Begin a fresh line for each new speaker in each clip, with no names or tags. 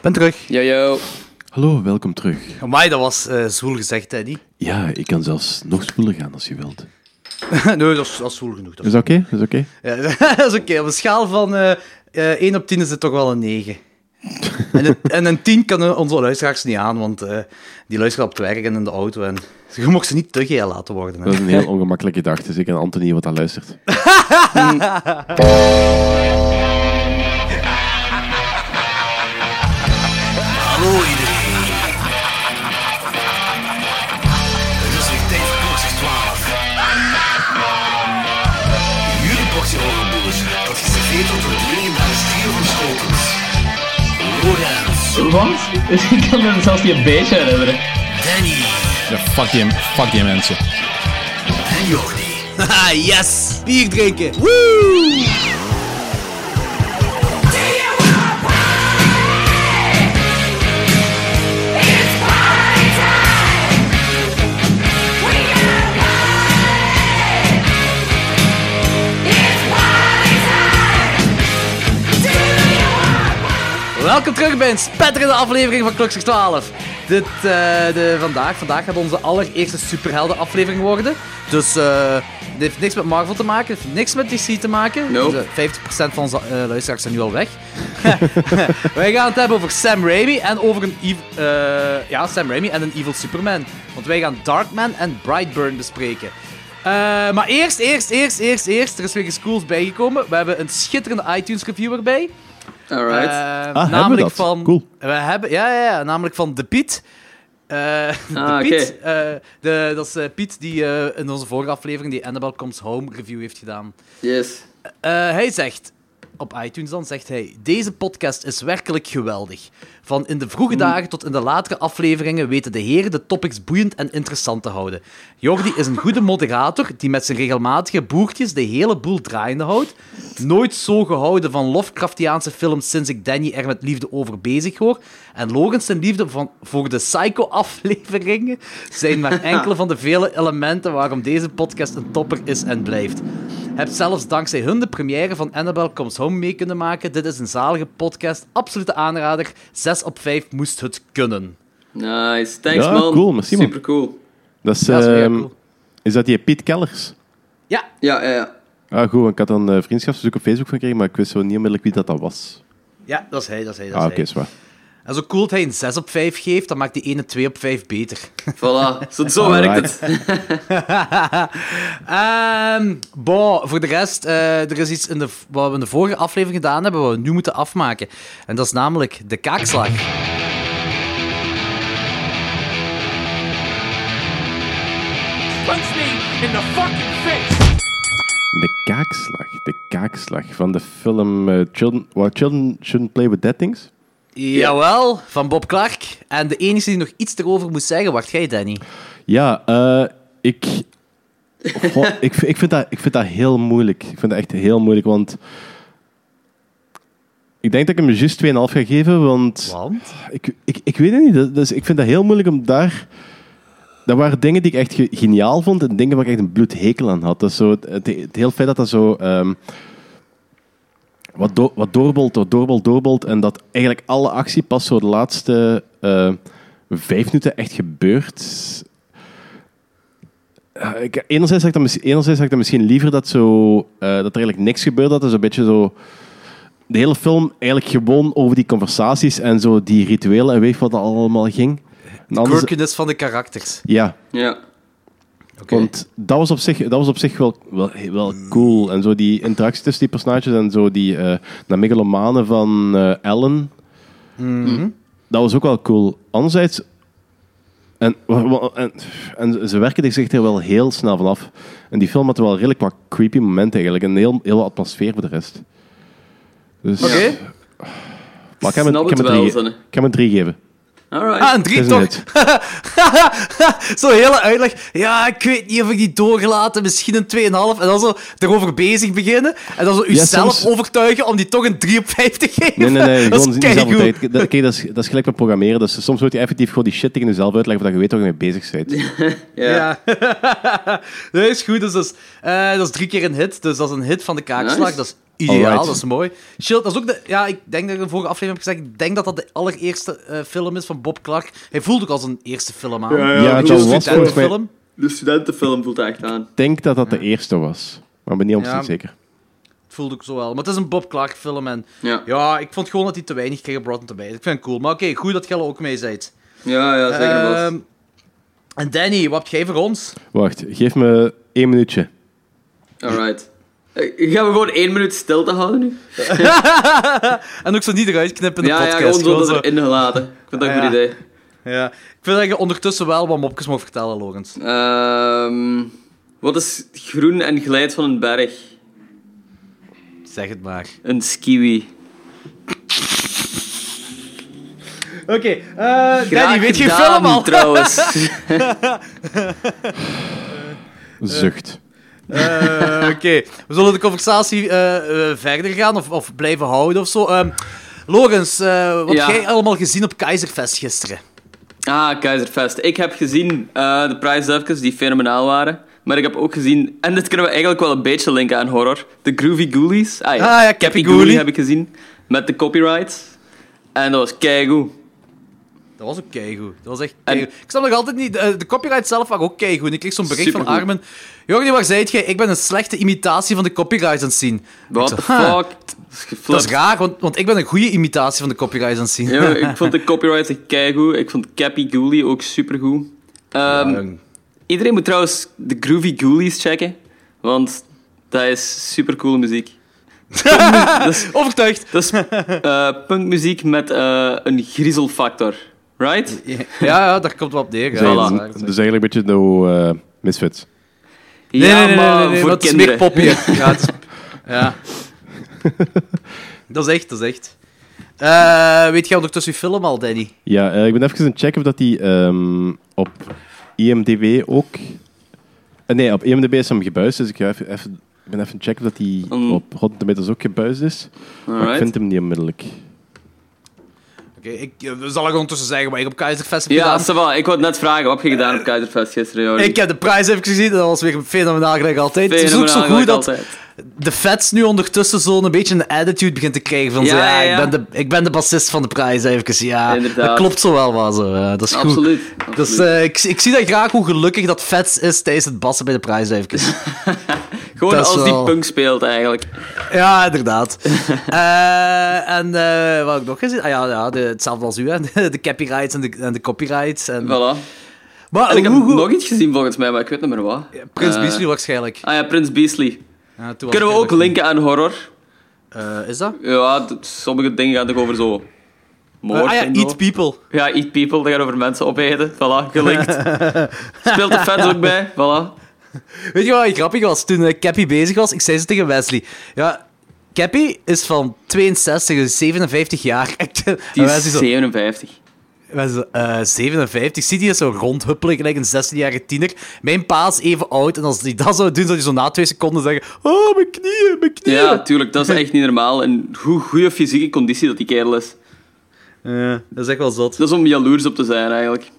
Ben terug.
Yo, yo.
Hallo, welkom terug.
Amai, dat was eh zwoel gezegd, hè, niet?
Ja, ik kan zelfs nog spoeler gaan als je wilt.
nee, dat is, dat is zwoel genoeg. Dat
Is
is,
dat oké? Is dat oké?
Ja, dat is oké. Op een schaal van eh eh 1 op 10 is het toch wel een 9. en, een, en een 10 kan onze luisteraars niet aan, want eh, die luisteren op het werk en in de auto. En je mag ze niet te geel laten worden. Hè.
Dat is een heel ongemakkelijke dag, dus ik en Anthony wat aan luistert.
Hallo iedereen. Het is weer tijd voor klokslag 12. Jullie boxje overboers, dat geserveerd wordt door de jongen naar de stier van Schotens. Lorenz,
Wat? Ik kan me zelfs niet een beetje herinneren.
Danny
Ja, fuck die, fuck die mensen.
en Jordi.
Haha, Ah, yes! Bier drinken! Welkom terug bij een spetterende aflevering van Klokzicht 12. Dit, eh, de, vandaag, vandaag gaat onze allereerste superhelden aflevering worden. Dus eh dit heeft niks met Marvel te maken, het heeft niks met DC te maken.
Nope.
Dus, eh, 50% van onze eh, luisteraars zijn nu al weg. wij gaan het hebben over Sam Raimi en over een, ev- eh, ja, Sam Raimi en een Evil Superman. Want wij gaan Darkman en Brightburn bespreken. Eh, maar eerst, eerst, eerst, eerst, eerst. Er is weer iets cools bijgekomen. We hebben een schitterende iTunes review erbij.
Alright.
Eh,
Ah, hebben we
namelijk
dat?
van.
Cool.
We hebben, ja, ja, ja, namelijk van De Piet. Eh,
Ah,
de Piet eh, de, dat is eh, Piet die eh, in onze vorige aflevering die Annabelle Comes Home review heeft gedaan.
yes.
Eh, hij zegt, op iTunes dan, zegt hij... Deze podcast is werkelijk geweldig. Van in de vroege dagen tot in de latere afleveringen weten de heren de topics boeiend en interessant te houden. Jordi is een goede moderator die met zijn regelmatige boertjes de hele boel draaiende houdt. Nooit zo gehouden van Lovecraftiaanse films sinds ik Danny er met liefde over bezig hoor. En Logans zijn liefde van, voor de Psycho-afleveringen zijn maar enkele van de vele elementen waarom deze podcast een topper is en blijft. Heb zelfs dankzij hun de première van Annabelle Comes Home mee kunnen maken. Dit is een zalige podcast, absolute aanrader. 6 op 5 moest het kunnen.
Nice. Thanks,
Ja,
man.
cool, merci, man.
Super cool.
Dat is,
Dat is mega
ehm,
cool.
is dat die Piet Kellers?
Ja,
Ja, ja, ja.
Ah, goed, ik had een eh, vriendschapsverzoek op Facebook van gekregen, maar ik wist zo niet onmiddellijk wie dat, dat was.
ja, dat is hij, dat is hij. Dat
Ah,
is
oké,
hij.
zwaar.
En zo cool dat hij een 6 op 5 geeft, dan maakt die ene 2 op 5 beter.
Voilà. Zo, zo
Alright.
werkt het.
Ehm bon, voor de rest, eh, er is iets in de, wat we in de vorige aflevering gedaan hebben, wat we nu moeten afmaken. En dat is namelijk de kaakslag.
punch me in the fucking face.
De kaakslag. De kaakslag van de film eh, Children, Why Children Shouldn't Play With Dead Things.
Jawel, van Bob Clark. En de enige die nog iets erover moest zeggen, wacht jij, Danny.
Ja, eh, ik, Goh, ik, ik, vind dat, ik vind dat heel moeilijk. Ik vind dat echt heel moeilijk, want ik denk dat ik hem juist 2,5 ga geven, want
Want?
ik, ik, ik weet het niet. Dat- Dus ik vind dat heel moeilijk om daar... Dat waren dingen die ik echt ge- geniaal vond en dingen waar ik echt een bloedhekel aan had. Dat is zo, het, het, het heel feit dat dat zo... ehm, wat, do, wat doorbolt, wat doorbolt, doorbolt. En dat eigenlijk alle actie pas zo de laatste eh, vijf minuten echt gebeurt. Ja, ik, enerzijds, had ik dat, mis- enerzijds had ik dat misschien liever dat, zo, eh, dat er eigenlijk niks gebeurt. Dat is een beetje zo... De hele film eigenlijk gewoon over die conversaties en zo die rituelen en weet wat dat allemaal ging. En anders-
Quirkiness van de karakters.
ja,
Ja.
want dat was op zich, dat was op zich wel, wel, wel cool. En zo die interactie tussen die personages en zo die eh dat megalomane van eh, Ellen. Dat was ook wel cool. Anderzijds... En, wa- wa- en, en ze werken er zich er wel heel snel vanaf. En die film had wel redelijk wat creepy momenten eigenlijk. En heel, heel wat atmosfeer voor de rest. Dus,
Oké.
Maar ik heb hem-
Snap
ik
het
heb hem
wel,
drie,
Sanne.
ik heb hem drie geven.
Alright.
Ah, een
Het
drie
is
toch?
een hit.
Zo'n hele uitleg. Ja, ik weet niet of ik die doorgelaten, misschien een 2,5. En dan zo erover bezig beginnen. En dan zo uzelf
soms-
overtuigen om die toch een 3 op 5 te geven.
Nee, nee, nee.
dat
Gewoon
is
niet zelf
keigoed.
tijd. Dat, kijk, dat is, dat is gelijk met programmeren. Dus soms moet je effectief gewoon die shit tegen jezelf uitleggen, voordat je weet waar je mee bezig bent.
Ja.
Ja. dat is goed. Dus dat, is, eh, dat is drie keer een hit. Dus dat is een hit van de kaakslag.
Nice.
Dat is Ideaal,
Alright.
dat is mooi. Shield, dat is ook de. Ja, ik denk dat ik in de vorige aflevering heb gezegd. Ik denk dat dat de allereerste eh, film is van Bob Clark. Hij voelde ook als een eerste film aan.
Ja,
Ja,
ja,
dat
dus
Een
was volgens mij-
studentenfilm.
De studentenfilm voelt echt aan.
Ik denk dat dat de eerste was. Maar ik ben niet
Ja.
ontzettend zeker.
Het voelde ik zo wel. Maar het is een Bob Clark film. En
Ja, ja,
ja, ik vond gewoon dat hij te weinig kreeg op Rotten Tomatoes. Ik vind het cool. Maar oké, goed dat Gelle ook mee bent.
ja, zeker en vast.
Ehm, en Danny, wat heb jij voor ons?
Wacht, geef me één minuutje.
Ehm.
Alright. Eh, Gaan we gewoon één minuut stil te houden nu?
En ook zo niet eruit knippen in de
Ja, ja,
podcast.
gewoon zo
gewoon
dat
zo.
erin gelaten. Ik vind dat een
Ja.
goed idee.
Ja. Ik vind dat je ondertussen wel wat mopjes mag vertellen, Logans.
Ehm, wat is groen en glijdt van een berg?
Zeg het maar.
Een skiwi.
Oké, eh Danny,
Graag
weet je
gedaan,
film al?
trouwens.
Zucht.
Eh, Oké, we zullen de conversatie eh, eh, verder gaan of, of blijven houden of zo. Ehm Logans, eh, wat
Ja.
heb jij allemaal gezien op Keizerfest gisteren?
Ah, Keizerfest. Ik heb gezien eh, de prijsduifjes die fenomenaal waren. Maar ik heb ook gezien, en dit kunnen we eigenlijk wel een beetje linken aan horror, de Groovy Ghoulies. Ah ja,
Ah ja, Cappy Ghoulie.
heb ik gezien, met de copyrights. En dat was keigoed.
Dat was ook keigoed. Dat was echt
En-
keigoed. Ik snap nog altijd niet... De, de copyright zelf was ook keigoed. Ik kreeg zo'n bericht van
Supergoed.
Armin. Jordi, waar zei jij? Ik ben een slechte imitatie van de copyrights aan het zien.
What
Ik
the
zo, "Huh,
fuck?
Dat is raar, want, want ik ben een goede imitatie van de copyrights aan het zien.
Ja, ik vond de copyrights echt keigoed. Ik vond Cappy Ghoulie ook supergoed. Ehm,
Jong.
Iedereen moet trouwens de Groovy Ghoulies checken, want dat is supercoole muziek.
Overtuigd.
Dat is eh, punkmuziek met eh, een griezelfactor, right?
Ja, ja, daar komt wel op neer.
Zijn-
Ja,
dat
Dus-
is eigenlijk een beetje de eh misfits.
Nee,
ja,
nee, nee,
maar
nee, nee,
voor
dat is meer
kinderen.
popje. Ja, het is- ja. dat is echt, dat is echt. Eh, weet jij ondertussen je film al, Danny?
Ja, eh, ik ben even aan het checken of dat die ehm, op IMDb ook... Eh, nee, op IMDb is hem gebuist, dus ik, ga even, even, ik ben even aan het checken of dat die
Mm.
op Rotten Tomatoes ook gebuist is. Maar ik
Alright.
vind hem niet onmiddellijk.
Oké, ik eh, zal ik ondertussen zeggen wat ik op Keizerfest heb
Ja,
gedaan.
ça va. Ik wou het net vragen, wat heb je gedaan op Kaiserfest gisteren, Jordi?
Ik heb de prijs even gezien, dat was weer fenomenaal gelijk altijd. Het is ook zo
Fenomenaal,
goed dat
altijd.
de Feds nu ondertussen zo'n beetje een attitude begint te krijgen van
Ja,
zo, ja,
ja, ja.
Ik, ben de, ik ben de bassist van de prijs even. Ja, dat
Inderdaad.
klopt zo wel wel zo. eh, dat is goed.
Absoluut. absoluut.
Dus eh, ik, ik zie dat graag hoe gelukkig dat Feds is tijdens het bassen bij de prijs even.
Gewoon
eh, dat is
als
wel-
die punk speelt, eigenlijk.
Ja, inderdaad. Eh, en eh, wat heb ik nog gezien? Ah ja, ja de, hetzelfde als u, hè. De cappy rights en de, en de copyrights. En...
Voilà.
Maar
En ik heb
hoe goed-
nog iets gezien, volgens mij, maar ik weet niet meer wat.
Prins
Eh,
Beasley waarschijnlijk.
Ah ja, Prins Beasley.
Ja, toen was
Kunnen we
ik
ook
nog niet.
linken aan horror?
Eh, is dat?
Ja, d- sommige dingen gaan toch over zo... Moord
ah ja,
en zo.
Eat People.
Ja, Eat People, dat gaat over mensen opeten. Voilà, gelinkt. Speelt de fans ook bij. Voilà.
Weet je wat grappig was? Toen eh, Cappy bezig was, ik zei ze tegen Wesley. Ja, Cappy is van 62, dus 57 jaar. En
Die
Wesley
is
zo,
57.
Wij zo, eh, 57. Ziet hij zo rondhuppelen, gelijk een 16-jarige tiener. Mijn pa is even oud. En als hij dat zou doen, zou hij zo na twee seconden zeggen... Oh, mijn knieën, mijn knieën.
Ja, tuurlijk, dat is echt niet normaal. En hoe goede fysieke conditie dat die kerel is.
Ja, dat is echt wel zot.
Dat is om jaloers op te zijn, eigenlijk.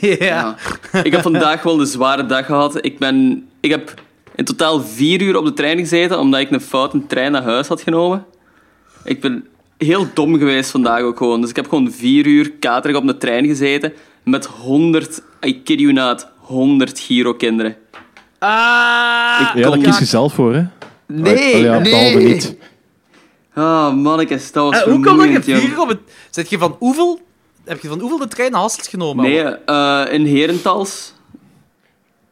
ja.
Ja. Ik heb vandaag wel een zware dag gehad. Ik, ben, ik heb in totaal vier uur op de trein gezeten, omdat ik een foute trein naar huis had genomen. Ik ben heel dom geweest vandaag ook gewoon. Dus ik heb gewoon vier uur katerig op de trein gezeten met 100, I kid you not, 100 Giro-kinderen.
Ah!
Ja, daar kies je zelf voor, hè?
Nee,
Oh ja, behalve niet.
Ah, mannetjes, dat was
Eh, hoe kan dat je
vermoeiend, jong.
vier op het... Zet je van hoeveel... Heb je van hoeveel de trein naar Hasselt genomen?
Nee, eh, in Herentals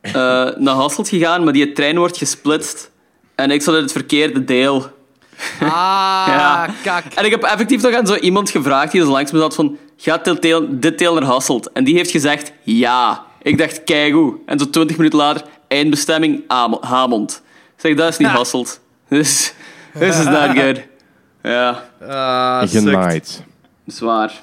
eh, naar Hasselt gegaan, maar die trein wordt gesplitst. En ik zat in het verkeerde deel.
Ah,
Ja.
kak.
En ik heb effectief nog aan zo iemand gevraagd die dus langs me zat van... Gaat dit deel, dit deel naar Hasselt? En die heeft gezegd ja. Ik dacht, keigoed. En zo twintig minuten later, eindbestemming Am- Hamond. Ik zeg, dat is niet Hasselt. Dus, this is not good. Ja,
Ah, sukt.
Genaaid.
zwaar.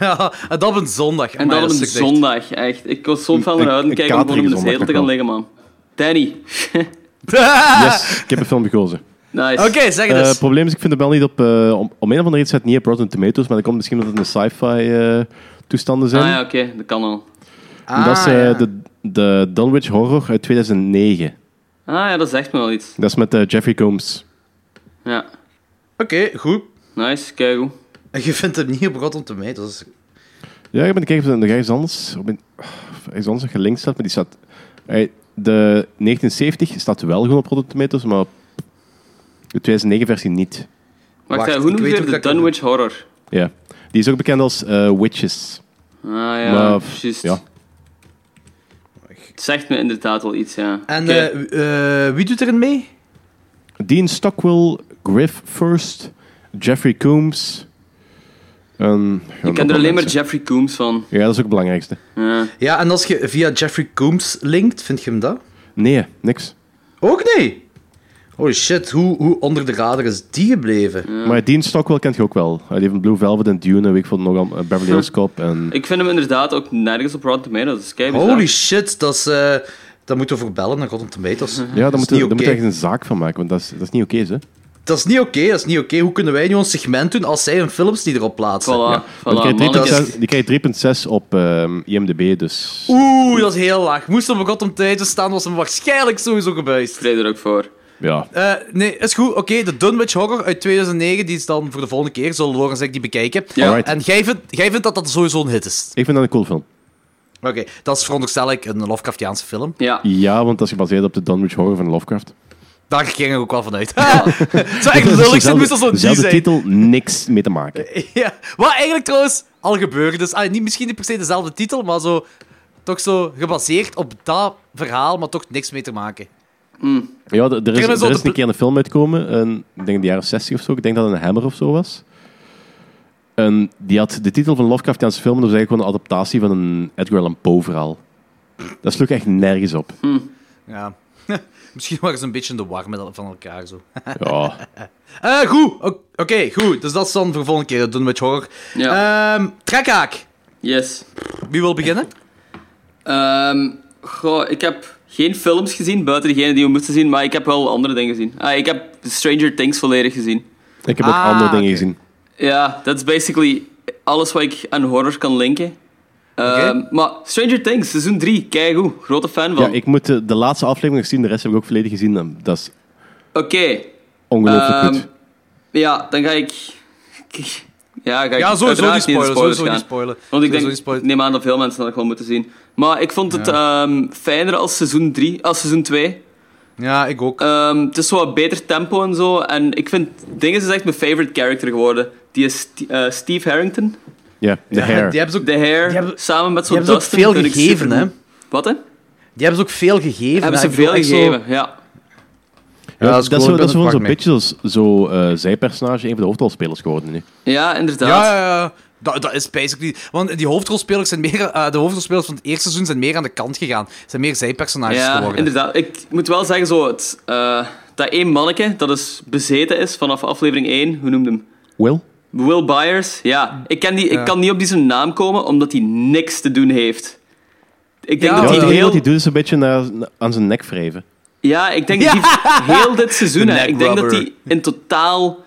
Ja, en dat op een zondag.
En dan op een
sukt echt.
zondag, echt. Ik was zo van naar
Een-
uit en
een
kijken om gewoon in de
katerige
zetel te gaan liggen, man. Danny.
Yes, ik heb een film gekozen.
nice. Ah,
Oké, zeg het
Eh,
Ah. eens.
het probleem is, ik vind de wel niet op... eh, om, om een of andere reden staat het niet op Rotten Tomatoes, maar dat komt misschien omdat het een sci-fi eh, toestanden zijn.
Ah ja, oké, dat kan al.
En dat is
Ah,
eh,
ja.
de, de Dunwich Horror uit 2009.
Ah ja, dat zegt me wel iets.
Dat is met eh, Jeffrey Combs.
Ja,
Oké, goed.
nice, kijk hoe.
En je vindt hem niet op Rotten Tomatoes. Dat is-
Ja, ik ben kijken of er nog ergens anders, op een- of ergens anders nog gelinkt staat, maar die staat... Ey, De 1970 staat wel gewoon op Rotten Tomatoes, maar de 2009-versie niet.
Wacht,
Wacht,
eh,
ik
hoe noemt
weet
je
hoe
de
dat ik-
Dunwich Horror?
Ja. Die is ook bekend als eh, Witches.
Ah ja,
Maar,
juist.
ja.
Het zegt me inderdaad wel iets, ja.
En
Oké.
eh, w- eh, wie doet erin mee?
Dean Stockwell, Griff First, Jeffrey Coombs. En,
ik ken er alleen maar Jeffrey Coombs van.
Ja, dat is ook het belangrijkste.
Ja.
Ja, en als je via Jeffrey Coombs linkt, vind je hem dat?
Nee, niks.
Ook nee! Holy shit, hoe, hoe onder de radar is die gebleven?
Maar Dean Stockwell kent je ook wel. Hij heeft een Blue Velvet en Dune en weet ik veel nog allemaal, eh, Beverly Hills Cop. En...
Ik vind hem inderdaad ook nergens op Rotten Tomatoes. Dus kijk,
Holy shit, dat is... eh dat moeten we voor bellen naar Rotten Tomatoes.
Ja, daar
Dat is
moet, je-
niet
daar moet
oké.
je echt een zaak van maken, want dat is, dat is niet oké, hè.
Dat is niet oké, dat is niet oké. Hoe kunnen wij nu ons segment doen als zij hun films niet erop plaatsen?
Voilà,
Want
voilà,
die krijgt
mannetjes.
3,6 die krijgt 3,6 op ehm, IMDb, dus...
Oeh, dat is heel laag. Moest er op Rotten Tomatoes staan, was hem waarschijnlijk sowieso gebuist.
Ik er ook voor.
Ja.
Eh, nee, is goed. Oké, de Dunwich Horror uit 2009, die is dan voor de volgende keer. Zullen Lorenz en ik die bekijken.
Ja.
Alright.
En jij vindt, jij vindt dat dat sowieso een hit is?
Ik vind dat een cool film.
Oké, dat is veronderstel ik een Lovecraftiaanse film.
Ja.
Ja, want dat is gebaseerd op de Dunwich Horror van Lovecraft.
Daar ging ik ook wel van uit. Het zou echt lullig zijn, moest dat zo'n die
dezelfde
zijn.
titel, niks mee te maken.
Ja, wat eigenlijk trouwens al gebeurde. Dus, ah, niet, misschien niet per se dezelfde titel, maar zo, toch zo gebaseerd op dat verhaal, maar toch niks mee te maken.
Ja, d- er
Ik
is,
ben zo de
er is een
pl-
keer een film uitgekomen, een, ik denk de jaren 60 of zo, ik denk dat het een Hammer of zo was. En die had de titel van Lovecraftiaanse film, dat was eigenlijk gewoon een adaptatie van een Edgar Allan Poe verhaal. Dat sloeg echt nergens op.
Ja. Misschien waren ze een beetje in de war met el- van elkaar. Zo.
Ja,
Eh, goed, O- oké, goed. Dus dat is dan voor de volgende keer het Dunwich Horror.
Ja.
Ehm trekhaak.
yes.
Wie wil beginnen?
Ehm, goh, ik heb geen films gezien, buiten degene die we moesten zien, maar ik heb wel andere dingen gezien. Ah, ik heb Stranger Things volledig gezien.
ik heb ook
Ah,
andere dingen
oké.
gezien.
Ja, dat is basically alles wat ik aan horror kan linken. Ehm, Maar Stranger Things, seizoen 3, kijk hoe, grote fan van.
Ja, ik moet eh, de, de laatste aflevering nog zien, de rest heb ik ook volledig gezien. en Dat is
Oké,
ongelooflijk
Ehm,
goed.
ja, dan ga ik... ik- Ja, ga
Ja,
ik
sowieso niet
uiteraard in de
spoilen.
spoilers
Sowieso niet
gaan.
spoilen.
Want ik
Sowieso niet
denk, ik
spoilen.
neem aan dat veel mensen dat nog wel moeten zien. Maar ik vond het ehm, fijner als seizoen 3, als seizoen 2.
Ja, ik ook.
Ehm, het is zo wat beter tempo en zo. En ik vind... Dingen is echt mijn favorite character geworden. Die is St- eh, Steve Harrington.
Ja, de
Ja,
hair.
Die hebben ze ook,
The Hair,
Die hebben-
samen met
die
zo'n
hebben ze ook
Dustin.
veel
vind ik
gegeven, hè?
supergoed. Wat, hè?
die hebben ze ook veel gegeven.
Hebben
hè.
ze
Ik bedoel,
veel
echt zo-
gegeven, ja.
Ja,
Ja,
dat is
cool,
gewoon
ik ben
dat is
er
gewoon
vaak
zo'n
mee.
beetje zoals zo, eh zijpersonage, een van de hoofdrolspelers geworden nu.
Ja, inderdaad.
Ja, ja, ja. Dat, dat is basically... Want die hoofdrolspelers zijn meer... eh, de hoofdrolspelers van het eerste seizoen zijn meer aan de kant gegaan. Zijn meer zijpersonages
Ja,
geworden.
inderdaad. Ik moet wel zeggen, zo, het, eh, dat één manneke dat is bezeten is vanaf aflevering 1, hoe noemde hem?
Will?
Will Byers, ja. Ik, ken die, ik kan niet op die zijn naam komen, omdat hij niks te doen heeft. Ik denk
Ja,
Ja,
dat
het
hij
enige
heel...
wat hij doet is een beetje naar, naar- aan zijn nek wrijven.
Ja, ik denk dat die heel dit seizoen,
De
hè, ik denk dat
neck
hij in totaal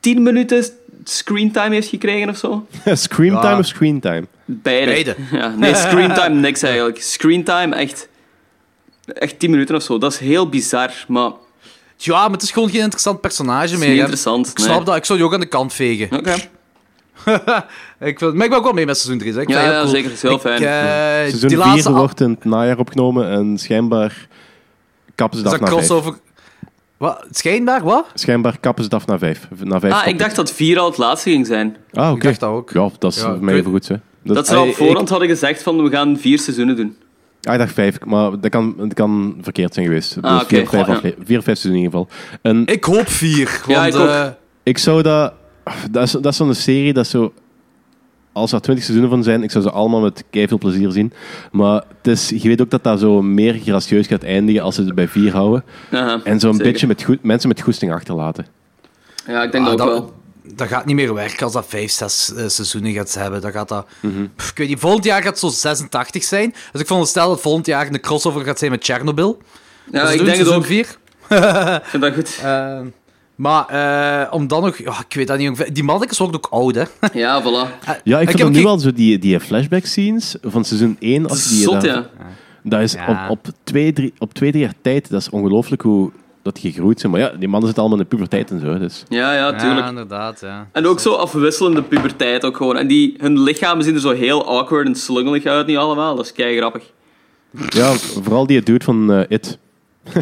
10 minuten screentime heeft gekregen of zo.
Screamtime
Ja.
of screentime?
Beide.
Beide.
Ja, nee, screentime niks eigenlijk. Screentime echt, echt 10 minuten of zo. Dat is heel bizar, maar het
Ja, maar het is gewoon geen interessant personage meer.
is niet
hè.
interessant.
Ik snap dat. Ik zou die ook aan de kant vegen.
Oké.
ik vind, maar ik ben ook wel mee met seizoen 3.
Ja, ja, zeker. Het is heel fijn.
Seizoen
eh, die
4
laatste af-
wordt in het najaar opgenomen en schijnbaar kappen ze
is
dat,
dat
na vijf.
crossover... Wat? Schijnbaar, wat?
Schijnbaar kappen ze dat na vijf. Na vijf
Ah,
kappen
ik dacht
ze.
dat 4 al het laatste ging zijn.
Ah, oké.
ik dacht dat ook.
Ja, dat is
Ja,
voor mij
ik
even goed, hè.
Dat ze al
Ah,
op
ik-
voorhand hadden gezegd van we gaan vier seizoenen doen.
Ah, ik dacht vijf, maar dat kan, dat kan verkeerd zijn geweest.
Ah,
dus
oké.
vier, of vijf,
Ja.
afle- vier of vijf seizoenen in ieder geval. En ik,
Ik hoop 4.
Ja, ik ook.
eh,
zou dat... Dat is, dat is zo'n serie dat zo... Als er twintig seizoenen van zijn, ik zou ze allemaal met veel plezier zien. Maar het is, je weet ook dat dat zo meer gracieus gaat eindigen als ze het bij vier houden.
Aha,
En zo'n
zeker.
beetje met goed, mensen met goesting achterlaten.
Ja, ik denk
Ah,
dat ook
dat-
wel.
Dat gaat niet meer werken als dat vijf, zes eh, seizoenen gaat hebben. Dan gaat dat,
Mhm.
Pff, ik weet niet, volgend jaar gaat het zo 86 zijn. Dus ik veronderstel dat volgend jaar een crossover gaat zijn met Chernobyl.
Ja,
Dus
ik
doen
denk het
seizoen
ook. Ik
vier.
vind dat goed.
Eh, maar eh, om dan nog... ja, ik weet dat niet. ongeveer- Die mannetjes worden ook oud, hè.
Ja, voilà.
Ja,
heb
ik vind
ook
dat nu
ge-
wel zo die, die flashback scenes van seizoen 1.
Dat
Als
is
die
zot,
daar-
ja.
Dat is
Ja.
op, op, twee, drie, op twee, drie jaar tijd, dat is ongelooflijk hoe dat die gegroeid zijn. Maar ja, die mannen zitten allemaal in de puberteit en zo. Dus.
Ja, ja, tuurlijk.
Ja, inderdaad, ja.
En ook zo afwisselende puberteit ook gewoon. En die, hun lichamen zien er zo heel awkward en slungelig uit, niet allemaal. Dat is kei grappig.
Ja, vooral die dude van eh, It.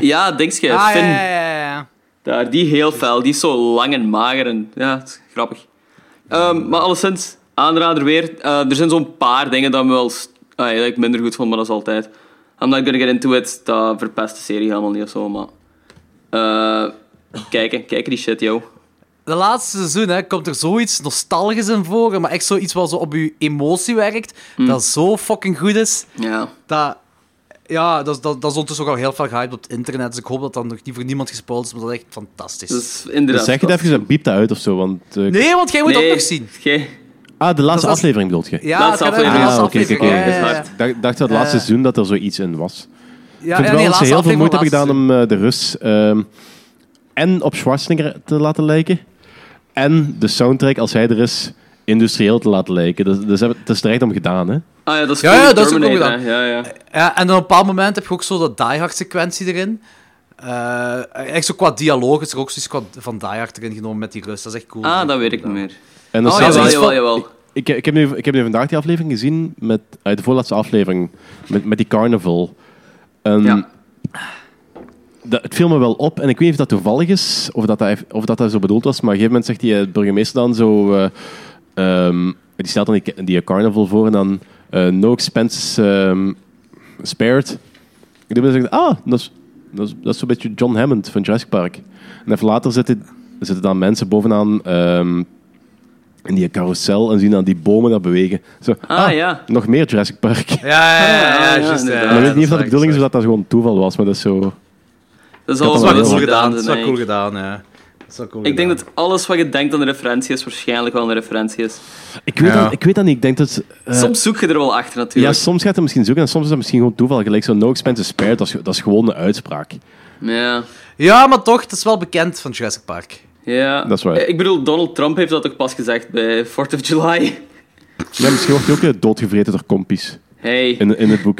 Ja, denk je,
Ah, ja,
Eh, Finn,
ja, ja, ja.
Daar, die heel fel, die is zo lang en mager en ja, het is grappig. Ehm, maar alleszins, aanrader weer. Eh, er zijn zo'n paar dingen dat, me wel, st- ah, ja, dat ik minder goed vond, maar dat is altijd. I'm not gonna get into it, dat verpest de serie helemaal niet of zo, maar... eh, kijken, kijken die shit, yo.
De laatste seizoen hè, komt er zoiets nostalgisch in voor, maar echt zoiets wat zo op je emotie werkt,
Mm.
dat zo fucking goed is.
Ja.
Dat, ja, dat, dat, dat is ondertussen ook al heel veel gehyped op het internet, dus ik hoop dat dat nog niet voor niemand gespoild is, maar dat is echt fantastisch.
Dus-
Dat is Dus inderdaad...
zeg je dat even, dan biept dat uit of zo. Want, eh,
Nee, want jij moet
Nee,
dat nog zien.
jij-
Ah, de laatste
Dat is-
aflevering bedoelt je?
Ja,
Laatste
het gaat
aflevering.
over de
Ah, oké,
laatste
oké. oké.
aflevering, ja, ja, ja.
Dat is
Ik dacht, dacht dat het laatste
Eh.
seizoen dat er zoiets in was.
Ja,
ik
ja,
vind
nee,
wel dat ze
laatste
heel veel
aflevering
moeite
van
hebben gedaan
laatste
om eh, de Rus ehm, en op Schwarzenegger te laten lijken. En de soundtrack, als hij er is, industrieel te laten lijken. Dus, dus hebben, het is er echt om gedaan, hè?
Ah ja, dat is
Ja, ja,
fucking
dat is ook nog
Terminator,
gedaan.
hè. Ja, ja.
Ja, en dan op een bepaald moment heb je ook zo dat Die Hard sequentie erin. Eh, echt zo qua dialoog is er ook zoiets qua van Die Hard erin genomen met die Rus. Dat is echt cool. Mm.
Ah, dat weet ik niet meer.
En dan
Oh,
staat er
jawel,
iets
jawel,
van-
jawel.
Ik, ik, heb nu, ik heb nu vandaag die aflevering gezien, met, uit de voorlaatste aflevering, met, met die carnival. En
Ja.
dat, het viel me wel op, en ik weet niet of dat toevallig is, of dat dat, of dat, dat zo bedoeld was, maar op een gegeven moment zegt die eh, burgemeester dan zo... eh, ehm, die stelt dan die, die carnival voor en dan eh, no expenses ehm, spared. Ik denk dat ik ah, dat is, dat, is, dat is zo'n beetje John Hammond van Jurassic Park. En even later zitten, zitten dan mensen bovenaan ehm, in die carousel en zien dan die bomen daar bewegen. Zo,
Ah, ja.
Nog meer Jurassic Park.
Ja, ja, ja,
Ah, ja,
ja, juist, ja,
inderdaad.
ja,
Maar
ik weet niet of dat
is
de bedoeling is
waar,
of dat dat gewoon toeval was, maar dat is zo...
Dat is
heb
alles
al
wat
Dat
wel
is
goed
wel
heel
gedaan.
gedaan
Dat is wel cool gedaan, ja. Dat is wel cool
Ik denk
gedaan.
dat alles wat je denkt aan een referentie is, waarschijnlijk wel een referentie is.
Ik weet, dat, ik weet dat niet. Ik denk dat... eh,
Soms zoek je er wel achter,
ja,
natuurlijk.
soms gaat het misschien zoeken en soms is dat misschien gewoon toeval. Gelijk zo'n no expenses spared, dat is, dat is gewoon een uitspraak.
Ja.
Ja, maar toch, het is wel bekend van Jurassic Park.
ja.
Dat is waar.
Ik bedoel, Donald Trump heeft dat ook pas gezegd bij 4th of July.
Ja, misschien wordt hij ook eh, doodgevreten door kompies
Hey,
in, in het boek.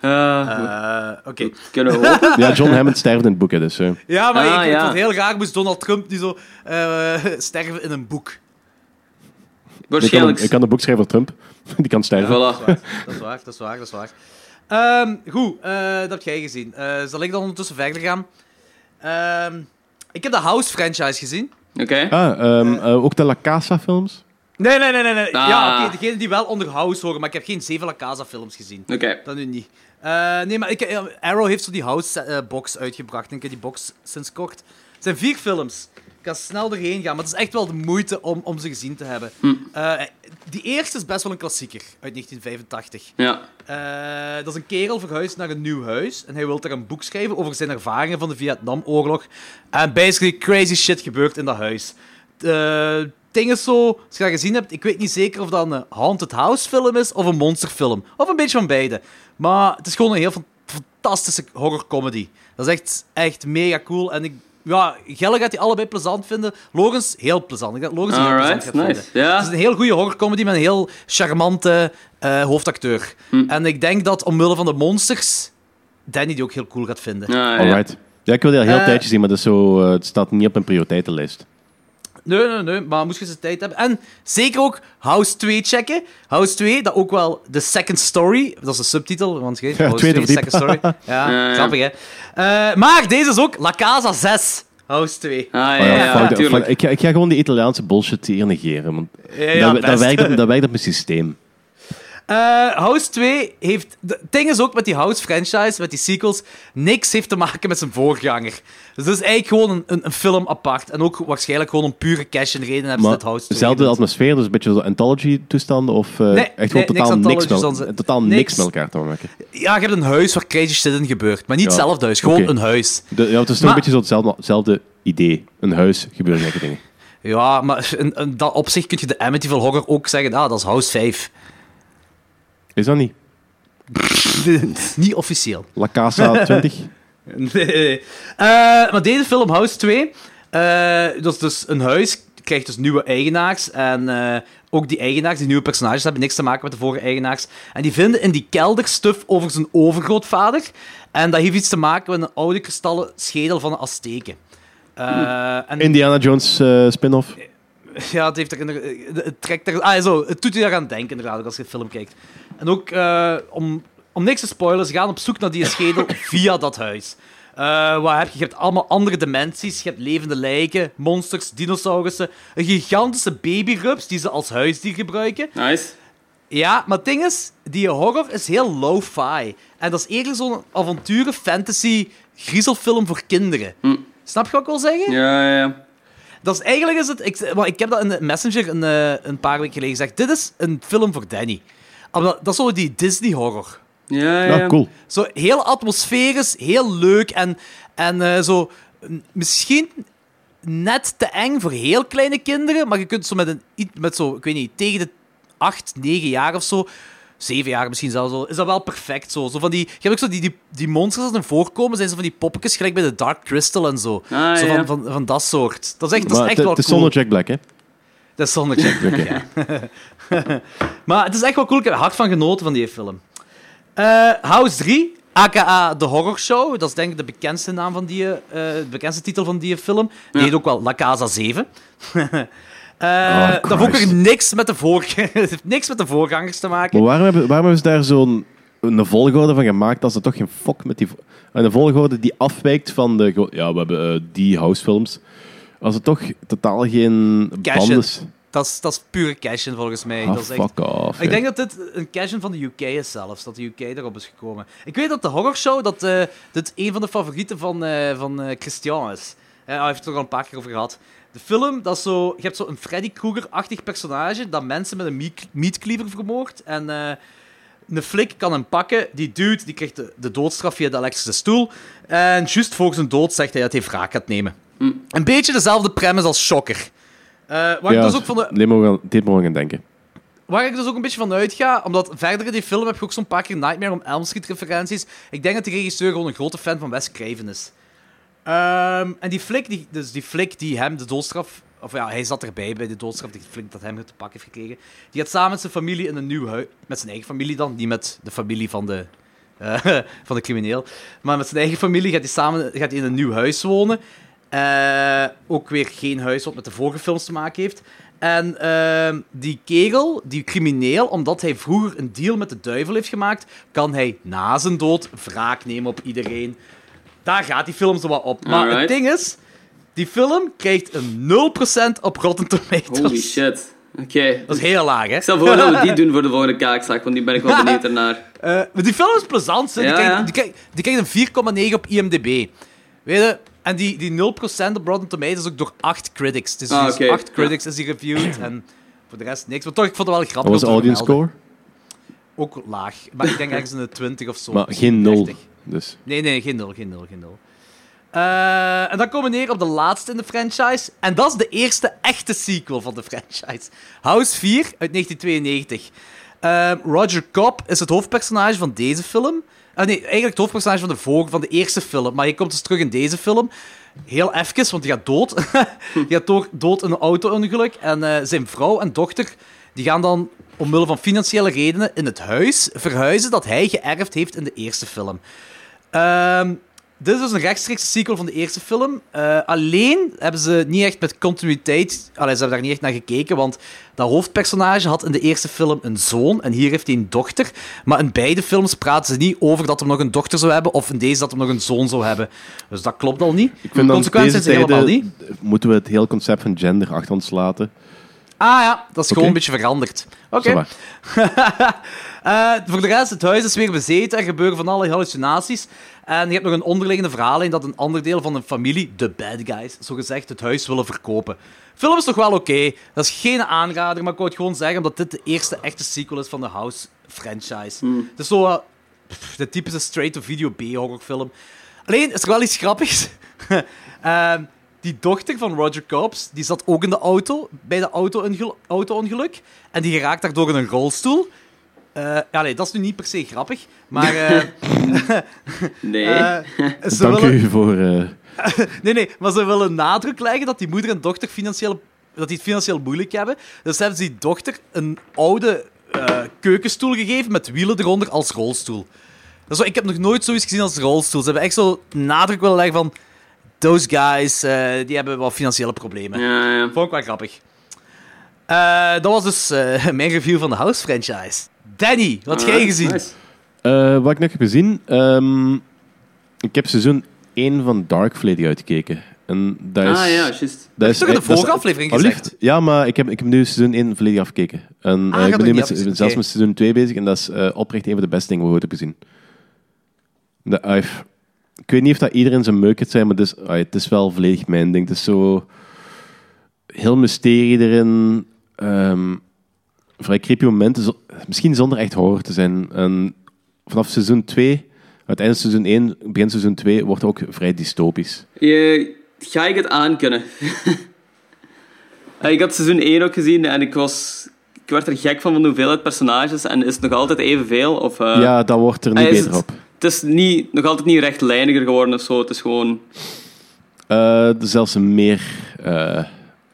eh,
Eh, Oké.
kunnen we hopen?
Ja, John Hammond sterft in het boek, hè, dus... eh.
Ja, maar
Ah,
ik
ja.
ja. heel graag moest Donald Trump nu zo eh, sterven in een boek.
Ik kan,
Waarschijnlijk.
ik kan de boekschrijver Trump. Die kan sterven.
Voilà.
Dat is waar, dat is waar, dat is waar. Ehm, goed, eh, dat heb jij gezien. Eh, zal ik dan ondertussen verder gaan? Ehm, ik heb de House franchise gezien.
Oké.
Ah, ehm, eh, ook de La Casa films.
Nee, nee, nee, nee. nee.
Ah.
Ja, oké, degene die wel onder House horen, maar ik heb geen Zeven La Casa films gezien.
Oké.
Dat nu niet. Eh, nee, maar ik, eh, Arrow heeft zo die House-box uitgebracht. En ik heb die box sinds kort. Het zijn vier films. Ik kan snel doorheen gaan, maar het is echt wel de moeite om, om ze gezien te hebben. Eh, die eerste is best wel een klassieker uit 1985.
Ja.
Eh, dat is een kerel verhuisd naar een nieuw huis. En hij wil daar een boek schrijven over zijn ervaringen van de Vietnamoorlog. En basically crazy shit gebeurt in dat huis. Eh, Het ding is zo, als je dat gezien hebt, ik weet niet zeker of dat een Haunted House film is of een monsterfilm. Of een beetje van beide. Maar het is gewoon een heel fan- fantastische horrorcomedy. Dat is echt, echt mega cool. En ik, ja, Gelle gaat die allebei plezant vinden. Logans heel plezant. Ik denk dat Logans die heel plezant
Alright,
gaat vinden.
nice. Ja.
Het is een heel goede horrorcomedy met een heel charmante eh, hoofdacteur.
Hm.
En ik denk dat omwille van de monsters Danny die ook heel cool gaat vinden.
Ah, ja.
Alright. Ja, ik wil die al heel
Eh,
tijdje zien, maar dat is zo, eh, het staat niet op mijn prioriteitenlijst.
Nee, nee, nee, maar moest je eens de tijd hebben. En zeker ook House 2 checken. House 2, dat ook wel The Second Story, dat is de subtitel, want je weet,
Ja,
House
tweede
2,
verdiep.
Second Story. Ja,
Ja, ja.
grappig hè. Eh, maar deze is ook La Casa 6, House 2.
Ah, ja,
Oh ja,
ja,
fuck dat,
tuurlijk. Eh,
fuck. ik, ga, ik ga gewoon die Italiaanse bullshit hier negeren. Want
Ja, ja,
dat, dat,
best.
werkt, op- dat werkt op mijn systeem.
Eh, House 2 heeft. de- Het ding is ook met die House franchise, met die sequels. Niks heeft te maken met zijn voorganger. Dus dat is eigenlijk gewoon een, een, een film apart. En ook waarschijnlijk gewoon om pure cash en reden hebben ze
Maar
dit House 2.
dezelfde
gedaan.
atmosfeer, dus een beetje zo anthology-toestanden of eh,
Nee,
echt gewoon
nee, niks
totaal, niks
anthology,
met,
zoals-
totaal niks.
niks.
met elkaar te maken.
Ja, je hebt een huis waar crazy shit in gebeurt. Maar niet
Ja.
hetzelfde huis, gewoon
Oké.
een huis.
De, ja, het is toch
Maar-
een beetje zo hetzelfde, hetzelfde idee. Een huis, gebeuren gekke dingen.
Ja, maar in, in dat opzicht kun je de Amityville Horror ook zeggen: ah, dat is House 5.
Is dat niet?
niet officieel.
La Casa 20?
Nee. Eh, maar deze film, House 2, eh, dat is dus een huis, krijgt dus nieuwe eigenaars. En eh, ook die eigenaars, die nieuwe personages, hebben niks te maken met de vorige eigenaars. En die vinden in die kelder stuf over zijn overgrootvader. En dat heeft iets te maken met een oude kristallen schedel van de Azteken. Eh, en
Indiana Jones eh, spin-off.
ja, het, heeft er inder- eh, het trekt er... Ah, zo, het doet je daaraan denken, inderdaad, ook als je de film kijkt. En ook, eh, om, om niks te spoilen, ze gaan op zoek naar die schedel via dat huis. Eh, wat heb je? Je hebt allemaal andere dimensies. Je hebt levende lijken, monsters, dinosaurussen. Een gigantische babyrups die ze als huisdier gebruiken.
Nice.
Ja, maar het ding is, die horror is heel lo-fi. En dat is eerder zo'n avonturen, fantasy, griezelfilm voor kinderen. Snap je wat ik wil zeggen?
Ja, ja, ja.
Dat is eigenlijk is het. Ik, want ik heb dat in de Messenger een, eh, een paar weken geleden gezegd. Dit is een film voor Danny. Omdat- Dat is zo die Disney horror. Ehm,
Ja, ja.
Ja, Nou, Ah, cool.
Zo heel atmosferisch, heel leuk en, en eh, zo. mm, Misschien net te eng voor heel kleine kinderen, maar je kunt zo met een. iets- Met zo, ik weet niet, tegen de 8, 9 jaar of zo. Zeven jaar misschien zelfs al. Is dat wel perfect zo? zo van die, je hebt ook zo die, die, die monsters als een voorkomen, zijn zo van die poppetjes gelijk bij de Dark Crystal en zo.
Ah,
zo
ja.
van, van, van dat soort. Dat is echt, dat is
Maar het
echt wel
het is
cool.
zonder Jack Black, hè?
Dat is zonder Jack Black, ja. maar het is echt wel cool. Ik heb er hard van genoten van die film. Eh, House 3, aka The Horror Show. Dat is denk ik de bekendste, naam van die, eh, de bekendste titel van die film. Die heet ook wel La Casa 7. Eh dat heeft ook
Oh, Christ. Oh.
weer niks met, de voor... het heeft niks met de voorgangers te maken.
Maar waarom hebben, waarom hebben ze daar zo'n een volgorde van gemaakt als er toch geen fok met die... vo- Een volgorde die afwijkt van de... gro- Ja, we hebben eh, die housefilms. Als er toch totaal geen
Cash
band
in.
is...
Dat, is, dat is pure cash-in volgens mij.
Ah,
dat is echt...
fuck off.
Ik
hè.
denk dat dit een cash-in van de UK is zelfs, dat de UK erop is gekomen. Ik weet dat de Horror Show, dat eh, dit een van de favorieten van, eh, van eh, Christian is. Eh, hij heeft het er al een paar keer over gehad. De film, dat is zo, je hebt zo'n Freddy Krueger-achtig personage dat mensen met een meat- meatcleaver vermoordt. En eh, een flik kan hem pakken. Die dude die krijgt de, de doodstraf via de elektrische stoel. En juist voor zijn dood zegt hij dat hij wraak gaat nemen. Een beetje dezelfde premise als Shocker. Eh waar ik
Ja,
dus ook van de,
dit mogen we- Dit mogen we gaan denken.
Waar ik dus ook een beetje van uitga, omdat verder in die film heb je ook zo'n paar keer Nightmare on Elm Street referenties. Ik denk dat de regisseur gewoon een grote fan van Wes Craven is. Ehm, en die flik, die, dus die flik die hem de doodstraf... Of ja, hij zat erbij bij de doodstraf, die flik dat hem te pakken heeft gekregen. Die gaat samen met zijn familie in een nieuw huis... Met zijn eigen familie dan, niet met de familie van de... eh, van de crimineel. Maar met zijn eigen familie gaat hij samen gaat hij in een nieuw huis wonen. Eh, ook weer geen huis wat met de vorige films te maken heeft. En ehm, die kerel, die crimineel, omdat hij vroeger een deal met de duivel heeft gemaakt, kan hij na zijn dood wraak nemen op iedereen. Daar gaat die film zo wat op. Maar het
Alright.
ding is, die film krijgt een 0% op Rotten Tomatoes.
Holy shit. Oké.
Dat is heel laag, hè?
Ik stel voor dat we die doen voor de volgende kaakzaak, want die ben ik wel benieuwd ernaar.
Eh, maar die film is plezant. hè. Die,
Ja,
krijgt,
ja.
die, krijgt, die krijgt een 4,9 op IMDb. Weet je? En die, die 0% op Rotten Tomatoes is ook door 8 critics. Dus
Ah,
dus
oké.
8 critics is die reviewed en voor de rest niks. Maar toch, ik vond het wel grappig.
Wat was de
om te
audience
vermelden.
score?
Ook laag. Maar ik denk ergens in de 20 of zo.
Maar
Misschien
geen nul.
30.
Dus.
Nee, nee, geen nul, geen nul, geen nul. Eh, en dan komen we neer op de laatste in de franchise. En dat is de eerste echte sequel van de franchise. House 4 uit 1992. Eh, Roger Cobb is het hoofdpersonage van deze film. Ah, nee, eigenlijk het hoofdpersonage van de, vorige, van de eerste film. Maar je komt dus terug in deze film. Heel even, want die gaat dood. die gaat door, dood in een auto-ongeluk. En eh, zijn vrouw en dochter die gaan dan omwille van financiële redenen in het huis verhuizen dat hij geërfd heeft in de eerste film. Ehm, dit is dus een rechtstreekse sequel van de eerste film. Eh, alleen hebben ze niet echt met continuïteit... Allee, ze hebben daar niet echt naar gekeken, want dat hoofdpersonage had in de eerste film een zoon en hier heeft hij een dochter. Maar in beide films praten ze niet over dat hij nog een dochter zou hebben of in deze dat hij nog een zoon zou hebben. Dus dat klopt al niet.
Ik vind dan
Consequent
deze
zijn ze helemaal
tijden
niet.
Moeten we het heel concept van gender achter ons laten?
Ah ja, dat is gewoon
Oké.
een beetje veranderd. Oké.
Zeg maar.
Eh, voor de rest, het huis is weer bezeten. Er gebeuren van alle hallucinaties. En je hebt nog een onderliggende verhaal in dat een ander deel van een familie, de bad guys, zogezegd het huis willen verkopen. Film is toch wel oké. Dat is geen aanrader, maar ik wou het gewoon zeggen omdat dit de eerste echte sequel is van de House franchise. Het is zo eh, pff, de typische straight-to-video B-horrorfilm. Alleen is er wel iets grappigs. Ehm, die dochter van Roger Cobbs, die zat ook in de auto, bij de auto-ongel- auto-ongeluk. en die geraakt daardoor in een rolstoel. Eh, ja, nee, dat is nu niet per se grappig, maar... eh,
Nee.
eh, ze
Dank
willen,
u voor... eh,
Nee, nee, maar ze willen nadruk leggen dat die moeder en dochter financiële dat die het financieel moeilijk hebben. Dus hebben ze die dochter een oude eh, keukenstoel gegeven met wielen eronder als rolstoel. Dat is zo, ik heb nog nooit zoiets gezien als rolstoel. Ze hebben echt zo nadruk willen leggen van... Those guys, eh, die hebben wat financiële problemen.
Ja, ja.
Vond ik wel grappig. Eh, dat was dus eh, mijn review van de House franchise. Danny, wat heb jij
Alright,
gezien?
Ah, nice.
Eh, wat ik net heb gezien, ehm, ik heb seizoen 1 van Dark volledig uitgekeken. En dat is,
Ah ja, juist.
dat is
toch in de
eh, dat is-
vorige aflevering
Alsjeblieft.
gezegd?
Ja, maar ik heb, ik heb nu seizoen 1 volledig afgekeken. En, eh,
je
ik
hebt
ben nu
nog
met,
niet afgezien,
zelfs
oké.
met seizoen 2 bezig en dat is eh, oprecht een van de beste dingen die ik ooit heb gezien. De, I've- ik weet niet of dat iedereen zijn meuk het zijn, maar het is, ah, het is wel volledig mijn ding. Het is zo... Heel mysterie erin. ehm, vrij creepy momenten. zo- misschien zonder echt horror te zijn. En vanaf seizoen 2, het einde van seizoen 1, begin seizoen 2, wordt het ook vrij dystopisch.
Je, ga ik het aankunnen? Eh, ik had seizoen 1 ook gezien en ik was... Ik werd er gek van van de hoeveelheid personages en is het nog altijd evenveel? Of, eh,
ja, dat wordt er niet
ah, is
beter
het-
op.
Het is niet, nog altijd niet rechtlijniger geworden of zo. Het is gewoon...
Eh, zelfs meer, eh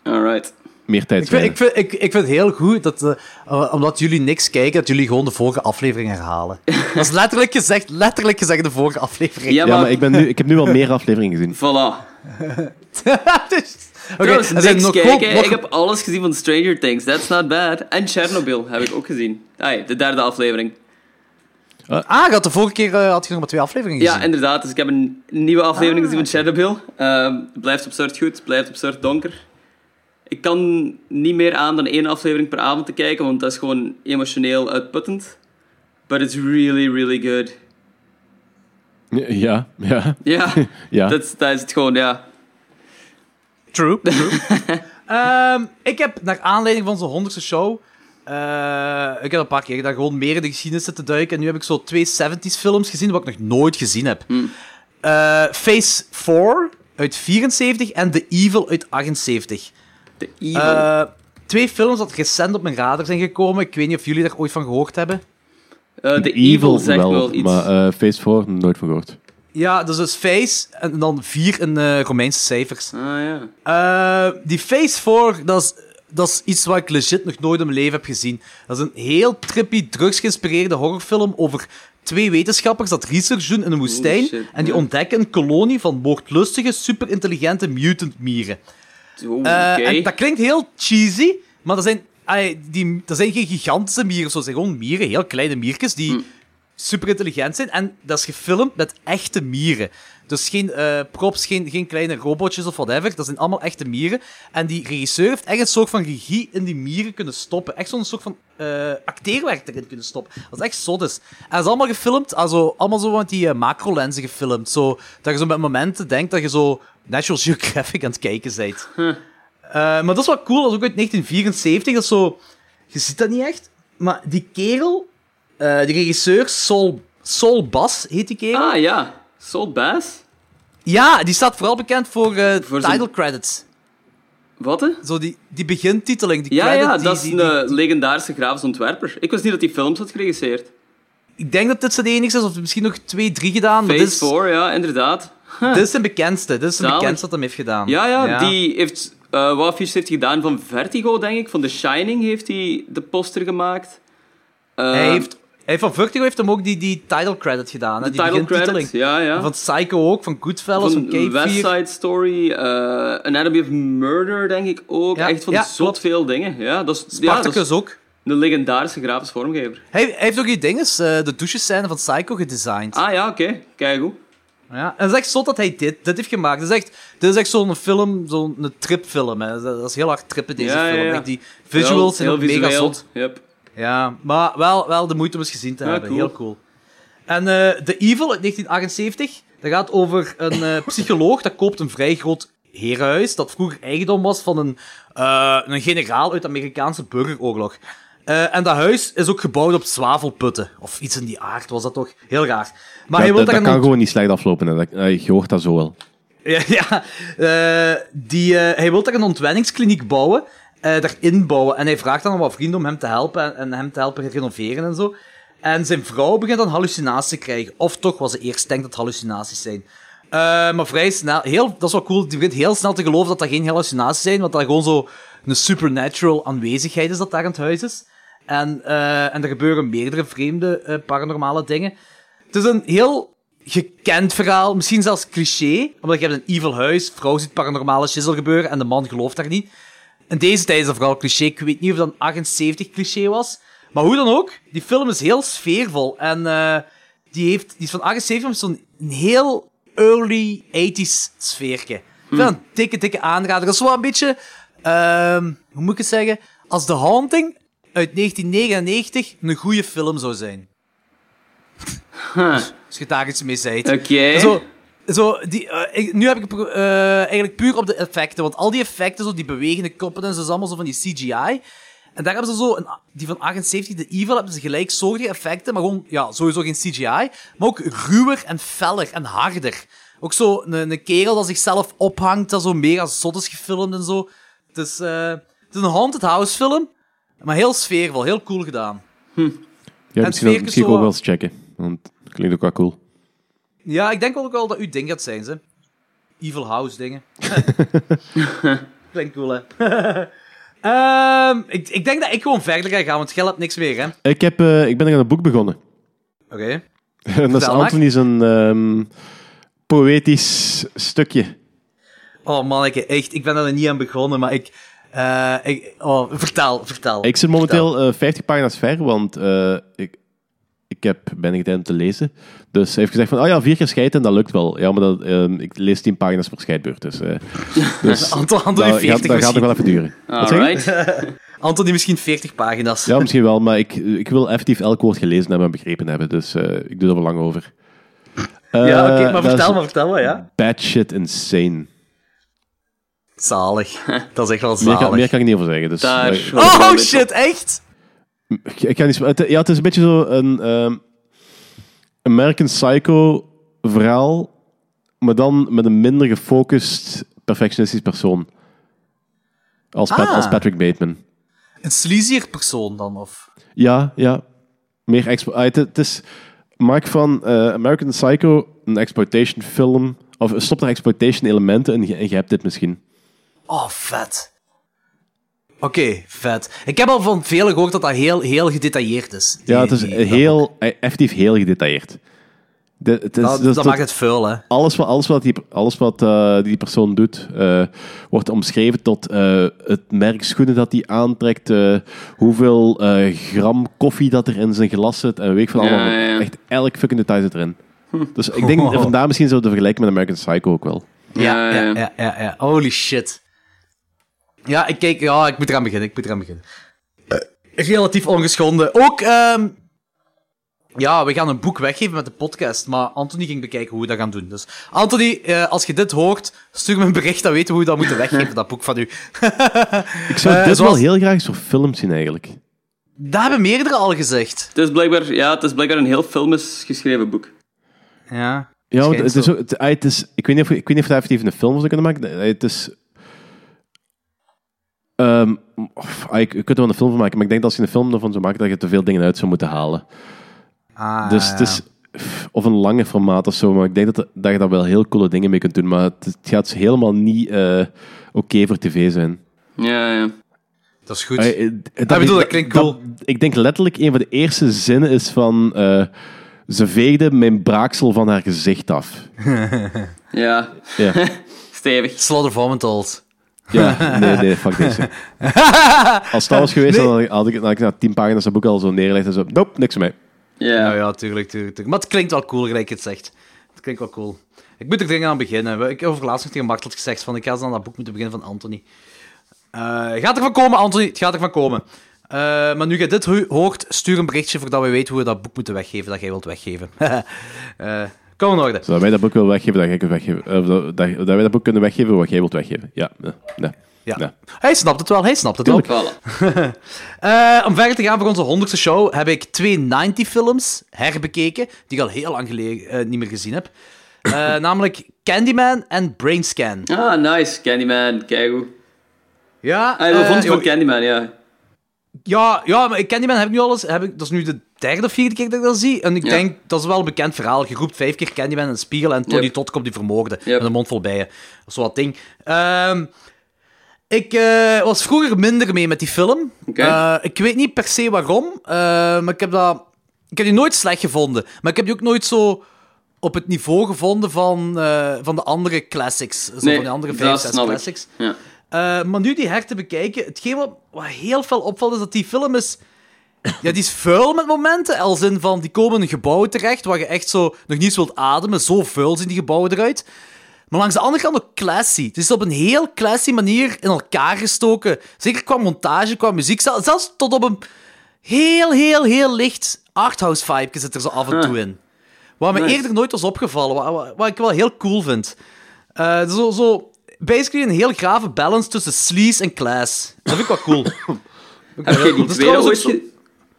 Alright.
meer tijd.
Ik vind, ik, vind, ik, ik vind het heel goed dat, eh, eh, omdat jullie niks kijken, dat jullie gewoon de vorige aflevering herhalen. Dat is letterlijk gezegd, letterlijk gezegd de vorige aflevering.
Ja,
ja, maar
maar-
ik, ben nu, ik heb nu al meer afleveringen gezien.
Voilà.
dus, Oké,
Trouwens,
er zijn
niks
nog,
kijken.
nog-
Ik heb alles gezien van Stranger Things. That's not bad. En Chernobyl heb ik ook gezien. Ai, de derde aflevering.
Ah, je had de vorige keer eh, had je nog maar twee afleveringen gezien.
Ja, inderdaad. Dus ik heb een nieuwe aflevering
Ah,
gezien van Chernobyl. Ehm, het blijft absurd goed. het blijft absurd donker. Ik kan niet meer aan dan één aflevering per avond te kijken, want dat is gewoon emotioneel uitputtend. But it's really, really good.
Ja, ja.
Ja,
Ja.
dat is- dat is het gewoon, ja.
True. true. Ehm, ik heb naar aanleiding van zo'n honderdste show. eh, ik heb een paar keer daar gewoon meer in de geschiedenis zitten duiken. En nu heb ik zo twee 70s films gezien, wat ik nog nooit gezien heb. Eh, Phase 4 uit 74 en The Evil uit 78.
The evil.
Eh, twee films dat recent op mijn radar zijn gekomen. Ik weet niet of jullie daar ooit van gehoord hebben.
Eh, the evil zegt wel, iets.
maar eh Phase 4, nooit van gehoord.
Ja, dat is dus Phase en dan 4 in eh, Romeinse cijfers.
Ah ja.
Eh, die Phase 4, dat is, dat is iets wat ik legit nog nooit in mijn leven heb gezien. Dat is een heel trippy, drugs-geïnspireerde horrorfilm over twee wetenschappers dat research doen in een woestijn.
shit,
en die
ja.
ontdekken een kolonie van moordlustige, superintelligente mutant-mieren.
Oh, Oké.
Eh, en dat klinkt heel cheesy, maar dat zijn, ai, die, dat zijn geen gigantische mieren. Zo dat zijn gewoon mieren, heel kleine miertjes die
Hm.
super intelligent zijn. En dat is gefilmd met echte mieren. Dus geen eh, props, geen, geen kleine robotjes of whatever. Dat zijn allemaal echte mieren. En die regisseur heeft echt een soort van regie in die mieren kunnen stoppen. Echt zo'n soort van eh, acteerwerk erin kunnen stoppen. Dat is echt zotjes. En dat is allemaal gefilmd, also, allemaal zo met die eh, macrolenzen gefilmd. Zo, dat je zo met momenten denkt dat je zo National Geographic aan het kijken bent. Eh, maar dat is wel cool, dat is ook uit 1974. Dat is zo... Je ziet dat niet echt. Maar die kerel, eh die regisseur, Sol, Sol Bas heet die kerel.
Ah ja. Soul Bass?
Ja, die staat vooral bekend voor, eh,
Voor zijn-
title credits.
Wat? hè?
Zo die, die begintiteling, die
Ja,
credit.
ja,
die-
dat is
die- die-
een eh, legendarische grafisch ontwerper. Ik wist niet dat hij films had geregisseerd.
ik denk dat dit zijn enigste is, of misschien nog twee, drie gedaan. Maar dit
Phase
is,
4, ja, inderdaad.
dit is zijn bekendste. Dit is zijn
Zalig.
bekendste dat hem heeft gedaan.
Ja, ja, die heeft... eh wat heeft hij gedaan van Vertigo, denk ik? Van The Shining heeft hij de poster gemaakt. Eh,
Hij heeft... Hij heeft van Vertigo heeft hem ook die, die title credit gedaan.
de
Hè? Die
title
begintiteling.
credits. Ja, ja.
Van Psycho ook, van Goodfellas, van,
van
Cape
West
4.
Side Story, eh Anatomy of Murder, denk ik ook.
Ja,
Echt van
ja,
zot
klopt.
veel dingen. Ja, dat is, ja, dat
Spartacus
is
ook.
een legendarische grafisch vormgever.
Hij, hij heeft ook die dinges, eh, de douchescène van Psycho gedesigned.
Ah ja, oké. Kijk goed.
Ja. En het is echt zot dat hij dit, dit heeft gemaakt. Het is echt, dit is echt zo'n film, zo'n tripfilm. Hè. Dat, dat is heel hard trippen, deze
Ja, ja,
film.
ja.
Echt, die visuals zijn
Heel-
ook
heel
mega
visueel.
zot.
Yep.
Ja, maar wel, wel de moeite om eens gezien te
Ja,
hebben.
cool.
Heel cool. En eh The Evil uit 1978, dat gaat over een eh, psycholoog dat koopt een vrij groot herenhuis dat vroeger eigendom was van een, eh, een generaal uit de Amerikaanse burgeroorlog. Eh, en dat huis is ook gebouwd op zwavelputten. Of iets in die aard was dat toch? Heel raar. Maar hij
dat
wil daar
dat, dat
een
kan
ont-
gewoon niet slecht aflopen. Hè. Dat, eh, je hoort dat zo wel.
ja, ja. Eh, die, eh, hij wil daar een ontwenningskliniek bouwen, eh daarin bouwen. En hij vraagt dan aan wat vrienden om hem te helpen en, en hem te helpen renoveren en zo. En zijn vrouw begint dan hallucinaties te krijgen. Of toch was ze eerst denkt dat het hallucinaties zijn. Eh, Eh, maar vrij snel, heel, dat is wel cool. Je begint heel snel te geloven dat dat geen hallucinaties zijn, want dat gewoon zo een supernatural aanwezigheid is dat daar in het huis is. En, eh, en er gebeuren meerdere vreemde eh, paranormale dingen. Het is een heel gekend verhaal, misschien zelfs cliché, omdat je hebt een evil huis, vrouw ziet paranormale shizzle gebeuren en de man gelooft daar niet. In deze tijd is dat vooral cliché. Ik weet niet of dat een 78 cliché was. Maar hoe dan ook, die film is heel sfeervol. En eh, die, heeft, die is van 78, maar zo'n een heel early 80s sfeerke. Ik vind dat een dikke, dikke aanrader. Dat is wel een beetje, ehm, hoe moet ik het zeggen? Als The Haunting uit 1999 een goede film zou zijn. Dus, Als je daar iets mee zei.
Oké.
Zo, zo, die, eh, ik- nu heb ik het pro- eh, eigenlijk puur op de effecten. Want al die effecten, zo, die bewegende koppen en zo, is allemaal zo van die CGI. En daar hebben ze zo, een, die van 78, de Evil, hebben ze gelijk soortige effecten. Maar gewoon, ja, sowieso geen CGI. Maar ook ruwer en feller en harder. Ook zo een, een kerel dat zichzelf ophangt, dat zo mega zot is gefilmd en zo. Het is, eh, het is een haunted house film. Maar heel sfeervol, heel cool gedaan.
Ja,
het
misschien
sfeertje
misschien
zo
ook
wel-
wel eens checken. Want het klinkt ook wel cool.
Ja, ik denk ook wel dat u ding gaat zijn, ze. Evil House dingen. Klinkt cool, hè? Ehm, ik, ik denk dat ik gewoon verder ga gaan, want geld hebt niks meer, hè? Oké.
Ik, heb, eh, ik ben er aan een boek begonnen. en dat is
Vertel maar.
Anthony's een ehm, poëtisch stukje.
Oh, manneke, echt. Ik ben er niet aan begonnen, maar ik... eh, ik oh, vertel, vertel.
Ik zit momenteel eh, 50 pagina's ver, want eh, ik, ik heb weinig tijd om te lezen. Dus hij heeft gezegd van, oh ja, vier keer scheiden en dat lukt wel. Ja, maar dat, ehm, ik lees 10 pagina's per scheidbeurt. Dus, eh dus
Anton, Anton
dat,
heeft
gaat,
40
dat gaat
misschien.
nog wel even duren. Wat zeg je?
Alright.
Anton die misschien 40 pagina's.
Ja, misschien wel, maar ik, ik wil effectief elk woord gelezen hebben en begrepen hebben. Dus eh, ik doe er wel lang over.
Ja, oké, maar
Eh, dat
vertel
is
maar, vertel maar, ja.
Bad shit insane.
Zalig. Dat is echt wel
Meer kan,
zalig.
meer kan ik niet over zeggen. Dus,
Daar.
eh,
Oh, shit, echt?
Ik- Ik ga niet, het, ja, het is een beetje zo een ehm, American Psycho verhaal, maar dan met een minder gefocust perfectionistisch persoon. Als, Pat-
Ah.
als Patrick Bateman.
Een sleazier persoon dan, of...
Ja, ja. Meer expo- ah, het, het is maak van eh, American Psycho een exploitation film, of stop er exploitation elementen in, en je hebt dit misschien.
Oh, vet. Oké, vet. Ik heb al van velen gehoord dat dat heel, heel gedetailleerd is. Die-
Ja, het is
die- dat-
heel, eh, effectief heel gedetailleerd. De, het is,
Dat,
dus
dat
tot-
maakt het vuil, hè.
alles wat, alles wat, die, alles wat eh, die persoon doet, eh, wordt omschreven tot eh, het merk schoenen dat hij aantrekt, eh, hoeveel eh, gram koffie dat er in zijn glas zit en weet ik van
Ja,
allemaal.
ja. Hm.
Echt elk fucking detail zit erin. Dus ik denk dat vandaar misschien zo te vergelijken met American Psycho ook wel.
Ja, ja,
ja.
ja, ja, ja. Holy shit. Ja, ik kijk... Ja, ik moet eraan beginnen, ik moet eraan beginnen. Eh, Relatief ongeschonden. Ook, ehm, Ja, we gaan een boek weggeven met de podcast, maar Anthony ging bekijken hoe we dat gaan doen. Dus Anthony, eh, als je dit hoort, stuur me een bericht, dan weten we hoe we dat moeten weggeven, dat boek van u.
Ik zou
Eh,
dit
zoals-
wel heel graag eens voor film zien eigenlijk.
Dat hebben meerdere al gezegd.
Het is blijkbaar, ja, het is blijkbaar een heel filmisch geschreven boek.
Ja.
Ja, want
Schijnt
het is,
zo.
ook- het, ah, het is, ik, weet niet of, ik weet niet of dat effectief een film zou kunnen maken. Eh, Het is... Ehm, of, ah, ik, je kunt er wel een film van maken, maar ik denk dat als je een film ervan zou maken, dat je te veel dingen uit zou moeten halen.
Ah,
Dus het is... pff, Of een lange formaat of zo, maar ik denk dat, dat je daar wel heel coole dingen mee kunt doen. Maar het, het gaat helemaal niet eh, oké voor tv zijn.
Ja, ja.
Dat is goed.
Ah, eh,
ik bedoel, dat klinkt cool.
ik denk letterlijk een van de eerste zinnen is van... eh, ze veegde mijn braaksel van haar gezicht af.
Ja,
Ja.
stevig.
Slaughter Vomitals.
Ja, nee, nee, fuck deze. Als dat was geweest, dan had ik, dan had ik na tien pagina's dat boek al zo neergelegd en zo. Nope, niks mee. Nou
Ja,
Ja.
Nou ja, tuurlijk, tuurlijk, tuurlijk. Maar het klinkt wel cool, gelijk je het zegt. Het klinkt wel cool. Ik moet er dringend aan beginnen. We- Ik heb over laatst nog tegen Martel gezegd van ik ga eens aan dat boek moeten beginnen van Anthony. Eh, gaat er van komen, Anthony. Het gaat er van komen. Eh, maar nu je dit ho- hoort, stuur een berichtje voordat we weten hoe we dat boek moeten weggeven dat jij wilt weggeven. Eh kom in orde.
Zodat wij Dus dat boek willen weggeven, dat, jij kunt weggeven eh, dat, dat- dat wij dat boek kunnen weggeven wat jij wilt weggeven. Ja, nee, nee.
Ja.
Ja.
Hij snapt het wel, hij snapt het wel.
Voilà.
Eh, om verder te gaan voor onze 100ste show heb ik twee 90 films herbekeken, die ik al heel lang geleden eh, niet meer gezien heb. Eh, namelijk Candyman en Brainscan.
Ah, nice. Candyman, kijk hoe.
Ja,
Ah, je wil
eh,
vond voor
joh,
Candyman, ja.
Ja, ja, maar ik ken die man, heb ik nu alles. Heb ik, dat is nu de derde of vierde keer dat ik dat zie. En ik
Ja.
denk, dat is wel een bekend verhaal. Je roept vijf keer Candyman in een spiegel en Tony
Yep.
Todd komt die vermoorden.
Yep.
Met een mond vol bijen. Dat is wel wat ding. Ehm, ik eh, was vroeger minder mee met die film.
Oké.
Eh, ik weet niet per se waarom, eh, maar ik heb, dat, ik heb die nooit slecht gevonden. Maar ik heb die ook nooit zo op het niveau gevonden van, eh, van de andere classics. Zo van de andere vijf,
dat
zes
snap ik.
classics.
Ja.
Eh, maar nu die her te bekijken, hetgeen wat, wat heel veel opvalt is dat die film is... Ja, die is vuil met momenten, als in van, die komen in een gebouw terecht waar je echt zo nog niet eens wilt ademen. Zo vuil zien die gebouwen eruit. Maar langs de andere kant ook classy. Het is op een heel classy manier in elkaar gestoken. Zeker qua montage, qua muziek. zel- Zelfs tot op een heel, heel, heel licht arthouse vibe zit er zo af en toe in. Wat me
Nice.
eerder nooit was opgevallen, wa- wa- wat, ik wel heel cool vind. Eh, zo, zo, basically een heel grave balance tussen sleaze en class. Dat vind ik wel cool.
Heb jij die
is
tweede
trouwens
ooit
ook zo-
ge-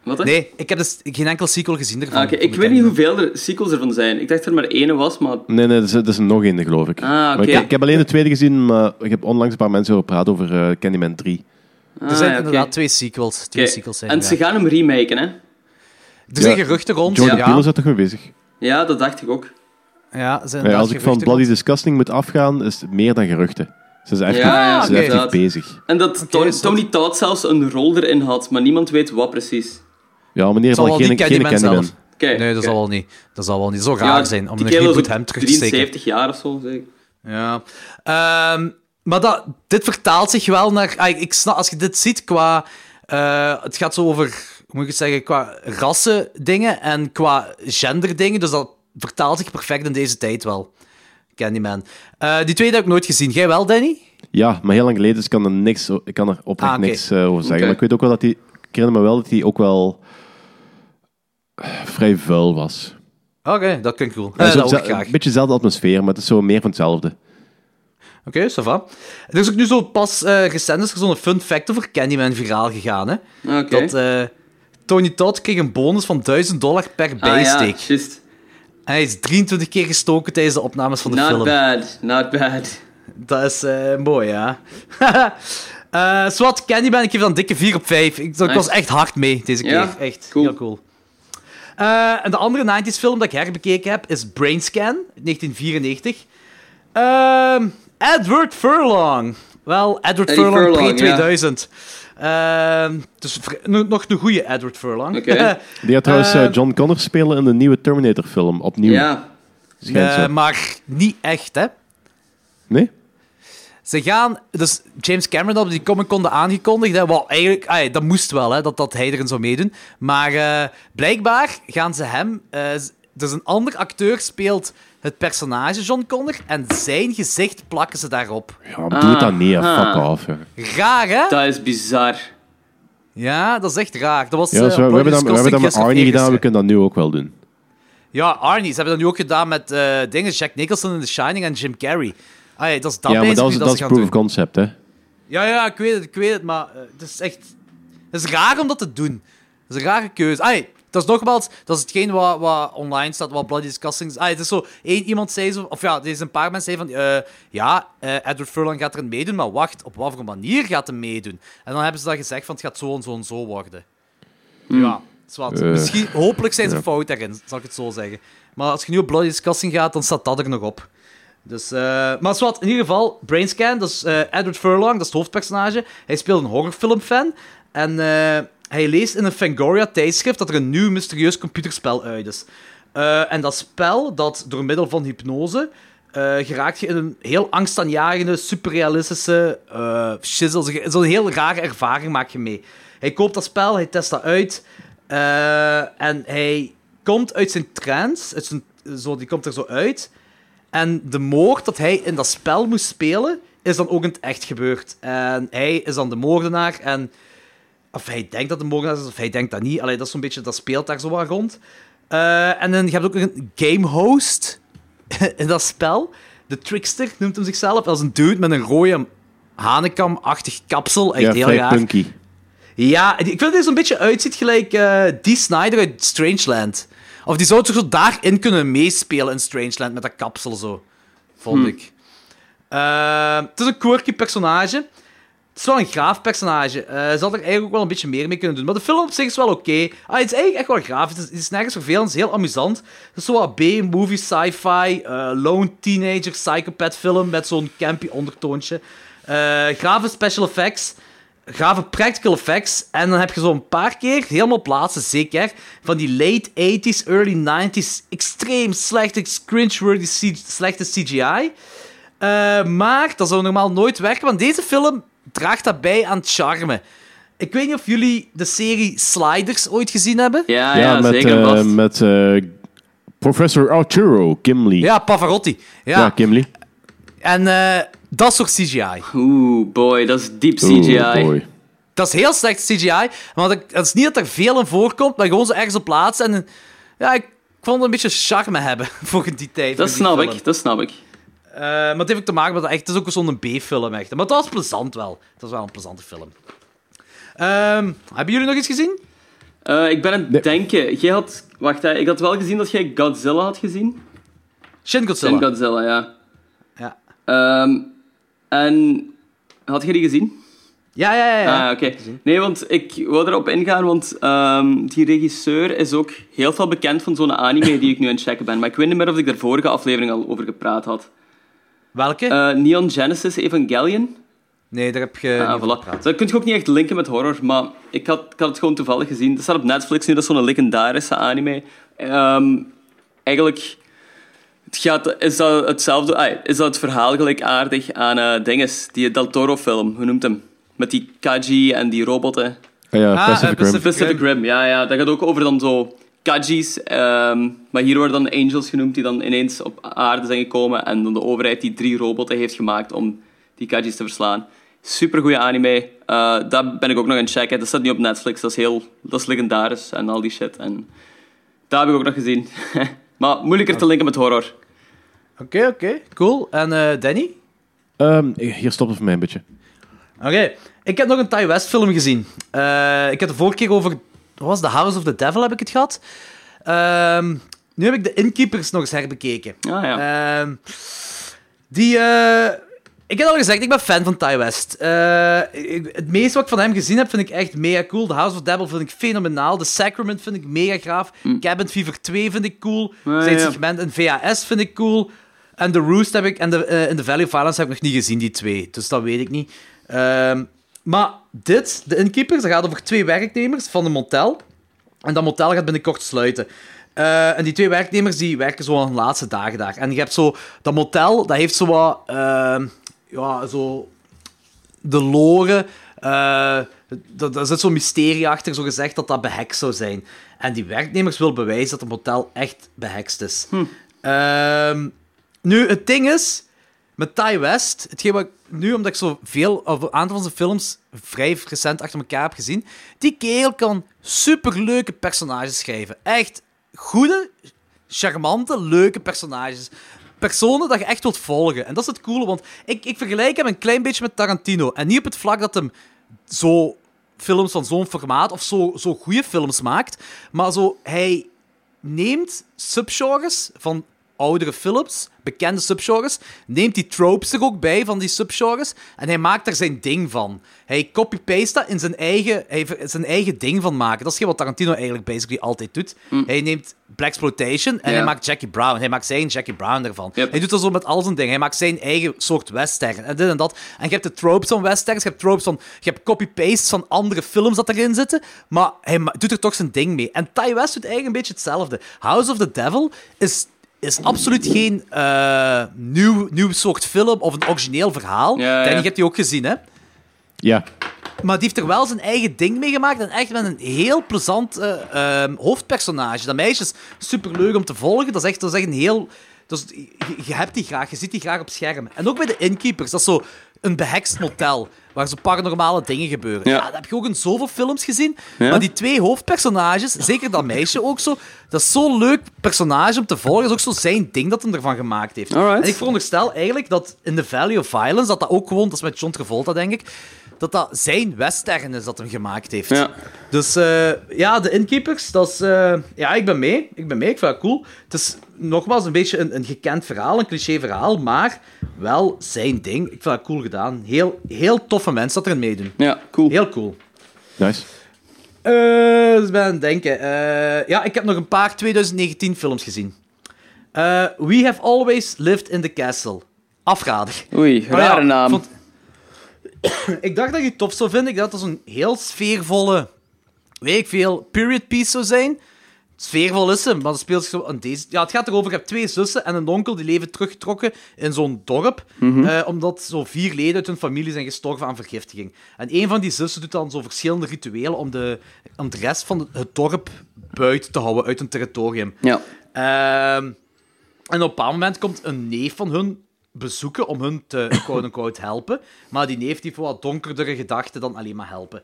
Wat? hè?
Nee, ik heb dus geen enkel sequel gezien ervan.
Ah, Oké, ik weet niet hoeveel er sequels ervan zijn. Ik dacht er maar één was, maar...
Nee, nee, dat is, dat is er nog één, geloof ik.
Ah,
Maar
oké.
ik, ik heb alleen de tweede gezien, maar ik heb onlangs een paar mensen over gepraat over eh, Candyman 3.
Ah,
Er zijn
ja, oké.
inderdaad twee sequels. Twee
Oké,
sequels zijn
En
er,
ze
ja. Dus
gaan hem remaken, hè?
Er zijn
Ja,
geruchten rond.
Jordan
ja.
Peele is daar toch mee bezig?
Ja, dat dacht ik ook.
Ja, er zijn
Ja, als
inderdaad
ik van
geruchten
Bloody Disgusting moet afgaan, is het meer dan geruchten. Ze zijn echt,
Ja, ja,
ze zijn echt
oké.
bezig.
En dat Tony,
is dat-
Tony Todd zelfs een rol erin had, maar niemand weet wat precies.
Ja, meneer,
zal
van
wel
geen,
die
geen
Candyman
Candyman.
zelf.
Oké.
Nee, dat
oké.
zal wel niet. Dat zal wel niet zo
Ja,
raar zijn om
die
een
kerel is
reboot
ook
hem terug te steken.
73 jaar of zo, zeker.
Ja. Ehm, maar dat, dit vertaalt zich wel naar... ah, ik- ik snap, als je dit ziet qua... eh, het gaat zo over, hoe moet ik het zeggen, qua rassen dingen en qua gender dingen. Dus dat vertaalt zich perfect in deze tijd wel. Candyman. Eh die tweede heb ik nooit gezien. Jij wel, Danny?
Ja, maar heel lang geleden, dus ik kan er, niks, o- ik kan er oprecht
Ah, oké.
niks eh, over zeggen.
Oké.
Maar ik weet ook wel dat hij... Ik herinner me wel dat hij ook wel eh, vrij vuil was.
Oké, dat klinkt cool.
Ja,
Eh,
zo
dat hoor ik
zel-
graag.
Een beetje dezelfde atmosfeer, maar het is zo meer van hetzelfde.
Oké, ça va. Er is ook nu zo pas eh, recent is er zo'n fun fact over Candyman viraal gegaan. Hè?
Ah, Oké.
Dat eh, Tony Todd kreeg een bonus van 1000 dollar per
ah, ja,
bijsteek.
juist.
En hij is 23 keer gestoken tijdens de opnames van de
Not
film.
bad, not bad.
Dat is eh, mooi, ja. Eh Swat, Candyman, ik geef dan een dikke 4 op 5. Ik, ik was
Nice.
echt hard mee deze keer.
Ja,
echt,
cool.
heel cool. Eh, en de andere 90s film dat ik herbekeken heb is Brainscan, 1994. Ehm, Edward Furlong. Wel, Edward
Eddie
Furlong,
Furlong, ja.
pre-2000 dus vri- no- nog een goede Edward Furlong.
Oké.
Die gaat trouwens eh,
Ehm.
John Connor spelen in de nieuwe Terminator-film, opnieuw.
Ja,
schijnt
Eh,
zo.
maar niet echt, hè.
Nee?
Ze gaan... Dus James Cameron had op die Comic-Con dat aangekondigd. Hè, wat eigenlijk, ah ja, dat moest wel, hè, dat, dat hij erin zou meedoen. Maar eh, blijkbaar gaan ze hem... eh, z- dus een ander acteur speelt het personage John Connor en zijn gezicht plakken ze daarop.
Ja, maar doe het dan niet, hè.
Aha.
Ah.
fuck off. hè.
Raar, hè?
dat is bizar.
Ja, dat is echt raar. Dat was,
Ja, dus
eh,
we, we hebben dat,
Bloody
we hebben dat met
Disgusting
Arnie
gisteren.
gedaan, we kunnen dat nu ook wel doen.
Ja, Arnie. Ze hebben dat nu ook gedaan met eh, dingen. Jack Nicholson in The Shining en Jim Carrey. Ah, ja, dat is dat
ja, maar
basically
dat is,
dat
dat
ze
is
gaan
proof
doen.
of concept, hè.
Ja, ja, ik weet het, ik weet het, maar eh, het is echt... Het is raar om dat te doen. Het is een rare keuze. Ai, dat is nogmaals, dat is hetgeen wat, wat online staat, wat Bloody Disgusting is. Ai, het is zo, één iemand zei zo, of ja, er is een paar mensen zeiden van, eh, ja, eh, Edward Furlong gaat erin meedoen, maar wacht, op wat voor manier gaat hij meedoen? En dan hebben ze dat gezegd van, het gaat zo en zo en zo worden. Ja, het is wat.
Eh,
Misschien, hopelijk zijn ze
ja.
fout daarin, zal ik het zo zeggen. Maar als je nu op Bloody Disgusting gaat, dan staat dat er nog op. Dus, eh, maar zwart, in ieder geval, Brainscan, dat is eh, Edward Furlong, dat is het hoofdpersonage. Hij speelt een horrorfilmfan. En eh, hij leest in een Fangoria-tijdschrift dat er een nieuw mysterieus computerspel uit is. Eh, en dat spel, dat door middel van hypnose, eh, geraakt je in een heel angstaanjagende, superrealistische eh shizzle. Zo'n heel rare ervaring maak je mee. Hij koopt dat spel, hij test dat uit. eh, en hij komt uit zijn trance, uit zijn, zo, die komt er zo uit. En de moord dat hij in dat spel moest spelen, is dan ook in het echt gebeurd. En hij is dan de moordenaar en... Of hij denkt dat de moordenaar is, of hij denkt dat niet. Allee, dat is zo'n beetje... Dat speelt daar zo wat rond. Eh, en dan je hebt ook nog een game host in dat spel. De trickster noemt hem zichzelf. als een dude met een rode hanekam-achtig kapsel. Echt
Ja,
heel
vrij
raar.
punky.
Ja, en die- ik vind dat hij zo'n beetje uitziet gelijk eh Dee Snyder uit Strangeland. Of die zou toch zo daarin kunnen meespelen in Strangeland met dat Ehm, kapsel zo, vond ik. Eh, het is een quirky personage. Het is wel een graaf personage. Eh, ze had er eigenlijk ook wel een beetje meer mee kunnen doen. Maar de film op zich is wel oké. Ah, het is eigenlijk echt wel graaf. Het is, het is nergens vervelend. Het is heel amusant. Het is zo wat B-movie, sci-fi, eh, lone teenager, psychopath film met zo'n campy ondertoontje. Eh grave special effects. Grave practical effects. En dan heb je zo'n paar keer, helemaal plaatsen zeker, van die late 80s, early 90s, extreem slechte, cringe-worthy, C- slechte CGI. Eh, maar dat zou normaal nooit werken, want deze film draagt dat bij aan het charme. Ik weet niet of jullie de serie Sliders ooit gezien hebben.
Ja,
Ja,
ja,
met,
zeker
eh,
vast.
met eh, professor Arturo Gimli.
Ja, Pavarotti. Ja.
Ja, Gimli.
En eh, dat soort CGI.
Oeh, boy, dat is diep
Oeh,
CGI.
boy.
Dat is heel slecht CGI. Want ik- het is niet dat er veel in voorkomt, maar gewoon zo ergens op plaatsen. En ja, ik vond het een beetje charme hebben voor die tijd.
dat
voor die
snap
film.
ik, dat snap ik.
Eh, maar het heeft ook te maken met dat echt, het is ook zo'n B-film echt. Maar dat was plezant wel. Dat was wel een plezante film. Ehm, hebben jullie nog iets gezien?
Eh, ik ben aan het
Nee.
denken. Jij had... Wacht, hè, ik had wel gezien dat jij Godzilla had gezien.
Shin Godzilla.
En Godzilla, ja.
Ja.
Ehm, en... Had je die gezien?
Ja, ja, ja. ja.
Ah, oké. Nee, want ik wou erop ingaan, want ehm, die regisseur is ook heel veel bekend van zo'n anime die ik nu aan het checken ben. Maar ik weet niet meer of ik daar vorige aflevering al over gepraat had.
Welke?
Eh, Neon Genesis Evangelion.
nee, daar heb je
Ah,
eh, niet over
voilà.
gepraat.
Dat kun je ook niet echt linken met horror, maar ik had, ik had het gewoon toevallig gezien. Dat staat op Netflix nu, dat is zo'n legendarische anime. Ehm, eigenlijk het gaat, is dat hetzelfde... ah, is dat het verhaal gelijkaardig aan eh Dinges, die Del Toro-film, hoe noemt hem? Met die Kaji en die robotten.
Ah, ja,
eh,
Pacific Rim.
Pacific-
Pacific Rim, ja, ja. Dat gaat ook over dan zo kajis. ehm, maar hier worden dan angels genoemd die dan ineens op aarde zijn gekomen. En dan de overheid die drie robotten heeft gemaakt om die kajis te verslaan. Supergoeie anime. Eh dat ben ik ook nog aan het checken. Dat staat nu op Netflix. Dat is heel... Dat is legendarisch en al die shit. En dat heb ik ook nog gezien. maar moeilijker te linken met horror.
Oké, oké. Cool. En eh, Danny?
Ehm, hier stopt het voor mij een beetje.
Oké. Ik heb nog een Thai West film gezien. Eh, ik heb de vorige keer over... Wat was The House of the Devil heb ik het gehad. Ehm, nu heb ik de Innkeepers nog eens herbekeken.
Ah, ja.
Ehm, die... eh, ik heb al gezegd, ik ben fan van Ty West. Eh, ik- het meeste wat ik van hem gezien heb, vind ik echt mega cool. The House of Devil vind ik fenomenaal. The Sacrament vind ik mega gaaf. Cabin Fever 2 vind ik cool.
Mm. Ja,
Zijn
ja.
segment in VHS vind ik cool. En The Roost heb ik... En de, eh, in The Valley of Violence heb ik nog niet gezien, die twee. Dus dat weet ik niet. Ehm, maar dit, de Innkeepers, dat gaat over twee werknemers van een motel. En dat motel gaat binnenkort sluiten. Eh, en die twee werknemers die werken zo aan de laatste dagen daar. En je hebt zo... Dat motel, dat heeft zo wat... ehm, ja, zo... De loren... eh dat- daar zit zo'n mysterie achter, zo gezegd, dat dat behekst zou zijn. En die werknemers willen bewijzen dat het motel echt behekst is. Ehm, nu, het ding is... Met Ty West, hetgeen wat ik nu, omdat ik zo veel, of een aantal van zijn films vrij recent achter elkaar heb gezien, die kerel kan superleuke personages schrijven. Echt goede, charmante, leuke personages. Personen dat je echt wilt volgen. En dat is het coole, want ik, ik vergelijk hem een klein beetje met Tarantino. En niet op het vlak dat hem zo films van zo'n formaat of zo, zo goede films maakt, maar zo, hij neemt subgenres van oudere films, bekende subgenres, neemt die tropes er ook bij van die subgenres en hij maakt er zijn ding van. Hij copy-paste dat in zijn eigen, hij ver- zijn eigen ding van maken. Dat is geen wat Tarantino eigenlijk basically altijd doet. Hij neemt Blaxploitation en
Ja.
hij maakt Jackie Brown. Hij maakt zijn Jackie Brown ervan.
Yep.
Hij doet dat zo met al zijn dingen. Hij maakt zijn eigen soort western en dit en dat. En je hebt de tropes van westerns, je hebt tropes van... Je hebt copy-pastes van andere films dat erin zitten, maar hij ma- doet er toch zijn ding mee. En Ty West doet eigenlijk een beetje hetzelfde. House of the Devil is, is absoluut geen eh, nieuw, nieuw soort film of een origineel verhaal.
Ja, ja.
Danny, je hebt die ook gezien, hè?
Ja.
Maar die heeft er wel zijn eigen ding mee gemaakt. En echt met een heel plezant eh, ehm, hoofdpersonage. Dat meisje is superleuk om te volgen. Dat is echt, dat is echt een heel... Dus, je, je hebt die graag, je ziet die graag op scherm. En ook bij de Innkeepers, dat is zo een behekst motel. Waar zo paranormale dingen gebeuren.
Ja.
Ja, dat heb je ook in zoveel films gezien.
Ja.
Maar die twee hoofdpersonages, zeker dat meisje ook zo. Dat is zo'n leuk personage om te volgen. Dat is ook zo zijn ding dat hem ervan gemaakt heeft.
Alright.
En ik veronderstel eigenlijk dat in The Valley of Violence, dat dat ook gewoon, dat is met John Travolta denk ik, dat dat zijn western is dat hem gemaakt heeft.
Ja.
Dus eh, ja, de Innkeepers, dat is... eh, ja, ik ben mee. Ik ben mee, ik vind dat cool. Het is nogmaals een beetje een, een gekend verhaal, een cliché verhaal, maar wel zijn ding. Ik vind dat cool gedaan. Heel, heel toffe mensen dat erin meedoen.
Ja, cool.
Heel cool.
Nice.
Eh, dus ik ben aan het denken. Eh, ja, ik heb nog een paar 2019 films gezien. Eh, We Have Always Lived in the Castle. Afradig.
Oei,
Maar Oh ja,
rare naam.
vond- ik dacht dat je het tof zou vinden. Ik dacht dat het zo'n heel sfeervolle, weet ik veel, period piece zou zijn. Sfeervol is ze, maar het speelt zich zo aan deze... Ja, het gaat erover, je hebt twee zussen en een onkel die leven teruggetrokken in zo'n dorp,
Mhm.
eh, omdat zo vier leden uit hun familie zijn gestorven aan vergiftiging. En een van die zussen doet dan zo verschillende rituelen om de, om de rest van het dorp buiten te houden, uit hun territorium.
Ja.
Ehm, en op een bepaald moment komt een neef van hun bezoeken om hun te quote-unquote helpen. Maar die neef die heeft wat donkerdere gedachten dan alleen maar helpen.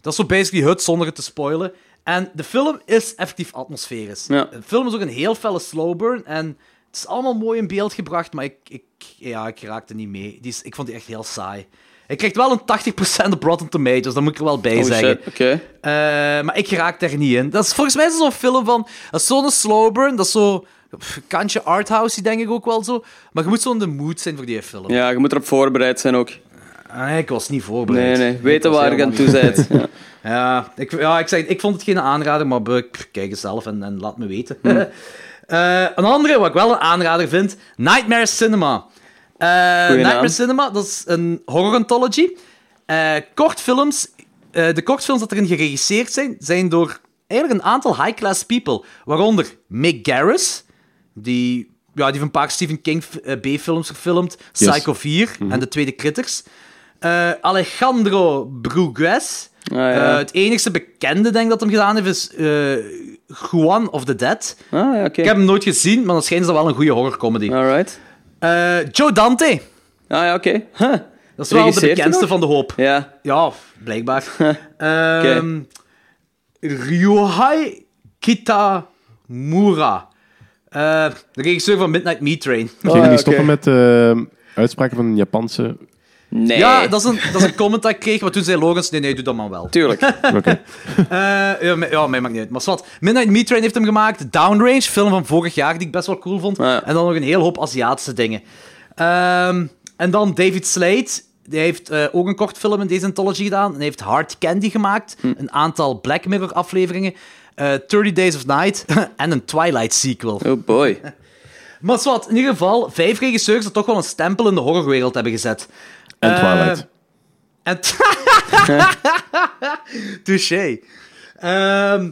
Dat is zo basically het, zonder het te spoilen. En de film is effectief atmosferisch.
Ja.
De film is ook een heel felle slow burn en het is allemaal mooi in beeld gebracht, maar ik, ik, ja, ik raakte niet mee. Die is, ik vond die echt heel saai. Hij krijgt wel een 80% op Rotten Tomatoes, dat moet ik er wel bij
Oh,
zeggen.
shit. Oké.
Eh, maar ik raak daar niet in. Dat is volgens mij is dat zo'n film van. Dat is zo'n slow burn. Dat is zo. pff, Kantje arthouse, denk ik ook wel zo. Maar je moet zo in de mood zijn voor die film.
Ja, je moet erop voorbereid zijn ook.
Ah, ik was niet voorbereid.
Nee, nee.
Ik
Weten
was
waar je aan toe
helemaal niet
bent. Ja.
voorbereid. Ja, ik, ja ik, zeg, ik vond het geen aanrader, maar eh, pff, kijk eens zelf en, en laat me weten. Eh, een andere, wat ik wel een aanrader vind: Nightmare Cinema. Eh, Nightmare
naam.
Cinema, dat is een horror anthology. Eh, kortfilms, eh, de kortfilms dat erin geregisseerd zijn, zijn door eigenlijk een aantal high-class people. Waaronder Mick Garris, die, ja, die heeft een paar Stephen King eh, B-films gefilmd.
Yes.
Psycho 4 en de tweede Critters. Eh, Alejandro Brugues.
Ah, ja.
Eh, het enigste bekende, denk ik, dat hem gedaan heeft, is eh, Juan of the Dead.
Ah, ja, oké.
Ik heb hem nooit gezien, maar dan schijnt dat wel een goede horrorcomedy.
Alright.
Eh, Joe Dante.
Ah, ja, oké. Huh.
Dat is wel de
Regisseert hij
bekendste
nog?
van de hoop.
Ja.
Ja, blijkbaar. Ehm Ryohei Kitamura. Eh, de regisseur van Midnight Meat Train.
Zullen jullie
ja,
stoppen
oké.
met eh, uitspraken van een Japanse...
Nee.
Ja, dat is, een, dat is een comment dat ik kreeg, maar toen zei Logans, nee, nee, doe dat maar wel.
Tuurlijk.
Oké.
Eh, ja, mij- ja, mij maakt niet uit. Maar wat. Midnight Meat Train heeft hem gemaakt. Downrange, film van vorig jaar, die ik best wel cool vond.
Ja.
En dan nog een hele hoop Aziatische dingen. Ehm, en dan David Slade. Die heeft eh, ook een kort film in deze anthology gedaan. En hij heeft Hard Candy gemaakt. Een aantal Black Mirror afleveringen. eh 30 Days of Night. en een Twilight sequel.
Oh boy.
Maar wat, in ieder geval, vijf regisseurs die toch wel een stempel in de horrorwereld hebben gezet.
En Twilight.
En Touché. Ehm,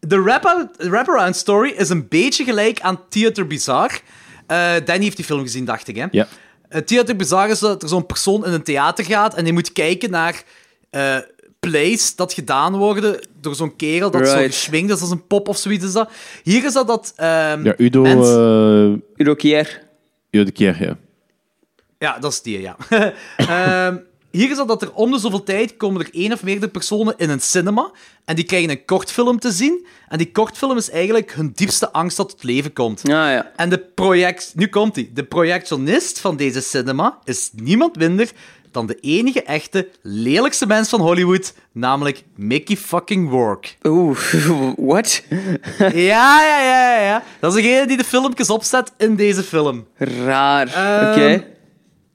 de wrap-out- wraparound story is een beetje gelijk aan Theater Bizarre. Eh Danny heeft die film gezien, dacht ik. Hè?
Ja.
Het theater bizar is dat er zo'n persoon in een theater gaat en die moet kijken naar eh, plays dat gedaan worden door zo'n kerel dat zo
Right.
geswingd is als een pop of zoiets. Is dat. Hier is dat dat... ehm,
Ja, Udo...
mens-
eh
Udo Kier.
Udo de Kier, ja.
Ja, dat is die, ja. Ehm, hier is dat, dat er om de zoveel tijd komen er één of meerdere personen in een cinema en die krijgen een kortfilm te zien. En die kortfilm is eigenlijk hun diepste angst dat tot leven komt.
Ah, ja.
En de project... Nu komt hij. De projectionist van deze cinema is niemand minder dan de enige echte lelijkste mens van Hollywood, namelijk Mickey fucking Rourke.
Oeh, what?
ja, ja, ja, ja, ja. Dat is degene die de filmpjes opzet in deze film.
Raar.
Ehm,
Oké.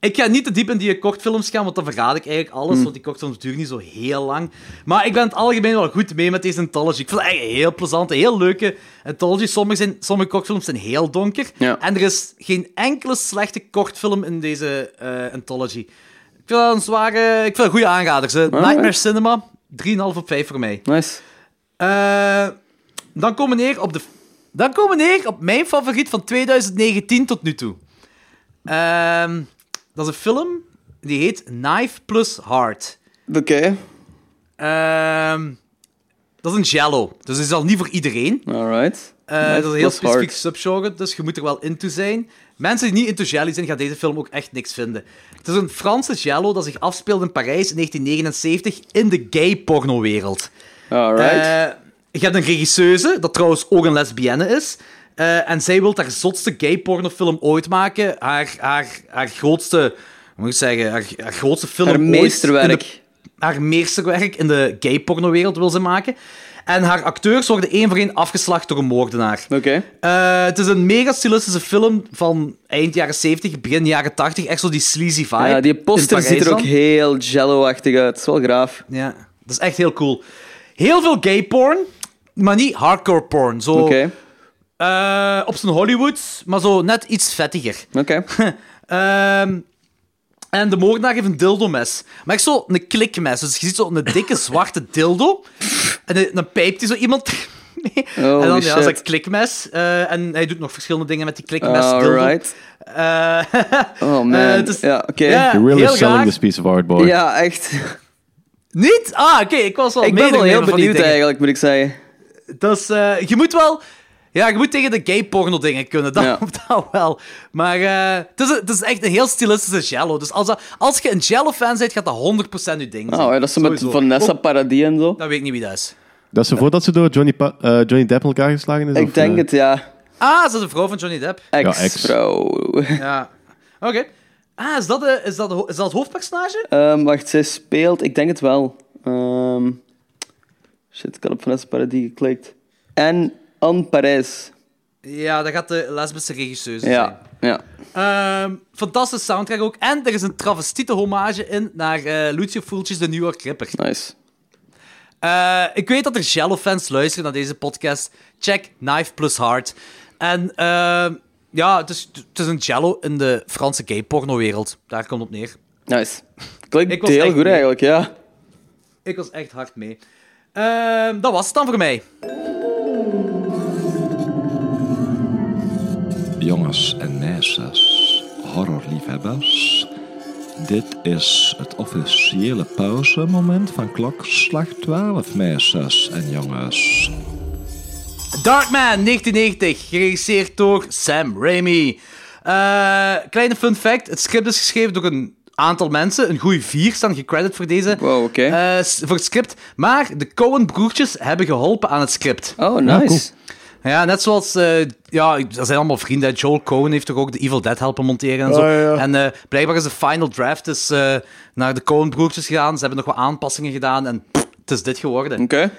Ik ga niet te diep in die kortfilms gaan, want dan verraad ik eigenlijk alles, want die kortfilms duren niet zo heel lang. Maar ik ben het algemeen wel goed mee met deze anthology. Ik vind het eigenlijk een heel plezante, heel leuke anthology. Sommige, zijn, sommige kortfilms zijn heel donker.
Ja.
En er is geen enkele slechte kortfilm in deze eh, anthology. Ik vind dat een zware... Ik vind dat een goede aanrader. Ze. Nightmare Cinema, 3,5 op 5 voor mij.
Nice.
Eh, dan komen we neer op de... Dan komen we neer op mijn favoriet van 2019 tot nu toe. Ehm, dat is een film die heet Knife Plus Heart.
Oké.
Ehm, dat is een jello, dus dat is al niet voor iedereen.
Alright.
Eh,
Knife
dat is een heel
Plus Heart.
specifiek subgenre, dus je moet er wel into zijn. Mensen die niet into jelly zijn, gaan deze film ook echt niks vinden. Het is een Franse jello dat zich afspeelde in Parijs in 1979 in de gay pornowereld.
Alright.
Eh, je hebt een regisseuse, dat trouwens ook een lesbienne is. Eh, en zij wil haar zotste gay pornofilm ooit maken. Haar, haar, haar grootste, hoe moet ik zeggen, haar, haar grootste film
Haar
ooit. in de-
meesterwerk.
haar meesterwerk in de gay pornowereld wil ze maken. En haar acteurs worden één voor één afgeslacht door een moordenaar.
Oké.
Eh, het is een mega stilistische film van eind jaren 70, begin jaren 80. Echt zo die sleazy vibe.
Ja, die
In
poster
Parijs
ziet er ook
dan. Oh.
heel jello-achtig uit. Dat is wel graaf.
Ja, dat is echt heel cool. Heel veel gay porn, maar niet hardcore porn. Zo
Oké.
eh, op zijn Hollywoods, maar zo net iets vettiger.
Oké.
Ehm, en de moordenaar heeft een dildo-mes. Maar echt zo een klikmes. Dus je ziet zo een dikke zwarte dildo. En een- dan pijpt hij zo iemand. mee.
Holy
en dan ja, dat is
shit.
een klikmes. Eh, en hij doet nog verschillende dingen met die klikmes. dildo.
Alright.
Eh,
Oh man.
eh, het is-
Ja, oké.
Ja,
You're really
heel
selling
graag.
this piece of art, boy.
Ja, echt.
Niet? Ah, oké, ik was wel
Ik ben wel
medenemer
heel
van die
benieuwd
dingen.
eigenlijk, moet ik zeggen.
Dat is, eh, je moet wel... Ja, je moet tegen de gay porno dingen kunnen, dat,
Ja.
dat wel. Maar eh, het, is, het is echt een heel stilistische jello. Dus als, dat- als je een jello-fan bent, gaat dat 100% je ding zijn.
Oh, ja, dat is met
Sowieso.
Vanessa Paradis en zo.
Dat weet ik niet wie dat is.
Dat is voordat ze door Johnny, Pa- eh, Johnny Depp in elkaar geslagen is?
Ik
of,
denk
eh,
het, ja.
Ah, is dat de vrouw van Johnny Depp?
ex.
Ex-vrouw.
Ja. Oké. Ah, is dat, de, is, dat de ho- is dat het hoofdpersonage?
Ehm, wacht, zij speelt... Ik denk het wel. Ehm, shit, ik had op Vanessa Paradis geklikt. En Anne Parijs.
Ja, dat gaat de lesbische regisseuse zijn.
Ja, ja.
Ehm fantastische soundtrack ook. En er is een travestiete hommage in naar eh, Lucio Fulci's The New York Ripper.
Nice.
Eh, ik weet dat er Jello-fans luisteren naar deze podcast. Check Knife Plus Heart. En ehm, ja, het is, het is een Jello in de Franse gay porno-wereld. Daar komt het op neer.
Nice.
Ik
Klinkt
was
heel
echt
goed
mee.
eigenlijk, ja.
Ik was echt hard mee. Ehm, dat was het dan voor mij.
Jongens en meisjes, horrorliefhebbers. Dit is het officiële pauzemoment van klokslag 12, meisjes en jongens.
Darkman 1990, geregisseerd door Sam Raimi. Eh, kleine fun fact: het script is geschreven door een aantal mensen. Een goede vier staan gecredit voor deze.
Wow, oké.
eh, s- voor het script. Maar de Coen-broertjes hebben geholpen aan het script.
Oh, nice.
Ja, net zoals... eh, ja, dat zijn allemaal vrienden. Joel Cohen heeft toch ook de Evil Dead helpen monteren en zo. En eh, blijkbaar is de final draft dus, eh, naar de Coen-broertjes gegaan. Ze hebben nog wat aanpassingen gedaan en pff, het is dit geworden.
Oké.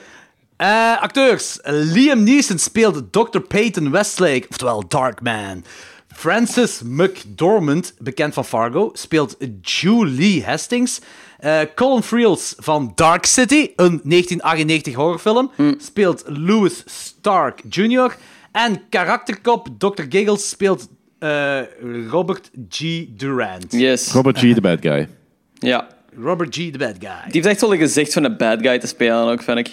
Eh, acteurs. Liam Neeson speelt Dr. Peyton Westlake, oftewel Darkman. Francis McDormand, bekend van Fargo, speelt Julie Hastings. Eh, Colin Friels van Dark City, een 1998 horrorfilm, speelt Louis Stark Jr. En karakterkop Dr. Giggles speelt eh, Robert G. Durant.
Yes.
Robert G., the bad guy.
Ja.
Robert G. the bad guy.
Die heeft echt wel een gezicht van een bad guy te spelen ook, vind ik.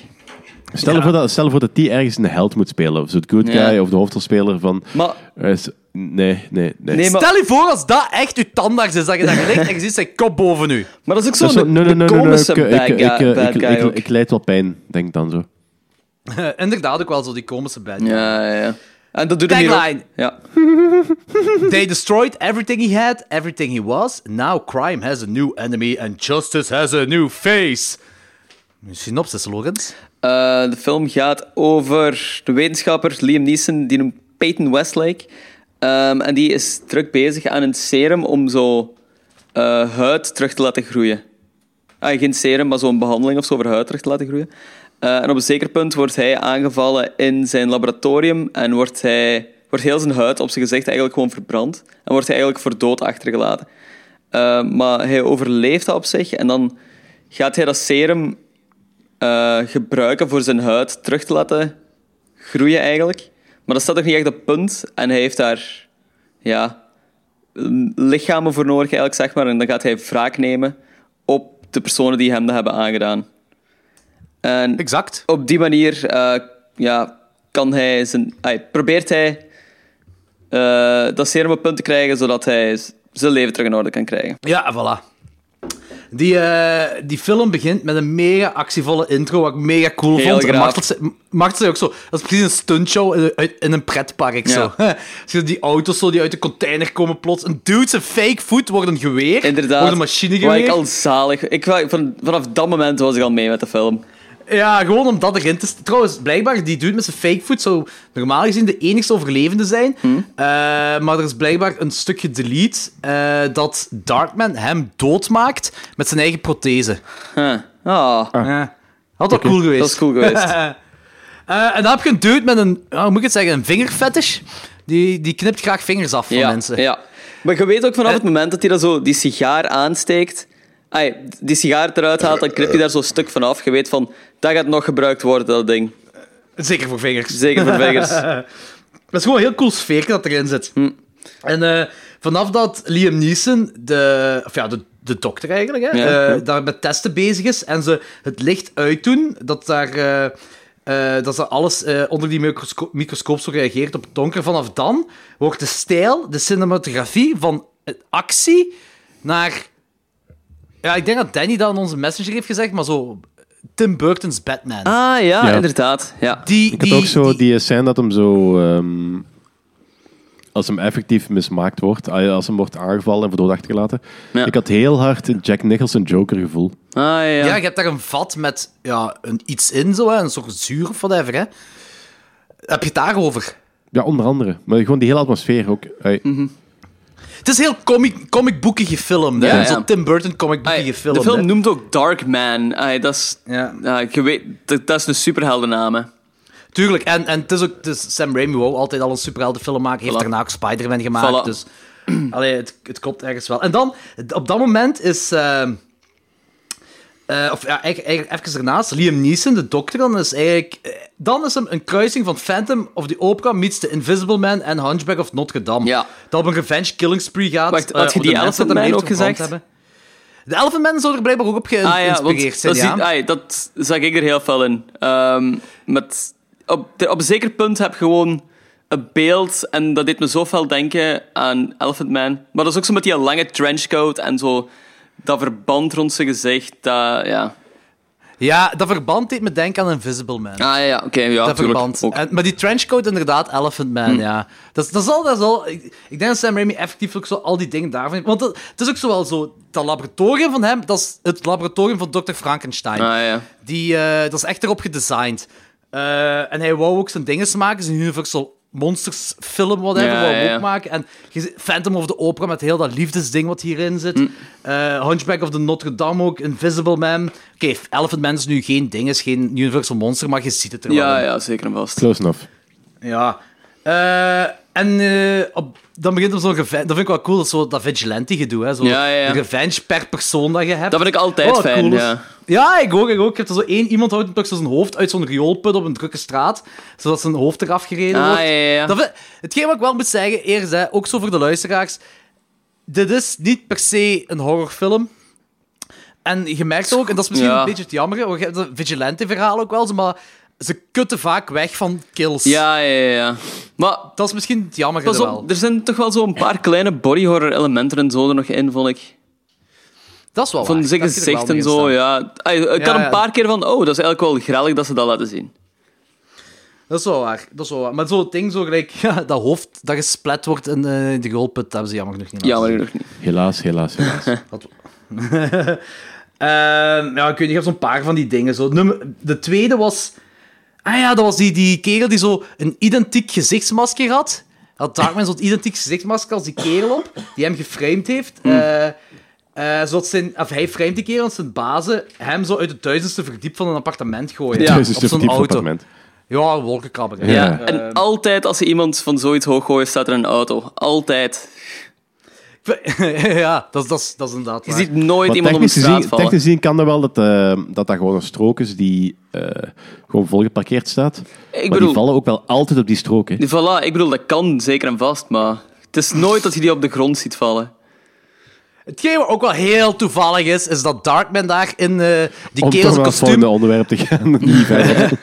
Stel, voor dat, stel voor dat die ergens een held moet spelen. Of zo het good
Ja.
guy of de hoofdrolspeler van...
Maar-
Eh, is- nee, nee, nee.
Nee, maar,
Stel je voor als dat echt uw tandarts is, dat je daar ligt en je ziet zijn kop boven u.
maar dat is ook
Dat is
zo'n
zo- nee, nee, nee, nee, nee,
komische
ik- ik-
bad
ik-
guy,
ik-
bad
ik-
guy
ik-
ook.
Ik leid wel pijn, denk ik dan zo.
Eh, inderdaad, ook wel zo die komische bad guy.
Ja, ja, ja. En dat doet hij hier
Tagline.
ook. Ja.
They destroyed everything he had, everything he was. Now crime has a new enemy and justice has a new face. Synopsis, Lorenz.
Eh, de film gaat over de wetenschapper Liam Neeson, die noemt Peyton Westlake. Ehm, en die is druk bezig aan een serum om zo eh, huid terug te laten groeien. Ah, geen serum, maar zo'n behandeling of zo voor huid terug te laten groeien. Eh, en op een zeker punt wordt hij aangevallen in zijn laboratorium en wordt, hij, wordt heel zijn huid op zijn gezicht eigenlijk gewoon verbrand. En wordt hij eigenlijk voor dood achtergelaten. Eh, maar hij overleeft dat op zich en dan gaat hij dat serum eh, gebruiken voor zijn huid terug te laten groeien eigenlijk. Maar dat staat toch niet echt op punt. En hij heeft daar ja, l- lichamen voor nodig eigenlijk, zeg maar. En dan gaat hij wraak nemen op de personen die hem dat hebben aangedaan. En
Exact.
op die manier eh, ja, kan hij zijn, ai, probeert hij eh, dat serum op punt te krijgen, zodat hij z- zijn leven terug in orde kan krijgen.
Ja, voilà. Die, eh, die film begint met een mega actievolle intro, wat ik mega cool
Heel
vond. En
graaf.
Martel zei- Martel zei ook zo, dat is precies een stuntshow in, uit- in een pretpark. Zo. Zie je die auto's zo die uit de container komen plots. Een dude, zijn fake voet wordt een geweer.
Inderdaad.
Wordt een machinegeweer.
Waar ik al zalig... Ik, wa- van, vanaf dat moment was ik al mee met de film.
Ja, gewoon om dat erin te... st- Trouwens, blijkbaar, die dude met zijn fakefoot zou normaal gezien de enigste overlevende zijn.
Hmm.
Eh, maar er is blijkbaar een stukje delete eh, dat Darkman hem doodmaakt met zijn eigen prothese.
Huh. Ah,
Ja. Had ook cool geweest.
dat is cool geweest.
Eh, en dan heb je een dude met een, ja, hoe moet ik het zeggen, een vingerfetish. Die, die knipt graag vingers af van
ja,
mensen.
Ja. Maar je weet ook vanaf
Eh.
het moment dat hij dat zo die sigaar aansteekt, ai, die sigaar eruit haalt, dan knipt hij daar zo'n stuk van af. Je weet van, dat gaat nog gebruikt worden, dat ding.
Zeker voor vingers.
Zeker voor vingers.
Dat is gewoon een heel cool sfeer dat erin zit.
Hm.
En eh, vanaf dat Liam Neeson, de, of ja, de, de dokter eigenlijk, hè,
Ja,
eh, daar met testen bezig is en ze het licht uitdoen, dat daar... eh, eh, dat ze alles eh, onder die microsco- microscoop zo reageert op het donker. Vanaf dan wordt de stijl, de cinematografie van eh, actie naar... Ja, ik denk dat Danny dat in onze messenger heeft gezegd, maar zo Tim Burton's Batman.
Ah ja,
Ja.
inderdaad. Ja.
die,
Ik had ook zo die scène dat hem zo... ehm, als hem effectief mismaakt wordt, ah ja, als hem wordt aangevallen en voor dood achtergelaten.
Ja.
Ik had heel hard een Jack Nicholson Joker gevoel.
Ah ja.
Ja. je hebt daar een vat met ja, een iets in, zo, hè, een soort zuur of whatever. Hè. Heb je het daarover?
Ja, onder andere. Maar gewoon die hele atmosfeer ook. Hey,
Mhm.
Het is heel comic, comicboeken gefilmd.
Ja,
hè.
ja.
Zo Tim Burton comicboeken
Ai,
gefilmd.
de film
hè.
noemt ook Dark Man. Ai, dat, is,
Ja.
ah, je weet, dat, dat is een superheldennaam. hè.
Tuurlijk, en, en het is ook het is Sam Raimi, wou altijd al een superheldenfilm maken. Heeft
Voilà.
daarna ook Spider-Man gemaakt.
Voilà.
Dus allee, het, het klopt ergens wel. En dan, op dat moment is. ehm, eh, of ja, eigenlijk, eigenlijk even daarnaast, Liam Neeson, de dokter, dan is eigenlijk... eh, Dan is hem een kruising van Phantom of the Opera meets The Invisible Man en Hunchback of Notre Dame.
Ja.
Dat op een revenge killing spree gaat.
Wacht,
eh,
had je
op
die
de mensen dat hem
Elephant Man
heeft verbrand
ook gezegd?
hebben. De Elephant Man zou er blijkbaar ook op ge-
Ah ja, want
geïnspireerd zijn,
dat,
ja.
zie- ai, dat zag ik er heel fel in. Ehm, met, op, ter- op een zeker punt heb je gewoon een beeld en dat deed me zo fel denken aan Elephant Man. Maar dat is ook zo met die lange trenchcoat en zo dat verband rond zijn gezicht. Dat, ja. Ah
Ja, dat verband deed me denken aan Invisible Man.
ja, ja oké. ja,
dat
tuurlijk,
verband.
ook. Hmm.
En- maar die trenchcoat inderdaad, Elephant Man, ja. Dat, is- dat zal, dat zal, ik, ik denk dat Sam Raimi effectief ook zo al die dingen daarvan heeft. Want dat, het is ook zo wel zo, dat laboratorium van hem, dat is het laboratorium van Dr. Frankenstein.
Ah, ja.
Die, eh, dat is echt erop gedesigned. Eh, en hij wou ook zijn dinges maken, zijn Universal Monsters film, whatever,
Ja,
wou hij
ja, ja.
ook maken. En je ziet Phantom of the Opera met heel dat liefdesding wat hierin zit.
Hmm.
Eh, Hunchback of the Notre Dame ook, Invisible Man. Oké, Elephant Man is nu geen ding, is geen Universal Monster, maar je ziet het er wel in.
Ja, ja, zeker en vast.
close enough.
Ja. Eh, en eh, op, dan begint er zo'n revenge. Dat vind ik wel cool, dat, zo, dat vigilante gedoe. Hè? Zo,
Ja, ja, ja.
De revenge per persoon dat je hebt. Oh,
Dat vind ik altijd
wat
fijn,
cool is.
ja.
Ja, ik ook. Ik ook. Je hebt er zo één iemand houdt natuurlijk zo zijn hoofd uit zo'n rioolput op een drukke straat, zodat zijn hoofd eraf gereden
Ah,
wordt.
ja, ja, ja.
Dat vind- hetgeen wat ik wel moet zeggen, eerst, hè, ook zo voor de luisteraars. Dit is niet per se een horrorfilm. En je merkt ook, en dat is misschien
Ja.
een beetje het jammer, want je hebt dat vigilante-verhaal ook wel, maar ze kutten vaak weg van kills.
Ja, ja, ja, ja. Maar
Dat is misschien het jammer
pas
wel.
op, er zijn toch wel zo'n paar kleine body horror elementen en zo er nog in, vond ik.
Dat is wel
Van
waar.
zijn
Dat heb je er wel
gezicht en
nog in
zo,
staan.
ja. Ah, Ik had
Ja,
een
ja.
paar keer van, oh, dat is eigenlijk wel grellig dat ze dat laten zien.
Dat is wel waar. Dat is wel waar. Maar zo'n ding, zo gelijk, ja, dat hoofd dat gesplet wordt in eh, de goalput, dat hebben ze jammer genoeg niet laten
Jammer genoeg niet.
Helaas, helaas, helaas.
Ehm, ja, ik weet niet, ik heb zo'n paar van die dingen. Zo. Nummer, de tweede was... Ah ja, dat was die, die kerel die zo een identiek gezichtsmasker had. Had Darkman zo'n identiek gezichtsmasker als die kerel op, die hem geframed heeft.
Hmm.
Eh, eh, zodat zijn, of hij framed die kerel en zijn bazen hem zo uit het duizendste verdiep van een appartement gooien.
Ja,
op
Thuis is het
zo'n
verdiep
auto.
appartement.
Ja, wolkenkrabber.
Ja.
Ja.
En
Ehm.
altijd als ze iemand van zoiets hoog gooit, staat er een auto. Altijd.
ja, dat, is- dat, is- dat is inderdaad
Je
waar.
ziet nooit
Maar
iemand om de
technisch
straat
gezien,
vallen.
technisch gezien kan dat wel dat, eh, dat dat gewoon een strook is die eh, gewoon volgeparkeerd staat.
Ik
maar
bedoel,
die vallen ook wel altijd op die strook. Hè.
voilà, ik bedoel, dat kan zeker en vast, maar het is nooit dat je die op de grond ziet vallen.
Hetgeen wat ook wel heel toevallig is, is dat Darkman daar in eh, die kerel
Om toch naar
zijn
het
kostuum...
volgende onderwerp te gaan. Niet verder.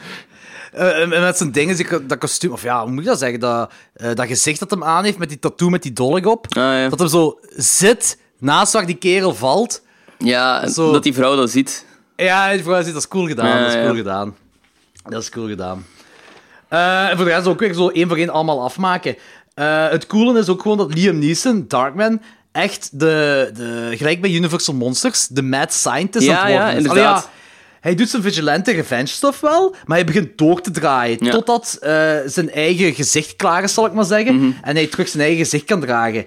eh, eh, met zijn dingen, die- dat kostuum... Of ja, hoe moet ik dat zeggen? Dat, eh, dat gezicht dat hem aan heeft met die tattoo met die dolk op.
Ah, ja.
Dat hem zo zit naast waar die kerel valt.
Ja, en
Zo.
dat die vrouw dat ziet.
Ja, en die vrouw ziet, dat is cool gedaan.
Ja,
dat is cool
ja.
gedaan. Dat is cool gedaan. Eh, en voor de rest ook weer zo één voor één allemaal afmaken. Eh, het coole is ook gewoon dat Liam Neeson, Darkman, echt de, de gelijk bij Universal Monsters, de mad scientist
Ja,
aan het worden
ja,
is.
inderdaad.
Allee, hij doet zijn vigilante revenge stuff wel, maar hij begint door te draaien.
Ja.
Totdat eh, zijn eigen gezicht klaar is, zal ik maar zeggen.
Mhm.
En hij terug zijn eigen gezicht kan dragen.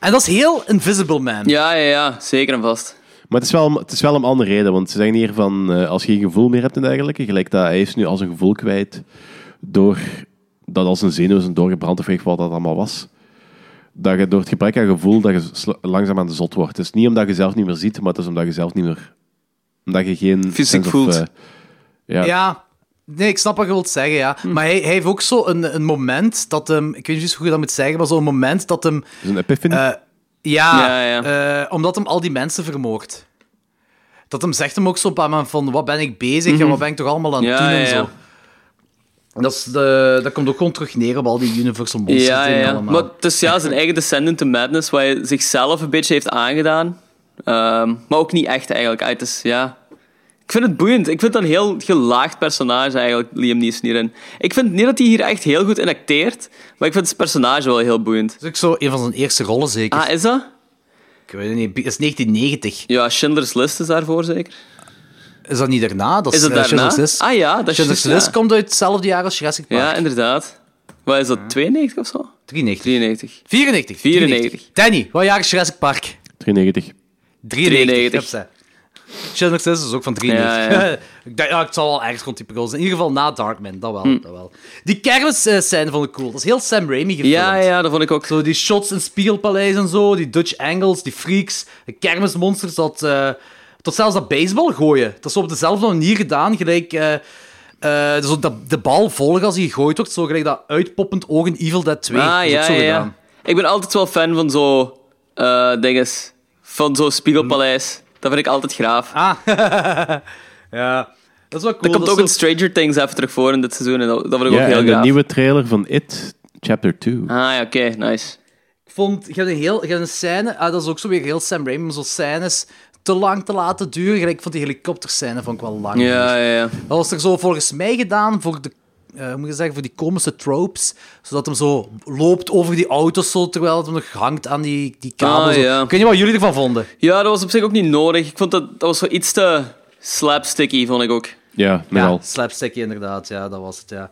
En dat is heel Invisible Man.
Ja, ja, ja, zeker en vast.
Maar het is, wel, om- het is wel om andere reden, want ze zeggen hier van eh, als je geen gevoel meer hebt en dergelijke, gelijk dat hij is nu als een gevoel kwijt door dat als een zenuw zijn doorgebrand of weet ik wat dat allemaal was. Dat je door het gebrek aan gevoel dat je sl- langzaam aan de zot wordt. Het is niet omdat je zelf niet meer ziet, maar het is omdat je zelf niet meer... Omdat je geen...
Fysiek
sense of,
voelt.
eh, ja.
Ja. Nee, ik snap wat je wilt zeggen, ja.
Hm.
Maar hij, hij heeft ook zo een, een moment dat hem... Ik weet niet precies hoe je dat moet zeggen, maar zo'n moment dat hem...
Dus een epiphany.
eh, ja,
Ja,
eh, omdat hem al die mensen vermoordt. Dat hem zegt hem ook zo een paar maanden van... Wat ben ik bezig en wat ben ik toch allemaal aan het
Mhm. Ja,
doen
ja,
en
ja.
zo. En Dat, is de, dat komt ook gewoon terug neer op al die Universal Monsters
Ja, ja,
dingen
ja.
allemaal.
Maar het is ja, zijn eigen Descendant to Madness, waar hij zichzelf een beetje heeft aangedaan. Ehm, maar ook niet echt eigenlijk. Ah, het is, ja. Ik vind het boeiend. Ik vind dat een heel gelaagd personage eigenlijk, Liam Neeson hierin. Ik vind niet dat hij hier echt heel goed in acteert, maar ik vind zijn personage wel heel boeiend.
Dat is ook zo een van zijn eerste rollen, zeker.
Ah, is dat?
Ik weet het niet, dat is 1990.
Ja, Schindler's List is daarvoor zeker.
Is dat niet daarna? Dat
Is dat
eh, Schindler's
daarna?
List.
Ah ja, dat is
Schindler's
juist,
List
ja.
komt uit hetzelfde jaar als Jurassic Park.
Ja, inderdaad. Wat is dat, 92 of zo?
93. 94.
93. 94.
Danny, wat jaar is Jurassic Park?
93.
93.
93.
Hupsa. Schindler's List is ook van 93.
Ja,
ik dacht, ja, het zal wel ergens rond die periode zijn. In ieder geval na Darkman, dat wel.
Hm.
Dat wel. Die kermis eh, scène vond ik cool. Dat is heel Sam Raimi gefilmd.
Ja, ja, dat vond ik ook.
Zo die shots in Spiegelpaleis en zo, die Dutch angles, die freaks, de kermismonsters, dat, eh, tot zelfs dat baseball gooien. Dat is op dezelfde manier gedaan, gelijk... eh, eh, dus ook dat, de bal volgen als hij gegooid wordt, zo gelijk dat uitpoppend oog in Evil Dead 2. dat
Ah,
is ook
ja,
zo
ja,
gedaan.
ja. Ik ben altijd wel fan van zo eh dinges. Van zo'n spiegelpaleis. Dat vind ik altijd graaf.
Ah, ja. Dat is wel cool.
dat komt
dat
ook in
is zo-
Stranger Things even terug voor in dit seizoen. En dat, dat vind ik
Ja,
ook heel
en de
graag.
nieuwe trailer van It, Chapter 2.
Ah, ja, oké, nice.
Ik vond, je hebt een, heel, je hebt een scène, ah, dat is ook zo weer heel Sam Raimi, maar zo'n scènes te lang te laten duren. Gelijk, ik vond die helikopterscène vond ik wel lang.
Ja, ja, ja.
Dat was er zo volgens mij gedaan voor de. eh, hoe moet je zeggen, voor die komische tropes. Zodat hem zo loopt over die auto's, zo, terwijl het hem nog hangt aan die, die kabel.
Ah,
zo.
ja.
Ik weet niet wat jullie ervan vonden.
Ja, dat was op zich ook niet nodig. Ik vond dat, dat was zo iets te slapsticky, vond ik ook.
Ja,
Ja,
nogal.
slapsticky inderdaad. Ja, dat was het, ja.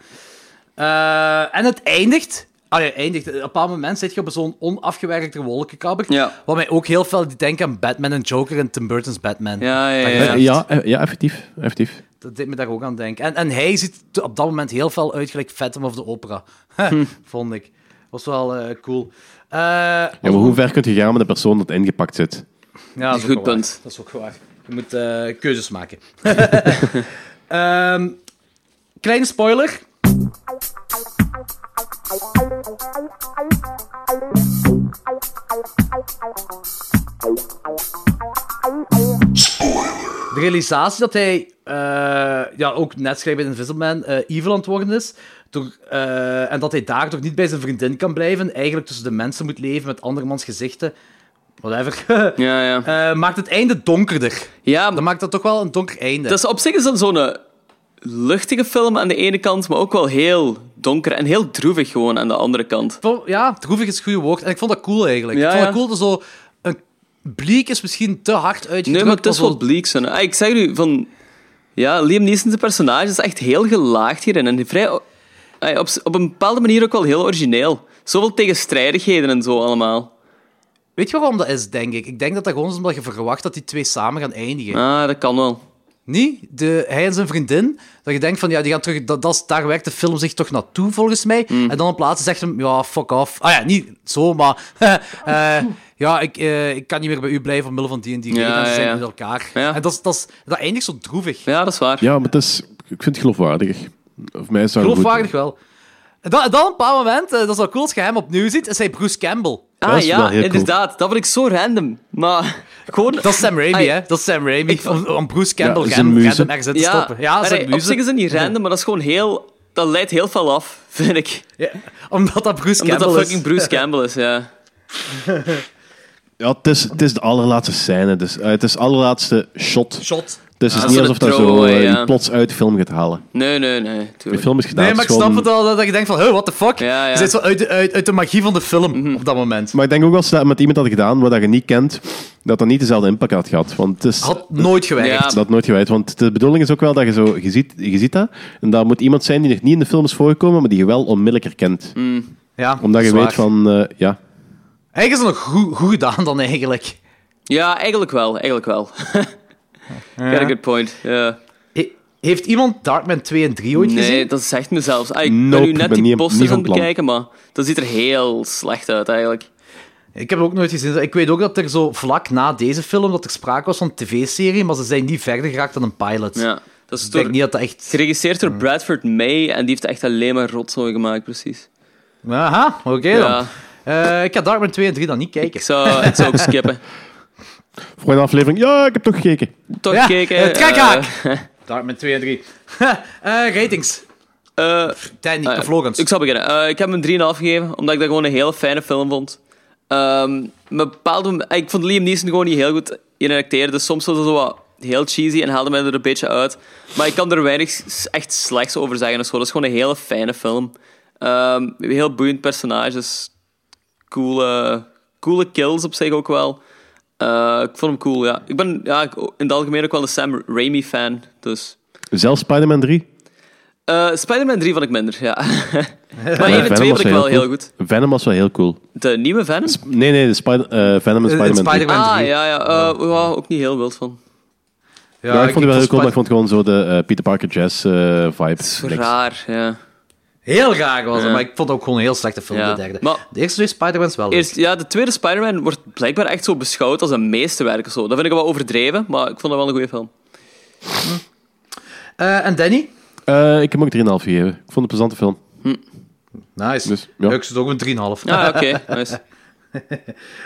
Eh, en het eindigt... Ah ja, eindigt. Op een bepaald moment zit je op zo'n onafgewerkte wolkenkabber.
Ja.
Wat mij ook heel veel doet denken aan Batman en Joker en Tim Burton's Batman.
Ja, ja,
Dat
ja.
je
Ja,
zegt,
ja, eh, ja effectief. effectief.
Dat deed me daar ook aan denken. En, en hij ziet t- op dat moment heel veel uit gelijk Phantom of the Opera.
Hm.
Vond ik. Was wel eh, cool. Eh,
Ja, maar hoe ver kunt je gaan met een persoon dat ingepakt zit?
Ja, dat is
Goed
ook wel
punt.
waar. Dat is ook waar. Je moet eh, keuzes maken. Ehm, kleine spoiler. De realisatie dat hij eh, ja, ook net schrijft bij Invisible Man eh evil aan het worden is. Door, eh, en dat hij daardoor niet bij zijn vriendin kan blijven. en Eigenlijk tussen de mensen moet leven met andermans gezichten. Whatever.
Ja, ja.
Eh, maakt het einde donkerder.
Ja,
Dan maakt dat toch wel een donker einde.
dat is, op zich is dat zo'n eh, luchtige film aan de ene kant, maar ook wel heel donker en heel droevig gewoon aan de andere kant.
Ik vond- Ja, droevig is het goede woord. En ik vond dat cool eigenlijk.
Ja,
ik vond
ja.
dat cool dat zo... Een bleek is misschien te hard uitgedrukt.
Nee, maar het is
maar
wel
zo-
bleek. Zijn. Ah, ik zeg nu, van... Ja, Liam Neeson zijn personage is echt heel gelaagd hierin. En vrij, ah, op, op een bepaalde manier ook wel heel origineel. Zoveel tegenstrijdigheden en zo allemaal.
Weet je waarom dat is, denk ik? Ik denk dat dat gewoon is omdat je verwacht dat die twee samen gaan eindigen.
Ah, dat kan wel.
Niet? De, hij en zijn vriendin. Dat je denkt van, ja, die gaan terug... Dat, dat, is- daar werkt de film zich toch naartoe, volgens mij.
Mm.
En dan op plaatsen zegt hem, ja, fuck off. Ah ja, niet zo, maar... eh, ja, ik, eh, ik kan niet meer bij u blijven omwille van die en die
Ja,
reden. En ze
ja,
zijn
ja.
met elkaar.
Ja.
En dat, is- dat, is- dat eindigt zo droevig.
Ja, dat is waar.
Ja, maar het is, ik vind het geloofwaardig. Of mij is dat
Geloofwaardig wel. En dan, en dan op een bepaald moment, eh, dat is wel cool als je hem opnieuw ziet, is hij Bruce Campbell.
ah,
dat is wel
ja,
heel cool.
inderdaad. Dat vond ik zo random. Maar gewoon...
Dat is Sam Raimi,
Ah,
hè? Dat is Sam Raimi. Om, om Bruce Campbell
Ja,
ja,
zijn muze.
random ergens in te
Ja,
stoppen. Ja,
maar
zijn
nee, op
muze.
zich is het niet random, maar dat is gewoon heel... Dat leidt heel veel af, vind ik.
Ja, omdat dat Bruce
Omdat
Campbell
dat
is.
fucking Bruce Campbell is, ja.
Ja, het is, het is de allerlaatste scène. Dus, eh, het is de allerlaatste shot.
Shot.
Dus het
Ah,
is niet
zo'n
alsof dat zo
throwaway,
eh,
ja.
die plots uit de film gaat halen.
Nee, nee, nee.
De
tuurlijk.
film is gedaan.
Nee, maar ik
het is
snap
gewoon-
het al, dat dat je denkt van, huh, what the fuck?
Ja, Mhm. ja.
Je zit zo uit de, uit, uit de magie van de film op dat moment.
Maar ik denk ook als ze dat met iemand had gedaan wat dat je niet kent, dat dat niet dezelfde impact had gehad. Want het is,
Had nooit gewerkt.
Ja.
dat nooit gewijd. Want de bedoeling is ook wel dat je zo, je ziet, je ziet dat. En daar moet iemand zijn die nog niet in de film is voorgekomen, maar die je wel onmiddellijk herkent.
Ja,
Omdat je
Mm. zwaar.
weet van, eh, ja,
Eigenlijk is het nog goed, goed gedaan dan eigenlijk.
Ja, eigenlijk wel. Eigenlijk wel. Got a good point. Ja.
He- heeft iemand Darkman 2 en 3 ooit gezien?
Nee, dat zegt me zelfs. Ah, ik ben
Nope,
nu
ik
net
ben
die
niet- niet
posters aan
van
het
plan.
bekijken, maar dat ziet er heel slecht uit eigenlijk.
Ik heb het ook nooit gezien. Ik weet ook dat er zo vlak na deze film dat er sprake was van een tv-serie, maar ze zijn niet verder geraakt dan een pilot. Dus
Ja. Dat is
Ik denk
door,
niet dat dat echt...
geregisseerd door Bradford May en die heeft echt alleen maar rotzooi gemaakt, precies.
Aha, oké dan.
Ja,
Eh, ik ga Darkman 2 en 3 dan niet kijken.
ik zou, ik zou ook skippen.
Voor een aflevering. Ja, ik heb toch gekeken.
Toch
Ja,
kijken.
eh, trekhaak.
eh,
Darkman 2 en 3. Eh, ratings.
eh,
Danny,
Ah,
de Vlogans.
Ik zal beginnen. Eh, ik heb hem een 3,5 gegeven, omdat ik dat gewoon een hele fijne film vond. Ehm, maar bepaalde, mom- ik vond Liam Neeson gewoon niet heel goed in acteren, dus soms was dat zo wat heel cheesy en haalde mij er een beetje uit. Maar ik kan er weinig s- echt slechts over zeggen. of zo. dat is gewoon een hele fijne film. Ehm, heel boeiend personages, coole, coole kills op zich ook wel. Eh, ik vond hem cool, ja. Ik ben ja, ik- in het algemeen ook wel een Sam Raimi-fan, dus...
Zelfs Spider-Man 3.
Eh, Spider-Man 3 vond ik minder, ja. maar 1 en 2
Venom was
vond ik wel heel goed.
Venom was wel heel cool.
De nieuwe Venom?
Nee, nee, de Spider- eh, Venom en
Eh,
Spider-Man 3.
Spider-Man
ah,
3.
ja, ja. eh, ja, ook niet heel wild van.
Ja, ik vond het wel heel cool, maar
Spider-
ik vond gewoon zo de eh, Peter Parker Jazz eh vibe. Niks.
Raar, ja.
Heel raar was het,
Ja.
maar ik vond het ook gewoon een heel slechte film,
Ja.
de derde.
Maar-
de eerste twee Spider-Mans wel. leuk.
Eerst, ja, de tweede Spider-Man wordt blijkbaar echt zo beschouwd als een meesterwerk of zo. Dat vind ik wel overdreven, maar ik vond dat wel een goede film. Ah,
Eh, en Danny?
Eh, ik heb hem ook 3,5 gegeven. Ik vond het een plezante film.
Nice.
Dus, ja.
Ik zit ook een 3,5.
Ah, oké. nice.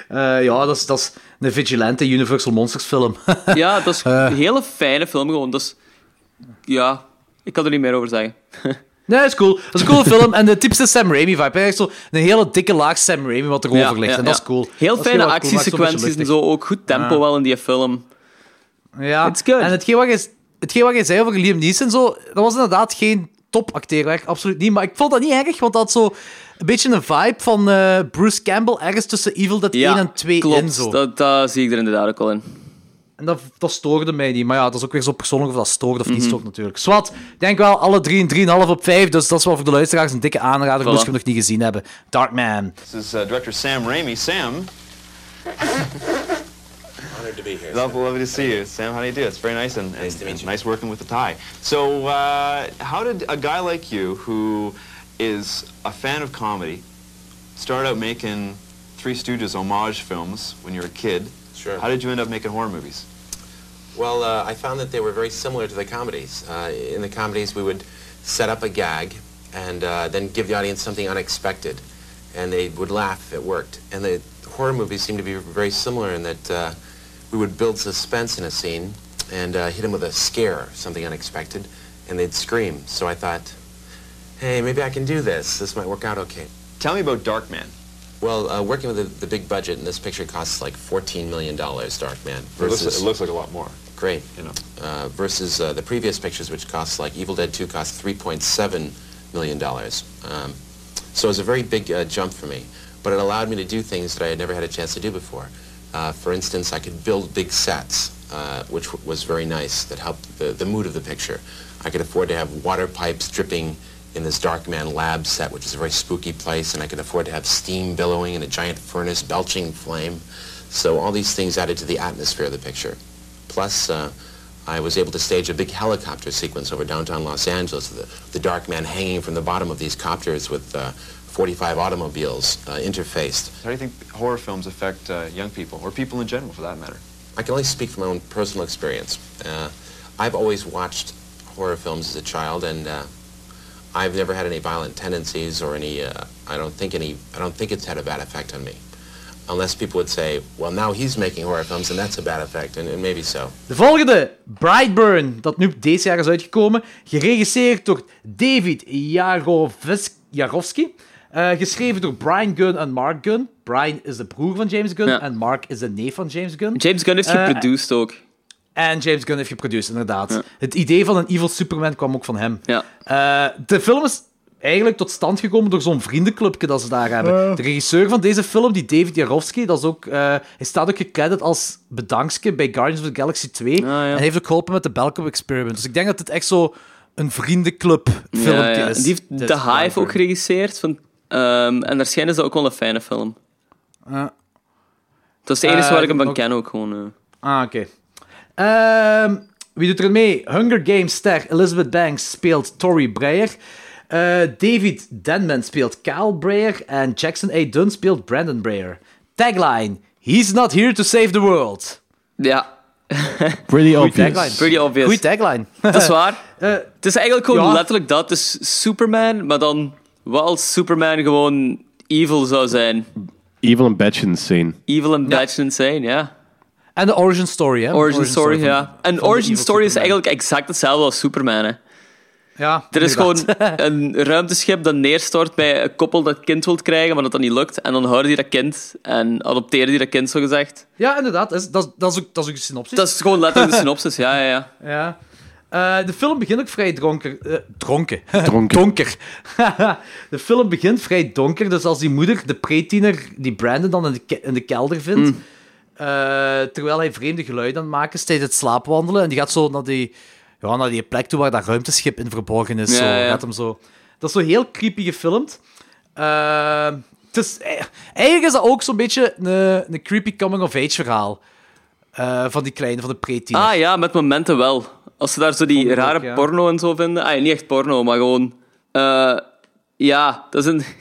Eh, ja, dat is, dat is een vigilante Universal Monsters film.
Ja, dat is
Eh.
een hele fijne film gewoon. Dus ja, ik kan er niet meer over zeggen.
nee, dat is cool. Dat is een coole film. En de typische Sam Raimi vibe. Echt zo een hele dikke laag Sam Raimi wat erover
Ja,
ligt.
ja,
en dat
ja.
is cool.
Heel
Dat is
fijne
heel erg cool, maakt zo'n
actiesequenties
beetje
en zo. Ook goed tempo wel in die film.
Ja,
It's good.
en hetgeen wat, je, hetgeen wat je zei over Liam Neeson, zo, dat was inderdaad geen topacteerwerk, absoluut niet. Maar ik vond dat niet erg, want dat had zo een beetje een vibe van eh, Bruce Campbell ergens tussen Evil Dead 1 en 2
klopt.
in. Zo.
Dat, dat zie ik er inderdaad ook al in.
En dat, dat stoorde mij niet. Maar ja, dat is ook weer zo persoonlijk of dat stoort of niet
Mhm.
stoort natuurlijk. Zwat, ik denk wel alle drie een 3,5 op 5, dus dat is wel voor de luisteraars een dikke aanrader, moest je hem nog niet gezien hebben. Darkman.
This is uh, director Sam Raimi. Sam.
Honored to be here.
Lovely, lovely to see you. Sam, how do you do? It's very nice and, nice,
to meet you.
nice working with the tie. So, uh, how did a guy like you, who is a fan of comedy, start out making Three Stooges homage films when you were a kid?
Sure.
How did you end up making horror movies?
Well, uh, I found that they were very similar to the comedies. Uh, in the comedies, we would set up a gag and uh, then give the audience something unexpected, and they would laugh if it worked. And the horror movies seem to be very similar in that uh, we would build suspense in a scene and uh, hit them with a scare, something unexpected, and they'd scream. So I thought, hey, maybe I can do this. This might work out okay.
Tell me about Darkman.
Well, uh, working with the, the big budget, and this picture costs like $14 million, Darkman, versus...
like a lot more.
Great.
You know.
Uh, versus uh, the previous pictures, which cost like Evil Dead 2 cost 3.7 million dollars. Um, so it was a very big uh, jump for me, but it allowed me to do things that I had never had a chance to do before. Uh, for instance, I could build big sets, uh, which w- was very nice. That helped the, the mood of the picture. I could afford to have water pipes dripping in this Darkman lab set, which is a very spooky place, and I could afford to have steam billowing in a giant furnace belching flame. So all these things added to the atmosphere of the picture. Plus, uh, I was able to stage a big helicopter sequence over downtown Los Angeles, the, the dark man hanging from the bottom of these copters with uh, 45 automobiles uh, interfaced.
How do you think horror films affect uh, young people, or people in general for that matter?
I can only speak from my own personal experience. Uh, I've always watched horror films as a child, and uh, I've never had any violent tendencies or any. Uh, I don't think any. I don't think it's had a bad effect on me, unless people would say, "Well, now he's making horror films, and that's a bad effect," and, and maybe so.
De volgende, Brightburn, dat nu deze jaar is uitgekomen. Geregisseerd door David Jarovis- Jarovsky. Eh, geschreven door Brian Gunn en Mark Gunn. Brian is de broer van James Gunn
Ja.
en Mark is de neef van James Gunn.
James Gunn heeft
Eh,
geproduced ook.
En James Gunn heeft geproduceerd, inderdaad. Het idee van een evil Superman kwam ook van hem.
Ja.
Eh, de film is eigenlijk tot stand gekomen door zo'n vriendenclubje dat ze daar hebben. De regisseur van deze film, die David Jarovsky, dat is ook, eh, hij staat ook gecredit als bedankske bij Guardians of the Galaxy 2.
Ah, ja.
En hij heeft ook geholpen met de Belcom Experiment. Dus ik denk dat dit echt zo een vriendenclub
Ja,
filmpje
ja.
is.
Die heeft
Dit
The Hive
Brightburn.
ook geregisseerd. Van, ehm, en daar schijnen ze ook wel een fijne film. Dat is het enige
Eh,
waar ik hem van
ook-
ken ook gewoon. eh.
Ah, oké. Ehm, wie doet er mee? Hunger Games ster Elizabeth Banks speelt Tori Breyer. Eh, David Denman speelt Kyle Breyer. En Jackson A. Dunn speelt Brandon Breyer. Tagline: He's not here to save the world.
Ja,
Pretty
tagline.
obvious.
pretty obvious.
Goeie tagline.
Dat is waar.
Eh,
Het is eigenlijk gewoon
Ja.
letterlijk dat. Het is Superman, maar dan wat als Superman gewoon evil zou zijn.
Evil and Batch insane.
Evil en Batch zijn, ja.
en de origin story, hè?
Origin, story,
van-
ja. En
van de
origin
evil
story is
Superman.
eigenlijk exact hetzelfde als Superman, hè.
Ja,
Er is
inderdaad.
gewoon een ruimteschip dat neerstort bij een koppel dat kind wilt krijgen, maar dat dat niet lukt. En dan houden die dat kind en adopteren die dat kind, zo gezegd.
Ja, inderdaad. Dat is, dat is, dat is ook, dat is ook een synopsis.
Dat is gewoon letterlijk de synopsis, ja, ja, ja.
Ja. Eh, de film begint ook vrij dronker. eh, dronken.
Dronken.
donker. de film begint vrij donker. Dus als die moeder, de pretiener, die Brandon dan in de, ke- in de kelder vindt.
Mm.
eh, terwijl hij vreemde geluiden aan het maken is tijdens het slaapwandelen. En die gaat zo naar die, ja, naar die plek toe waar dat ruimteschip in verborgen is.
Ja,
zo.
ja.
Gaat hem zo. Dat is zo heel creepy gefilmd. Eh, het is, eh, eigenlijk is dat ook zo'n beetje een, een creepy coming-of-age verhaal. eh, van die kleine, van de pretiener.
Ah ja, met momenten wel. Als ze daar zo die
Vond ik ook,
rare
ja.
porno en zo vinden. Ah, ja, niet echt porno, maar gewoon... eh, ja, dat is een...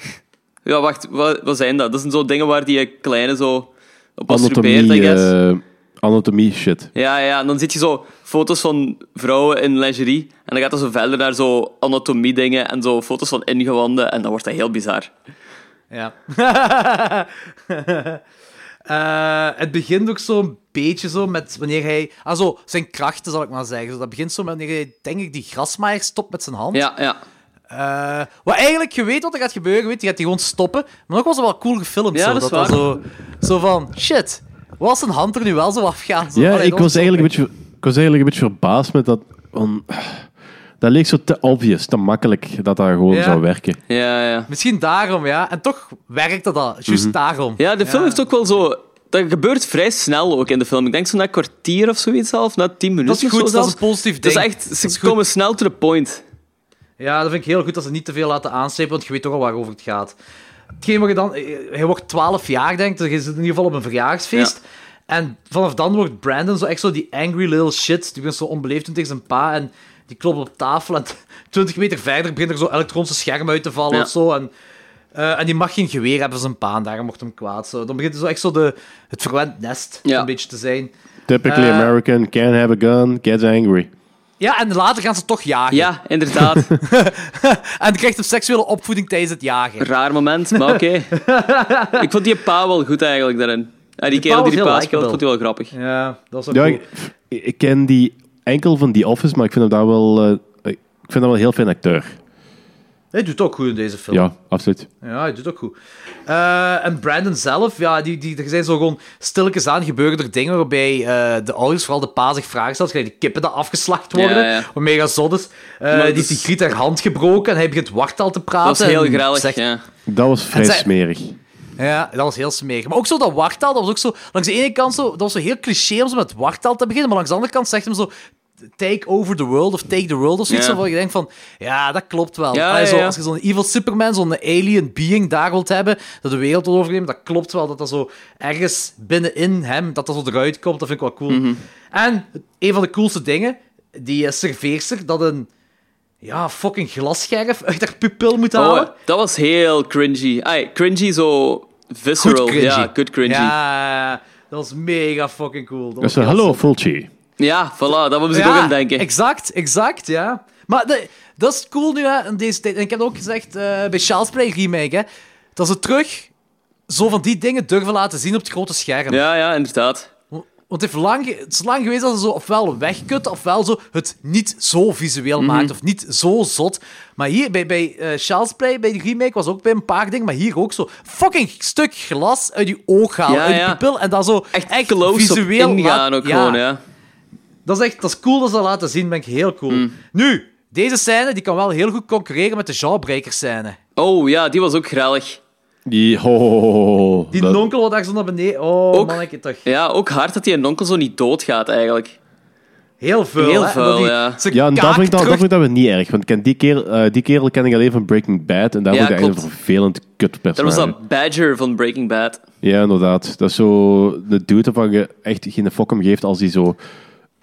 Ja, wacht, wat, wat zijn dat? Dat zijn zo dingen waar die kleine zo op masturbeert, I
Anatomie,
guess.
eh, anatomie shit.
Ja, ja, en dan zie je zo foto's van vrouwen in lingerie. En dan gaat dat zo verder naar zo anatomie-dingen en zo foto's van ingewanden. En dan wordt dat heel bizar.
Ja. Eh, het begint ook zo'n beetje zo met wanneer hij... Ah, zo, zijn krachten, zal ik maar zeggen. Zo, dat begint zo met wanneer hij, denk ik, die grasmaaier stopt met zijn hand.
Ja, ja.
Eh, wat eigenlijk, je weet wat er gaat gebeuren, je weet, die gaat die gewoon stoppen. Maar ook was het wel cool gefilmd.
Ja,
zo,
dat is
dat
waar.
zo, zo van, shit, wat als zijn hand er nu wel zo afgaan? Zo,
Ja,
allee,
ik
dat
was,
zo
eigenlijk een
leuk.
beetje, ik was eigenlijk een beetje verbaasd met dat. van, dat leek zo te obvious, te makkelijk dat dat gewoon
Ja.
zou werken.
Ja, ja.
Misschien daarom, ja. En toch werkt dat al, juist
Mhm.
daarom.
Ja, de film heeft ook wel zo... Dat gebeurt vrij snel ook in de film. Ik denk zo na een kwartier of zoiets zelf, na tien minuten
Dat is
of zo
goed, dat is
zelfs.
een positief
Dat
ding.
is echt, ze
is goed.
komen snel to the point.
Ja, dat vind ik heel goed dat ze niet te veel laten aanslepen, want je weet toch al waarover het gaat. Hetgeen wat je dan... eh, Hij wordt 12 jaar, denk ik. Dus je zit in ieder geval op een verjaarsfeest. En vanaf dan wordt Brandon zo echt zo die angry little shit. Die begint zo onbeleefd doen tegen zijn pa. En die klopt op tafel. En t- 20 meter verder begint er zo elektronische scherm uit te vallen
Ja.
of zo. En, eh, en die mag geen geweer hebben, zijn pa. En daarom wordt hem kwaad. Zo. Dan begint zo echt zo de, het verwend nest
Ja.
een beetje te zijn.
Typically
Eh.
American, can't have a gun, gets angry.
Ja, en later gaan ze toch jagen.
Ja, inderdaad.
En krijgt hem seksuele opvoeding tijdens het jagen.
Raar moment, maar oké. ik vond die pa wel goed eigenlijk daarin. Ja, die kerel
was
die die
heel
pa speelt,
likeable.
vond hij wel grappig.
Ja, dat is ook
Ja,
cool.
ik, ik ken die enkel van The Office, maar ik vind hem daar wel, eh, ik vind hem wel een heel fijn acteur.
Hij doet ook goed in deze film. Ja,
Ja, absoluut.
hij doet ook goed. Eh, en Brandon zelf, ja, die, die, er zijn zo gewoon stilletjes aan gebeuren er dingen waarbij eh, de ouders, vooral de pa, zich vragen stelt. Krijg die kippen dat afgeslacht worden,
Ja, ja.
wat mega zot is. Eh,
Maar
die
dus-
heeft die Griet haar hand gebroken en hij begint wartaal te praten.
Dat was heel
en
grellig,
zegt-
ja.
Dat was vrij
En zij-
smerig.
Ja, dat was heel smerig. Maar ook zo dat wartaal, dat was ook zo... Langs de ene kant zo, dat was zo heel cliché om zo met wartaal te beginnen, maar langs de andere kant zegt hem zo... Take over the world of take the world of zoiets.
Ja.
Waarvan je denkt van, ja, dat klopt wel.
Ja,
Allee, zo,
ja, ja.
Als je zo'n evil Superman, zo'n alien being daar wilt hebben, dat de wereld wil overnemen, dat klopt wel. Dat dat zo ergens binnenin hem, dat dat zo eruit komt, dat vind ik wel cool.
Mhm.
En een van de coolste dingen, die eh, serveerster, dat een ja, fucking glasscherf uit haar pupil moet halen.
Oh, dat was heel cringy. Ai, cringy zo visceral.
cringy.
Ja, good cringy. Ja,
Ja, dat was mega fucking cool. Dat was
Dus
heel
hallo
zot.
Fulci.
voilà, daar moet ik ook
Ja,
aan denken.
Exact, exact, ja. Maar de- dat is cool nu, hè, in deze tijd. En ik heb dat ook gezegd eh, bij Child's Play Remake, hè, dat ze terug zo van die dingen durven laten zien op het grote scherm.
Ja, ja, inderdaad.
Want het, heeft lang, ge- het is lang geweest dat ze zo ofwel wegkutten, ofwel zo het niet zo visueel
Mhm.
maakt, of niet zo zot. Maar hier, bij, bij eh, Child's Play, bij de remake, was ook bij een paar dingen, maar hier ook zo fucking stuk glas uit je oog halen,
Ja,
uit
ja.
je pupil, en dat zo
Echt, close
visueel
op ingaan
laat-
ook
ja.
gewoon, ja.
Dat is echt dat is cool dat ze dat laten zien, ben ik heel cool.
Mhm.
Nu, deze scène die kan wel heel goed concurreren met de genrebreaker scène.
Oh ja, die was ook grellig.
Die, ho, ho, ho, ho, ho.
Die
Dat-
nonkel wat daar zo naar beneden... Oh,
Ook-
manneke toch.
Ja, ook hard dat die een onkel zo niet doodgaat eigenlijk.
Heel veel.
Heel
hè?
veel,
Dat die-
ja.
Ze
Ja, en dat
kaak
vind, ik dan, dat
terug-
vind ik dan weer niet erg. Want ik ken die, kerel, eh, die kerel ken ik alleen van Breaking Bad. En daar
Ja,
wordt hij eigenlijk een
klopt.
vervelend
Dat was
kutpersonage.
dat Badger van Breaking Bad.
Ja, inderdaad. Dat is zo de dude waarvan je echt geen fok om geeft als hij zo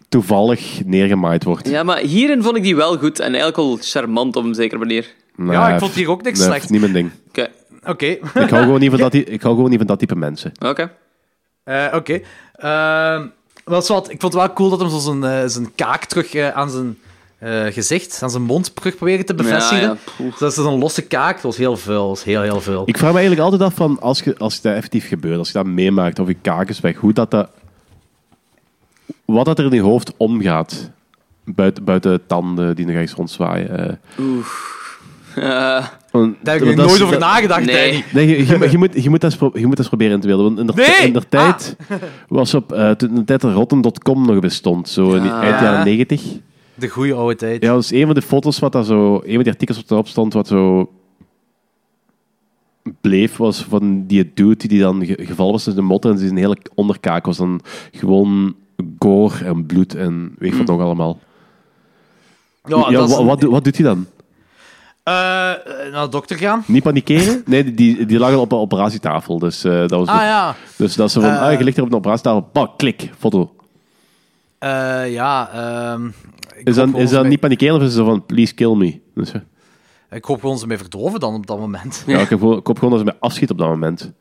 toevallig neergemaaid wordt.
Ja, maar hierin vond ik die wel goed en eigenlijk al charmant op een zekere manier.
Nee,
Ja, ik vond hier ook niks
nee,
slecht.
Niet mijn ding.
Oké.
Oké.
Ik hou gewoon niet van dat, die- ik hou gewoon niet van dat type mensen.
Oké.
Eh, Oké. Ehm, wel, zwart, ik vond het wel cool dat hem zo zijn, eh, zijn kaak terug eh, aan zijn eh, gezicht, aan zijn mond terug proberen te bevestigen.
ja,
Dus dat is een losse kaak. Dat was heel veel. Dat was heel, heel veel.
Ik vraag me eigenlijk altijd af van als, je, als dat effectief gebeurt, als je dat meemaakt of je kaak is weg, hoe dat dat. Wat dat er in je hoofd omgaat. Buiten, buiten tanden die nog ergens rondzwaaien. eh.
Eh,
Want-
Daar heb
want
ik
dat
nog
is-
nooit over
dat-
nagedacht,
Nee.
Danny.
Nee, je, je, je moet, je, moet dat eens pro- je moet dat eens proberen in te beelden. Want in de,
Nee! Ah!
in de tijd was op. eh, toen in de tijd dat Rotten.com nog bestond, zo in die eind jaren negentig.
De goede oude tijd.
Ja, dat is een van de foto's wat daar zo. Een van die artikels wat erop stond, wat zo. bleef, was van die dude die dan ge- gevallen was tussen de motten en zijn hele onderkaak was dan gewoon goor en bloed en weet ik wat nog allemaal. Ja,
Hmm. dat is
wa-
een-
wat, doe- wat doet hij dan?
Eh, naar de dokter gaan.
Niet panikeren? Nee, die, die lag al op een operatietafel. Dus eh, dat was
Ah
nog-
ja.
Dus dat ze van, ah, je ligt er op een operatietafel, pak, klik, foto.
Eh, ja. ehm, ik
Is
hoop
dat,
gewoon
is
ze
dat
mee-
niet panikeren of is het zo van, please kill me? Dus, ja,
Ik hoop gewoon ze mee verdoven dan op dat moment.
ik, heb gewoon, ik hoop gewoon dat ze mij afschiet op dat moment.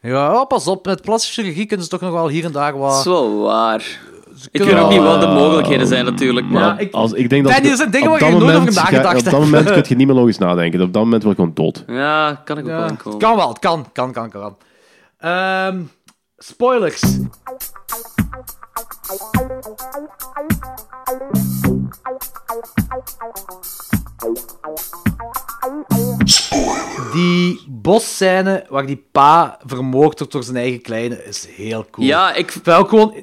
Ja, oh, pas op. Met plastische chirurgie kunnen ze toch nog wel hier en daar
dat
wat...
is wel waar. Ik weet
kunnen
ook niet
wel,
wat de mogelijkheden zijn natuurlijk, maar...
Ja, ik-
Als, ik denk dat
Danny,
ik-
er zijn dingen
op
waar
dat
je nooit over
moment ga-
nagedacht
Op dat
hebt.
moment kun je niet meer logisch nadenken. Op dat moment word ik gewoon dood.
Ja, kan ik ook wel
Ja,
inkomen.
het kan wel. Het kan, kan, kan, kan. Ehm, spoilers. Die bosscène waar die pa vermoord wordt door zijn eigen kleine is heel cool.
Ja, ik vind
Wel gewoon...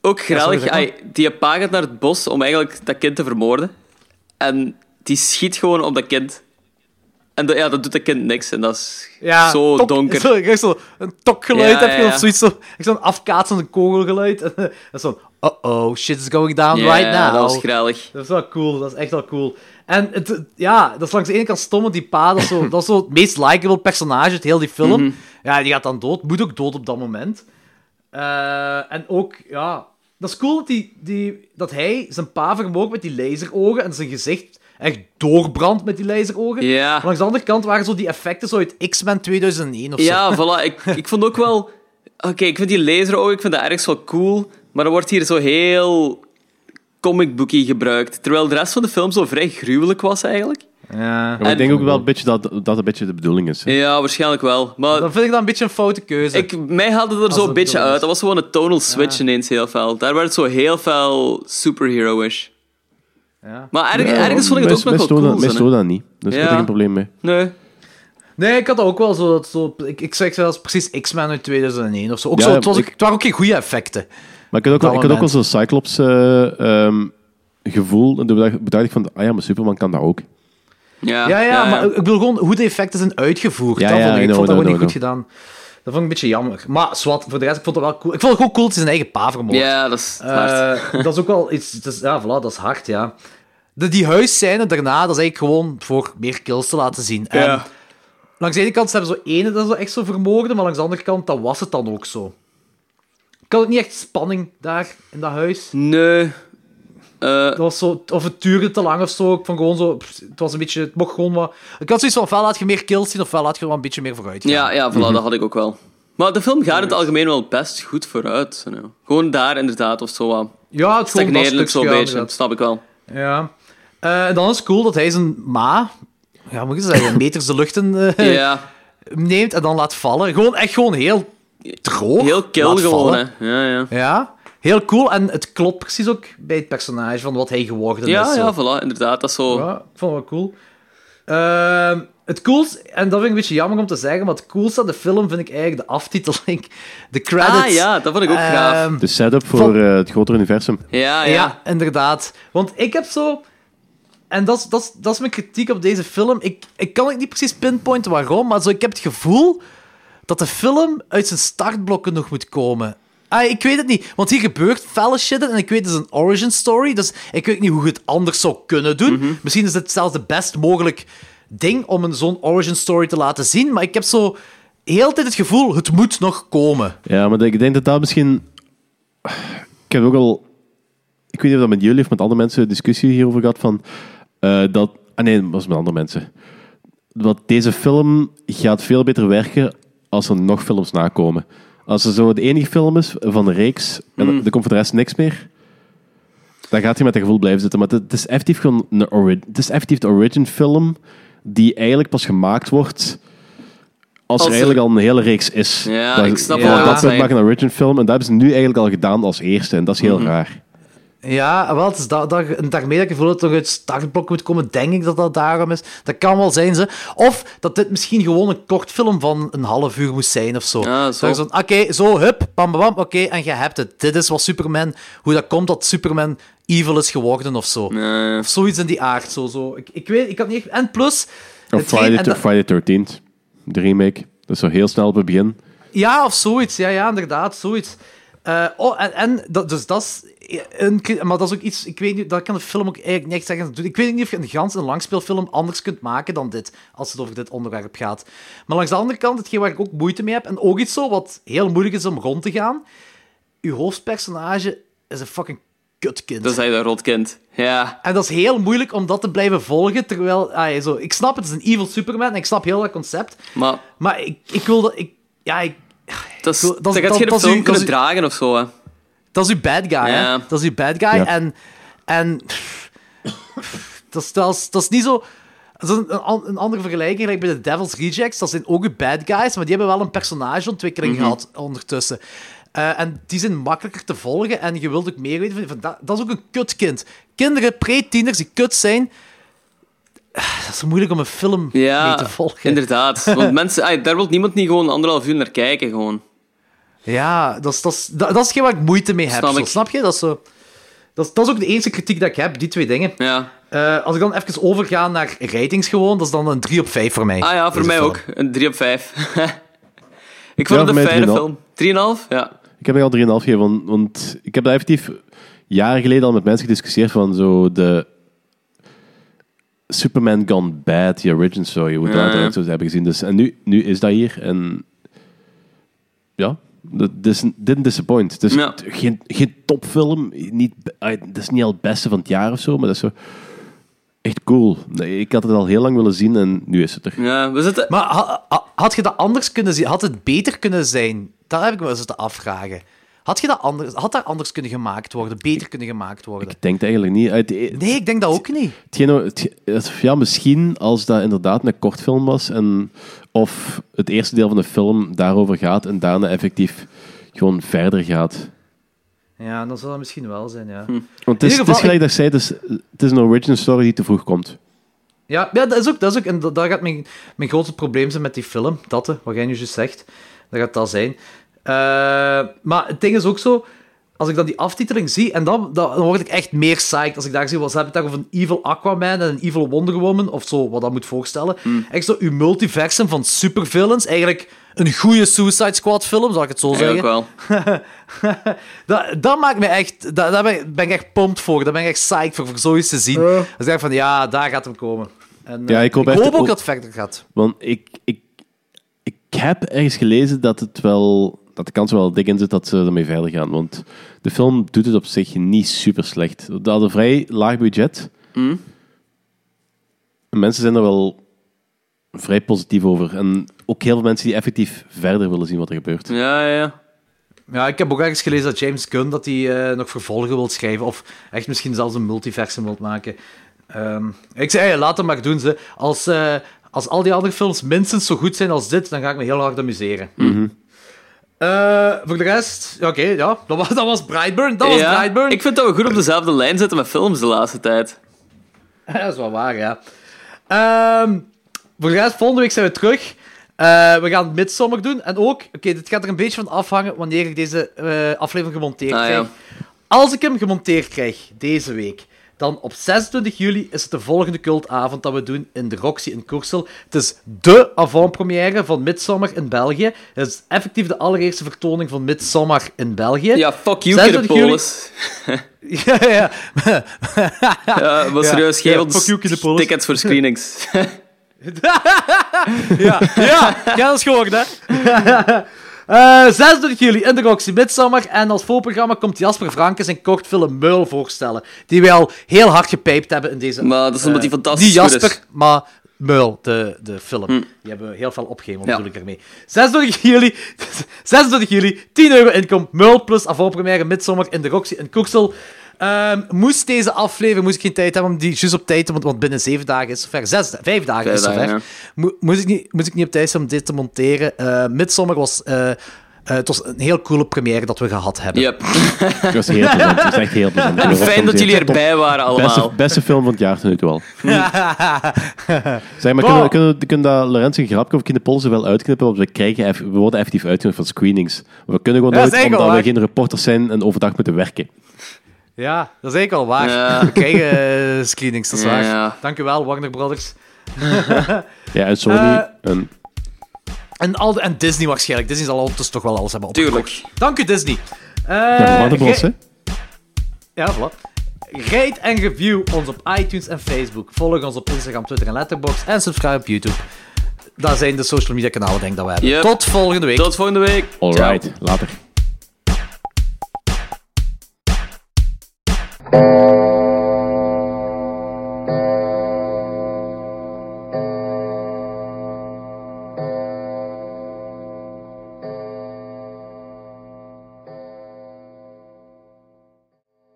ook
sorry,
grappig.
dat kan.
ai, die pa gaat naar het bos om eigenlijk dat kind te vermoorden. En die schiet gewoon op dat kind. En dat- ja, dat doet dat kind niks. En dat is
Ja,
zo
tok-
donker.
Zo, echt zo een tokgeluid
Ja,
heb je
ja,
of
ja.
zoiets. Zo, echt zo'n afkaatsend kogelgeluid. En, eh, dat is zo'n... Uh-oh, shit is going down
Ja,
right now.
dat was grellig.
Dat is wel cool, dat is echt wel cool. En het, ja, dat is langs de ene kant stom, want die pa, dat is zo, dat is zo het meest likable personage uit heel die film.
Mhm.
Ja, die gaat dan dood, moet ook dood op dat moment. Eh, en ook, ja, dat is cool dat, die, die, dat hij zijn pa vermoogt met die laserogen en zijn gezicht echt doorbrandt met die laserogen.
Ja.
Langs de andere kant waren zo die effecten zo uit X-Men 2001 of zo.
Ja, voilà. Ik, ik vond ook wel... Oké, ik vind die laser ook, ik vind dat ergens wel cool. Maar dat wordt hier zo heel comicbookie gebruikt. Terwijl de rest van de film zo vrij gruwelijk was eigenlijk.
Ja.
Maar
En-
ik denk ook wel een beetje dat dat een beetje de bedoeling
Hm.
is.
Ja, waarschijnlijk wel. Maar
Dan vind ik dat een beetje een foute keuze.
Ik, mij haalde het er
het
zo'n beetje
bedoeld is.
uit. Dat was gewoon een tonal switch ineens heel fel. Daar werd het zo heel fel superhero-ish.
Ja.
Maar erg- ergens vond ik het ook
Mij
nog wel
stoorde
cool.
mij
zo, hè.
stoorde dat niet. Dus ik heb
Ja.
er geen probleem mee.
Nee.
Nee, ik had dat ook wel zo. Dat zo ik, ik zeg zelfs precies X-Men uit 2001 of zo. Ook
Ja,
zo het, was, ook-
ik-
het waren ook geen goede effecten.
Maar ik had ook, wel-
dat
ik had ook wel
moment.
zo'n Cyclops eh, ehm, gevoel. En toen bedacht, bedacht ik van, ah ja, maar Superman kan dat ook.
Ja,
Ah, Ja, ja, maar ik bedoel gewoon hoe de effecten zijn uitgevoerd.
Ja,
dat
ja,
vond ik, ik
I
vond dat
know,
gewoon
I
niet
know,
goed gedaan. Dat vond ik een beetje jammer. Maar zwart, voor de rest, ik vond het wel cool. Ik vond het gewoon cool dat hij zijn eigen pa vermoord.
Ja, dat is
Eh,
hard.
dat is ook wel iets... dat is- ja, voilà, dat is hard, ja. De, die huisscène daarna, dat is eigenlijk gewoon voor meer kills te laten zien. En
Ja.
langs de ene kant ze hebben zo ene dat ze echt zo vermoorden, maar langs de andere kant, dat was het dan ook zo. Ik had ook niet echt spanning daar, in dat huis.
Nee. Eh,
Dat was zo, of het duurde te lang of zo. Ik vond gewoon zo... pff, Het was een beetje... Het mocht gewoon wat... Ik had zoiets van, ofwel laat je meer kills zien, ofwel laat je er wel een beetje meer vooruit gaan.
ja, ja voilà, dat had ik ook wel. Maar de film gaat in het algemeen wel best goed vooruit. zo nou. Gewoon daar inderdaad, of zo. wat.
ja het gewoon dat
Stagnerend zo'n
stukje, ja,
beetje,
inderdaad.
snap ik wel.
Ja. Eh, en dan is het cool dat hij zijn ma... Ja, moet ik zeggen, meters de lucht in eh,
Ja,
neemt en dan laat vallen. Gewoon echt gewoon heel droog.
heel kill
laat
gewoon,
vallen.
hè. Ja, ja.
Ja, heel cool. En het klopt precies ook bij het personage van wat hij geworden
Ja,
is. zo.
ja, voilà, inderdaad. Dat is zo...
Ja, ik vond het wel cool. Ehm, het coolst, en dat vind ik een beetje jammer om te zeggen, maar het coolste aan de film vind ik eigenlijk de aftiteling. De credits.
Ah ja, dat vond ik ook gaaf.
Ehm,
De setup voor
Van-
eh, het grotere universum.
Ja,
ja.
ja.
inderdaad. Want ik heb zo... En dat is, dat, is, dat is mijn kritiek op deze film. Ik, ik kan ook niet precies pinpointen waarom, maar zo, ik heb het gevoel dat de film uit zijn startblokken nog moet komen. Ah, ik weet het niet, want hier gebeurt felle shit en ik weet het is een origin story, dus ik weet niet hoe je het anders zou kunnen doen.
Mhm.
Misschien is dit zelfs de best mogelijk ding om een zo'n origin story te laten zien, maar ik heb zo heel de tijd het gevoel, het moet nog komen.
Ja, maar ik denk dat dat misschien... Ik heb ook al... Ik weet niet of dat met jullie of met andere mensen discussie hierover gehad van... eh, dat... Ah nee, dat was met andere mensen. Want deze film gaat veel beter werken als er nog films nakomen. Als er zo de enige film is van de reeks en er komt voor de rest niks meer... Dan gaat hij met dat gevoel blijven zitten. Maar het het is effectief gewoon een ori- het is effectief de origin film die eigenlijk pas gemaakt wordt als,
Als
er
er-
eigenlijk al een hele reeks is.
Ja,
Dat-
ik snap
ja,
wel wat
Dat
je
ze maken een origin film en dat hebben ze nu eigenlijk al gedaan als eerste. En dat is heel
Mhm.
raar.
Ja, wel, het is da da- en daarmee dat ik gevoel dat het uit het startblok moet komen, denk ik dat dat daarom is. Dat kan wel zijn, ze. Of dat dit misschien gewoon een kort film van een half uur moest zijn of zo.
Ja, zo.
Dat je zo'n, Oké, zo, hup, bam, bam, bam, oké, en je hebt het. Dit is wat Superman, hoe dat komt dat Superman evil is geworden of zo.
Nee.
Of zoiets in die aard, zo, zo. Ik, ik weet, ik had niet echt... En plus...
Of
hetgeen-
Friday,
en
the
dat-
Friday 13th, de remake. Dat is zo heel snel op het begin.
Ja, of zoiets. Ja, ja inderdaad, zoiets. Eh, oh, en, en dat, dus dat is... Een, cri- maar dat is ook iets... Ik weet niet, dat kan de film ook eigenlijk niet echt zeggen. Ik weet niet of je een gans een langspeelfilm anders kunt maken dan dit, als het over dit onderwerp gaat. Maar langs de andere kant, hetgeen waar ik ook moeite mee heb, en ook iets zo wat heel moeilijk is om rond te gaan, uw hoofdpersonage is een fucking kutkind.
Dat is hij dat rotkind. Ja.
En dat is heel moeilijk om dat te blijven volgen, terwijl... ah, zo, ik snap, het is een evil Superman, en ik snap heel dat concept,
Maar
maar ik, ik wil dat... Ik, ja, ik,
dat, is,
Ik wil- dat is-
dat
dat-
gaat geen
dat is
film
uw- dat
kunnen
is uw-
dragen of zo. Hè.
Dat is uw bad guy, hè?
Ja.
Dat is uw bad guy.
Ja.
En, en pff, pff, dat, is, dat, is, dat is niet zo... Dat is een, een, an- een andere vergelijking gelijk bij de Devil's Rejects. Dat zijn ook uw bad guys, maar die hebben wel een personageontwikkeling
Mhm.
gehad ondertussen. Eh, en die zijn makkelijker te volgen en je wilt ook meer weten. Van, van dat, dat is ook een kutkind. Kinderen, pre-tieners die kut zijn... eh, Dat is moeilijk om een film mee
Ja,
te volgen.
inderdaad. Want mensen, ai, daar wil niemand niet gewoon anderhalf uur naar kijken. Gewoon.
Ja, dat is, dat is, dat, dat is geen waar ik moeite mee heb.
Snap
zo.
ik.
Snap je? Dat is, zo, dat, is, dat is ook de enige kritiek dat ik heb, die twee dingen.
Ja.
Eh, als ik dan even overga naar ratings gewoon, dat is dan een 3 op 5 voor mij.
Ah ja, voor
Deze
mij
film.
ook. Een 3 op 5. ik
Ja,
vond
voor
het
mij
een fijne
3,5.
film. 3,5? Ja.
Ik heb er al 3,5 gegeven, want, want ik heb daar effectief jaren geleden al met mensen gediscussieerd van zo de Superman Gone Bad, die origin story, hoe dat
Ja, ja.
uiteindelijk zo ze hebben gezien. Dus, en nu, nu is dat hier en ja, dat dat is, didn't disappoint. Het is
Ja.
t- geen, geen topfilm, niet, eh, dat is niet al het beste van het jaar of zo, maar dat is zo echt cool. Nee, ik had het al heel lang willen zien en nu is het er.
ja we zitten...
Maar ha- ha- had je dat anders kunnen zien? Had het beter kunnen zijn? Daar heb ik me eens te afvragen. Had, je dat anders, had daar anders kunnen gemaakt worden? Beter kunnen gemaakt worden?
Ik denk het eigenlijk niet. Uit,
Nee, ik denk dat ook niet.
Hetgeen, het, het- ja, misschien als dat inderdaad een kortfilm was en of het eerste deel van de film daarover gaat en daarna effectief gewoon verder gaat.
Ja, dan zal dat misschien wel zijn, ja.
Want het is,
In ieder geval,
het is gelijk
ik-
dat ik zei, het is, het is een origin story die te vroeg komt.
Ja, ja dat is ook. Dat is ook en da- daar gaat mijn, mijn grootste probleem zijn met die film. Dat, hè, wat jij nu juist zegt. Dat gaat dat zijn. Eh, maar het ding is ook zo. Als ik dan die aftiteling zie, en dan, dan dan word ik echt meer psyched. Als ik daar zie, wat ze hebben het daar over een evil Aquaman en een evil Wonder Woman, of zo, wat dat moet voorstellen. Echt zo, uw multiversum van supervillains, eigenlijk een goede Suicide Squad film, zal ik het zo
Ja, ook
zeggen.
wel.
dat, dat maakt me echt... Daar daar ben, ik- ben ik echt pumped voor. Daar ben ik echt psyched voor, voor zoiets te zien. Dus ik denk van, ja, daar gaat hem komen. En, eh,
Ja, ik hoop echt-
ook
ook-
dat het verder gaat.
Want ik, ik, ik heb ergens gelezen dat, het wel, dat de kans er wel dik in zit dat ze ermee verder gaan. Want de film doet het op zich niet super slecht. Dat hadden een vrij laag budget.
Mm.
En mensen zijn er wel vrij positief over. En ook heel veel mensen die effectief verder willen zien wat er gebeurt.
Ja, ja, ja.
Ja, ik heb ook ergens gelezen dat James Gunn dat hij eh, nog vervolgen wil schrijven. Of echt misschien zelfs een multiversum wilt maken. Ehm, ik zei, hey, laat hem maar doen. Ze. Als, eh, als al die andere films minstens zo goed zijn als dit, dan ga ik me heel hard amuseren.
Mhm.
Eh, voor de rest, ja, oké, ja. Dat was, dat was Brightburn. Dat was
Ja,
Brightburn.
Ik vind dat we goed op dezelfde lijn zitten met films de laatste tijd.
Ja, dat is wel waar, ja. Ehm, voor de rest, volgende week zijn we terug. Eh, we gaan midsommer doen. En ook, oké, dit gaat er een beetje van afhangen wanneer ik deze eh, aflevering gemonteerd
Ah, ja.
krijg. Als ik hem gemonteerd krijg deze week, Dan op 26 juli is het de volgende cultavond dat we doen in de Roxy in Koersel. Het is dé avant-première van Midsommar in België. Het is effectief de allereerste vertoning van Midsommar in België.
Ja, fuck you,
26 juli-
Kiddepolis.
Ja, ja.
Ja,
Ja.
maar serieus, geef
Ja,
ons
fuck you, Kiddepolis.
tickets voor screenings.
Ja, ja, ja dat is gehoord, hè. Eh 26 juli in de Roxy Midsommar. En als voorprogramma komt Jasper Franke zijn kortfilm Meul voorstellen. Die we al heel hard gepijpt hebben in deze...
Maar dat is omdat
eh,
die fantastisch
Niet
goed is. Hm.
Jasper, maar Meul, de, de film. Die hebben we heel veel opgehemeld,
Ja.
bedoel ik ermee. 26 juli, 26 juli 10 euro inkom. Meul plus avant-première Midsommar in de Roxy in Koeksel. Ehm, moest deze aflevering, moest ik geen tijd hebben om die juist op tijd te... Want, want binnen 7 dagen is het zover. 6, 5 dagen
Vijf
is het
dagen,
zover. Mo- moest, ik niet, moest ik niet op tijd zijn om dit te monteren. Eh Midsommar was... eh, eh, het was een heel coole première dat we gehad hebben.
Yep.
Het was heel plezant. Het was echt heel plezant. Ik ben
Fijn
erop
dat jullie
gezeten. Top.
erbij waren allemaal.
Beste, beste film van het jaar tot nu toe al. Zeg
Wow.
maar, kunnen, we- kunnen, we- kunnen dat Lorenz een grapje of kinderpolsen wel uitknippen? Want we, krijgen, eff- we worden effectief uitgenodigd van screenings. We kunnen gewoon
Ja,
nooit,
dat is echt
omdat
wel
we
waar.
geen reporters zijn en overdag moeten werken.
Ja, dat is eigenlijk al waar.
Ja.
We krijgen eh, screenings, dat is
Ja,
waar.
ja.
Dank u wel, Warner Brothers.
Ja, en Sony...
Eh,
en-
En, al de- en Disney waarschijnlijk. Disney zal ondertussen toch wel alles hebben opgekocht.
Tuurlijk.
Dank u, Disney. Eh,
ja, Warnerbros,
ge-
hè?
Ja, voilà. Rate en review ons op iTunes en Facebook. Volg ons op Instagram, Twitter en Letterboxd. En subscribe op YouTube. Dat zijn de social media kanalen, denk ik, dat we hebben.
Yep.
Tot volgende week.
Tot volgende week. Ciao.
Alright, later.
Thank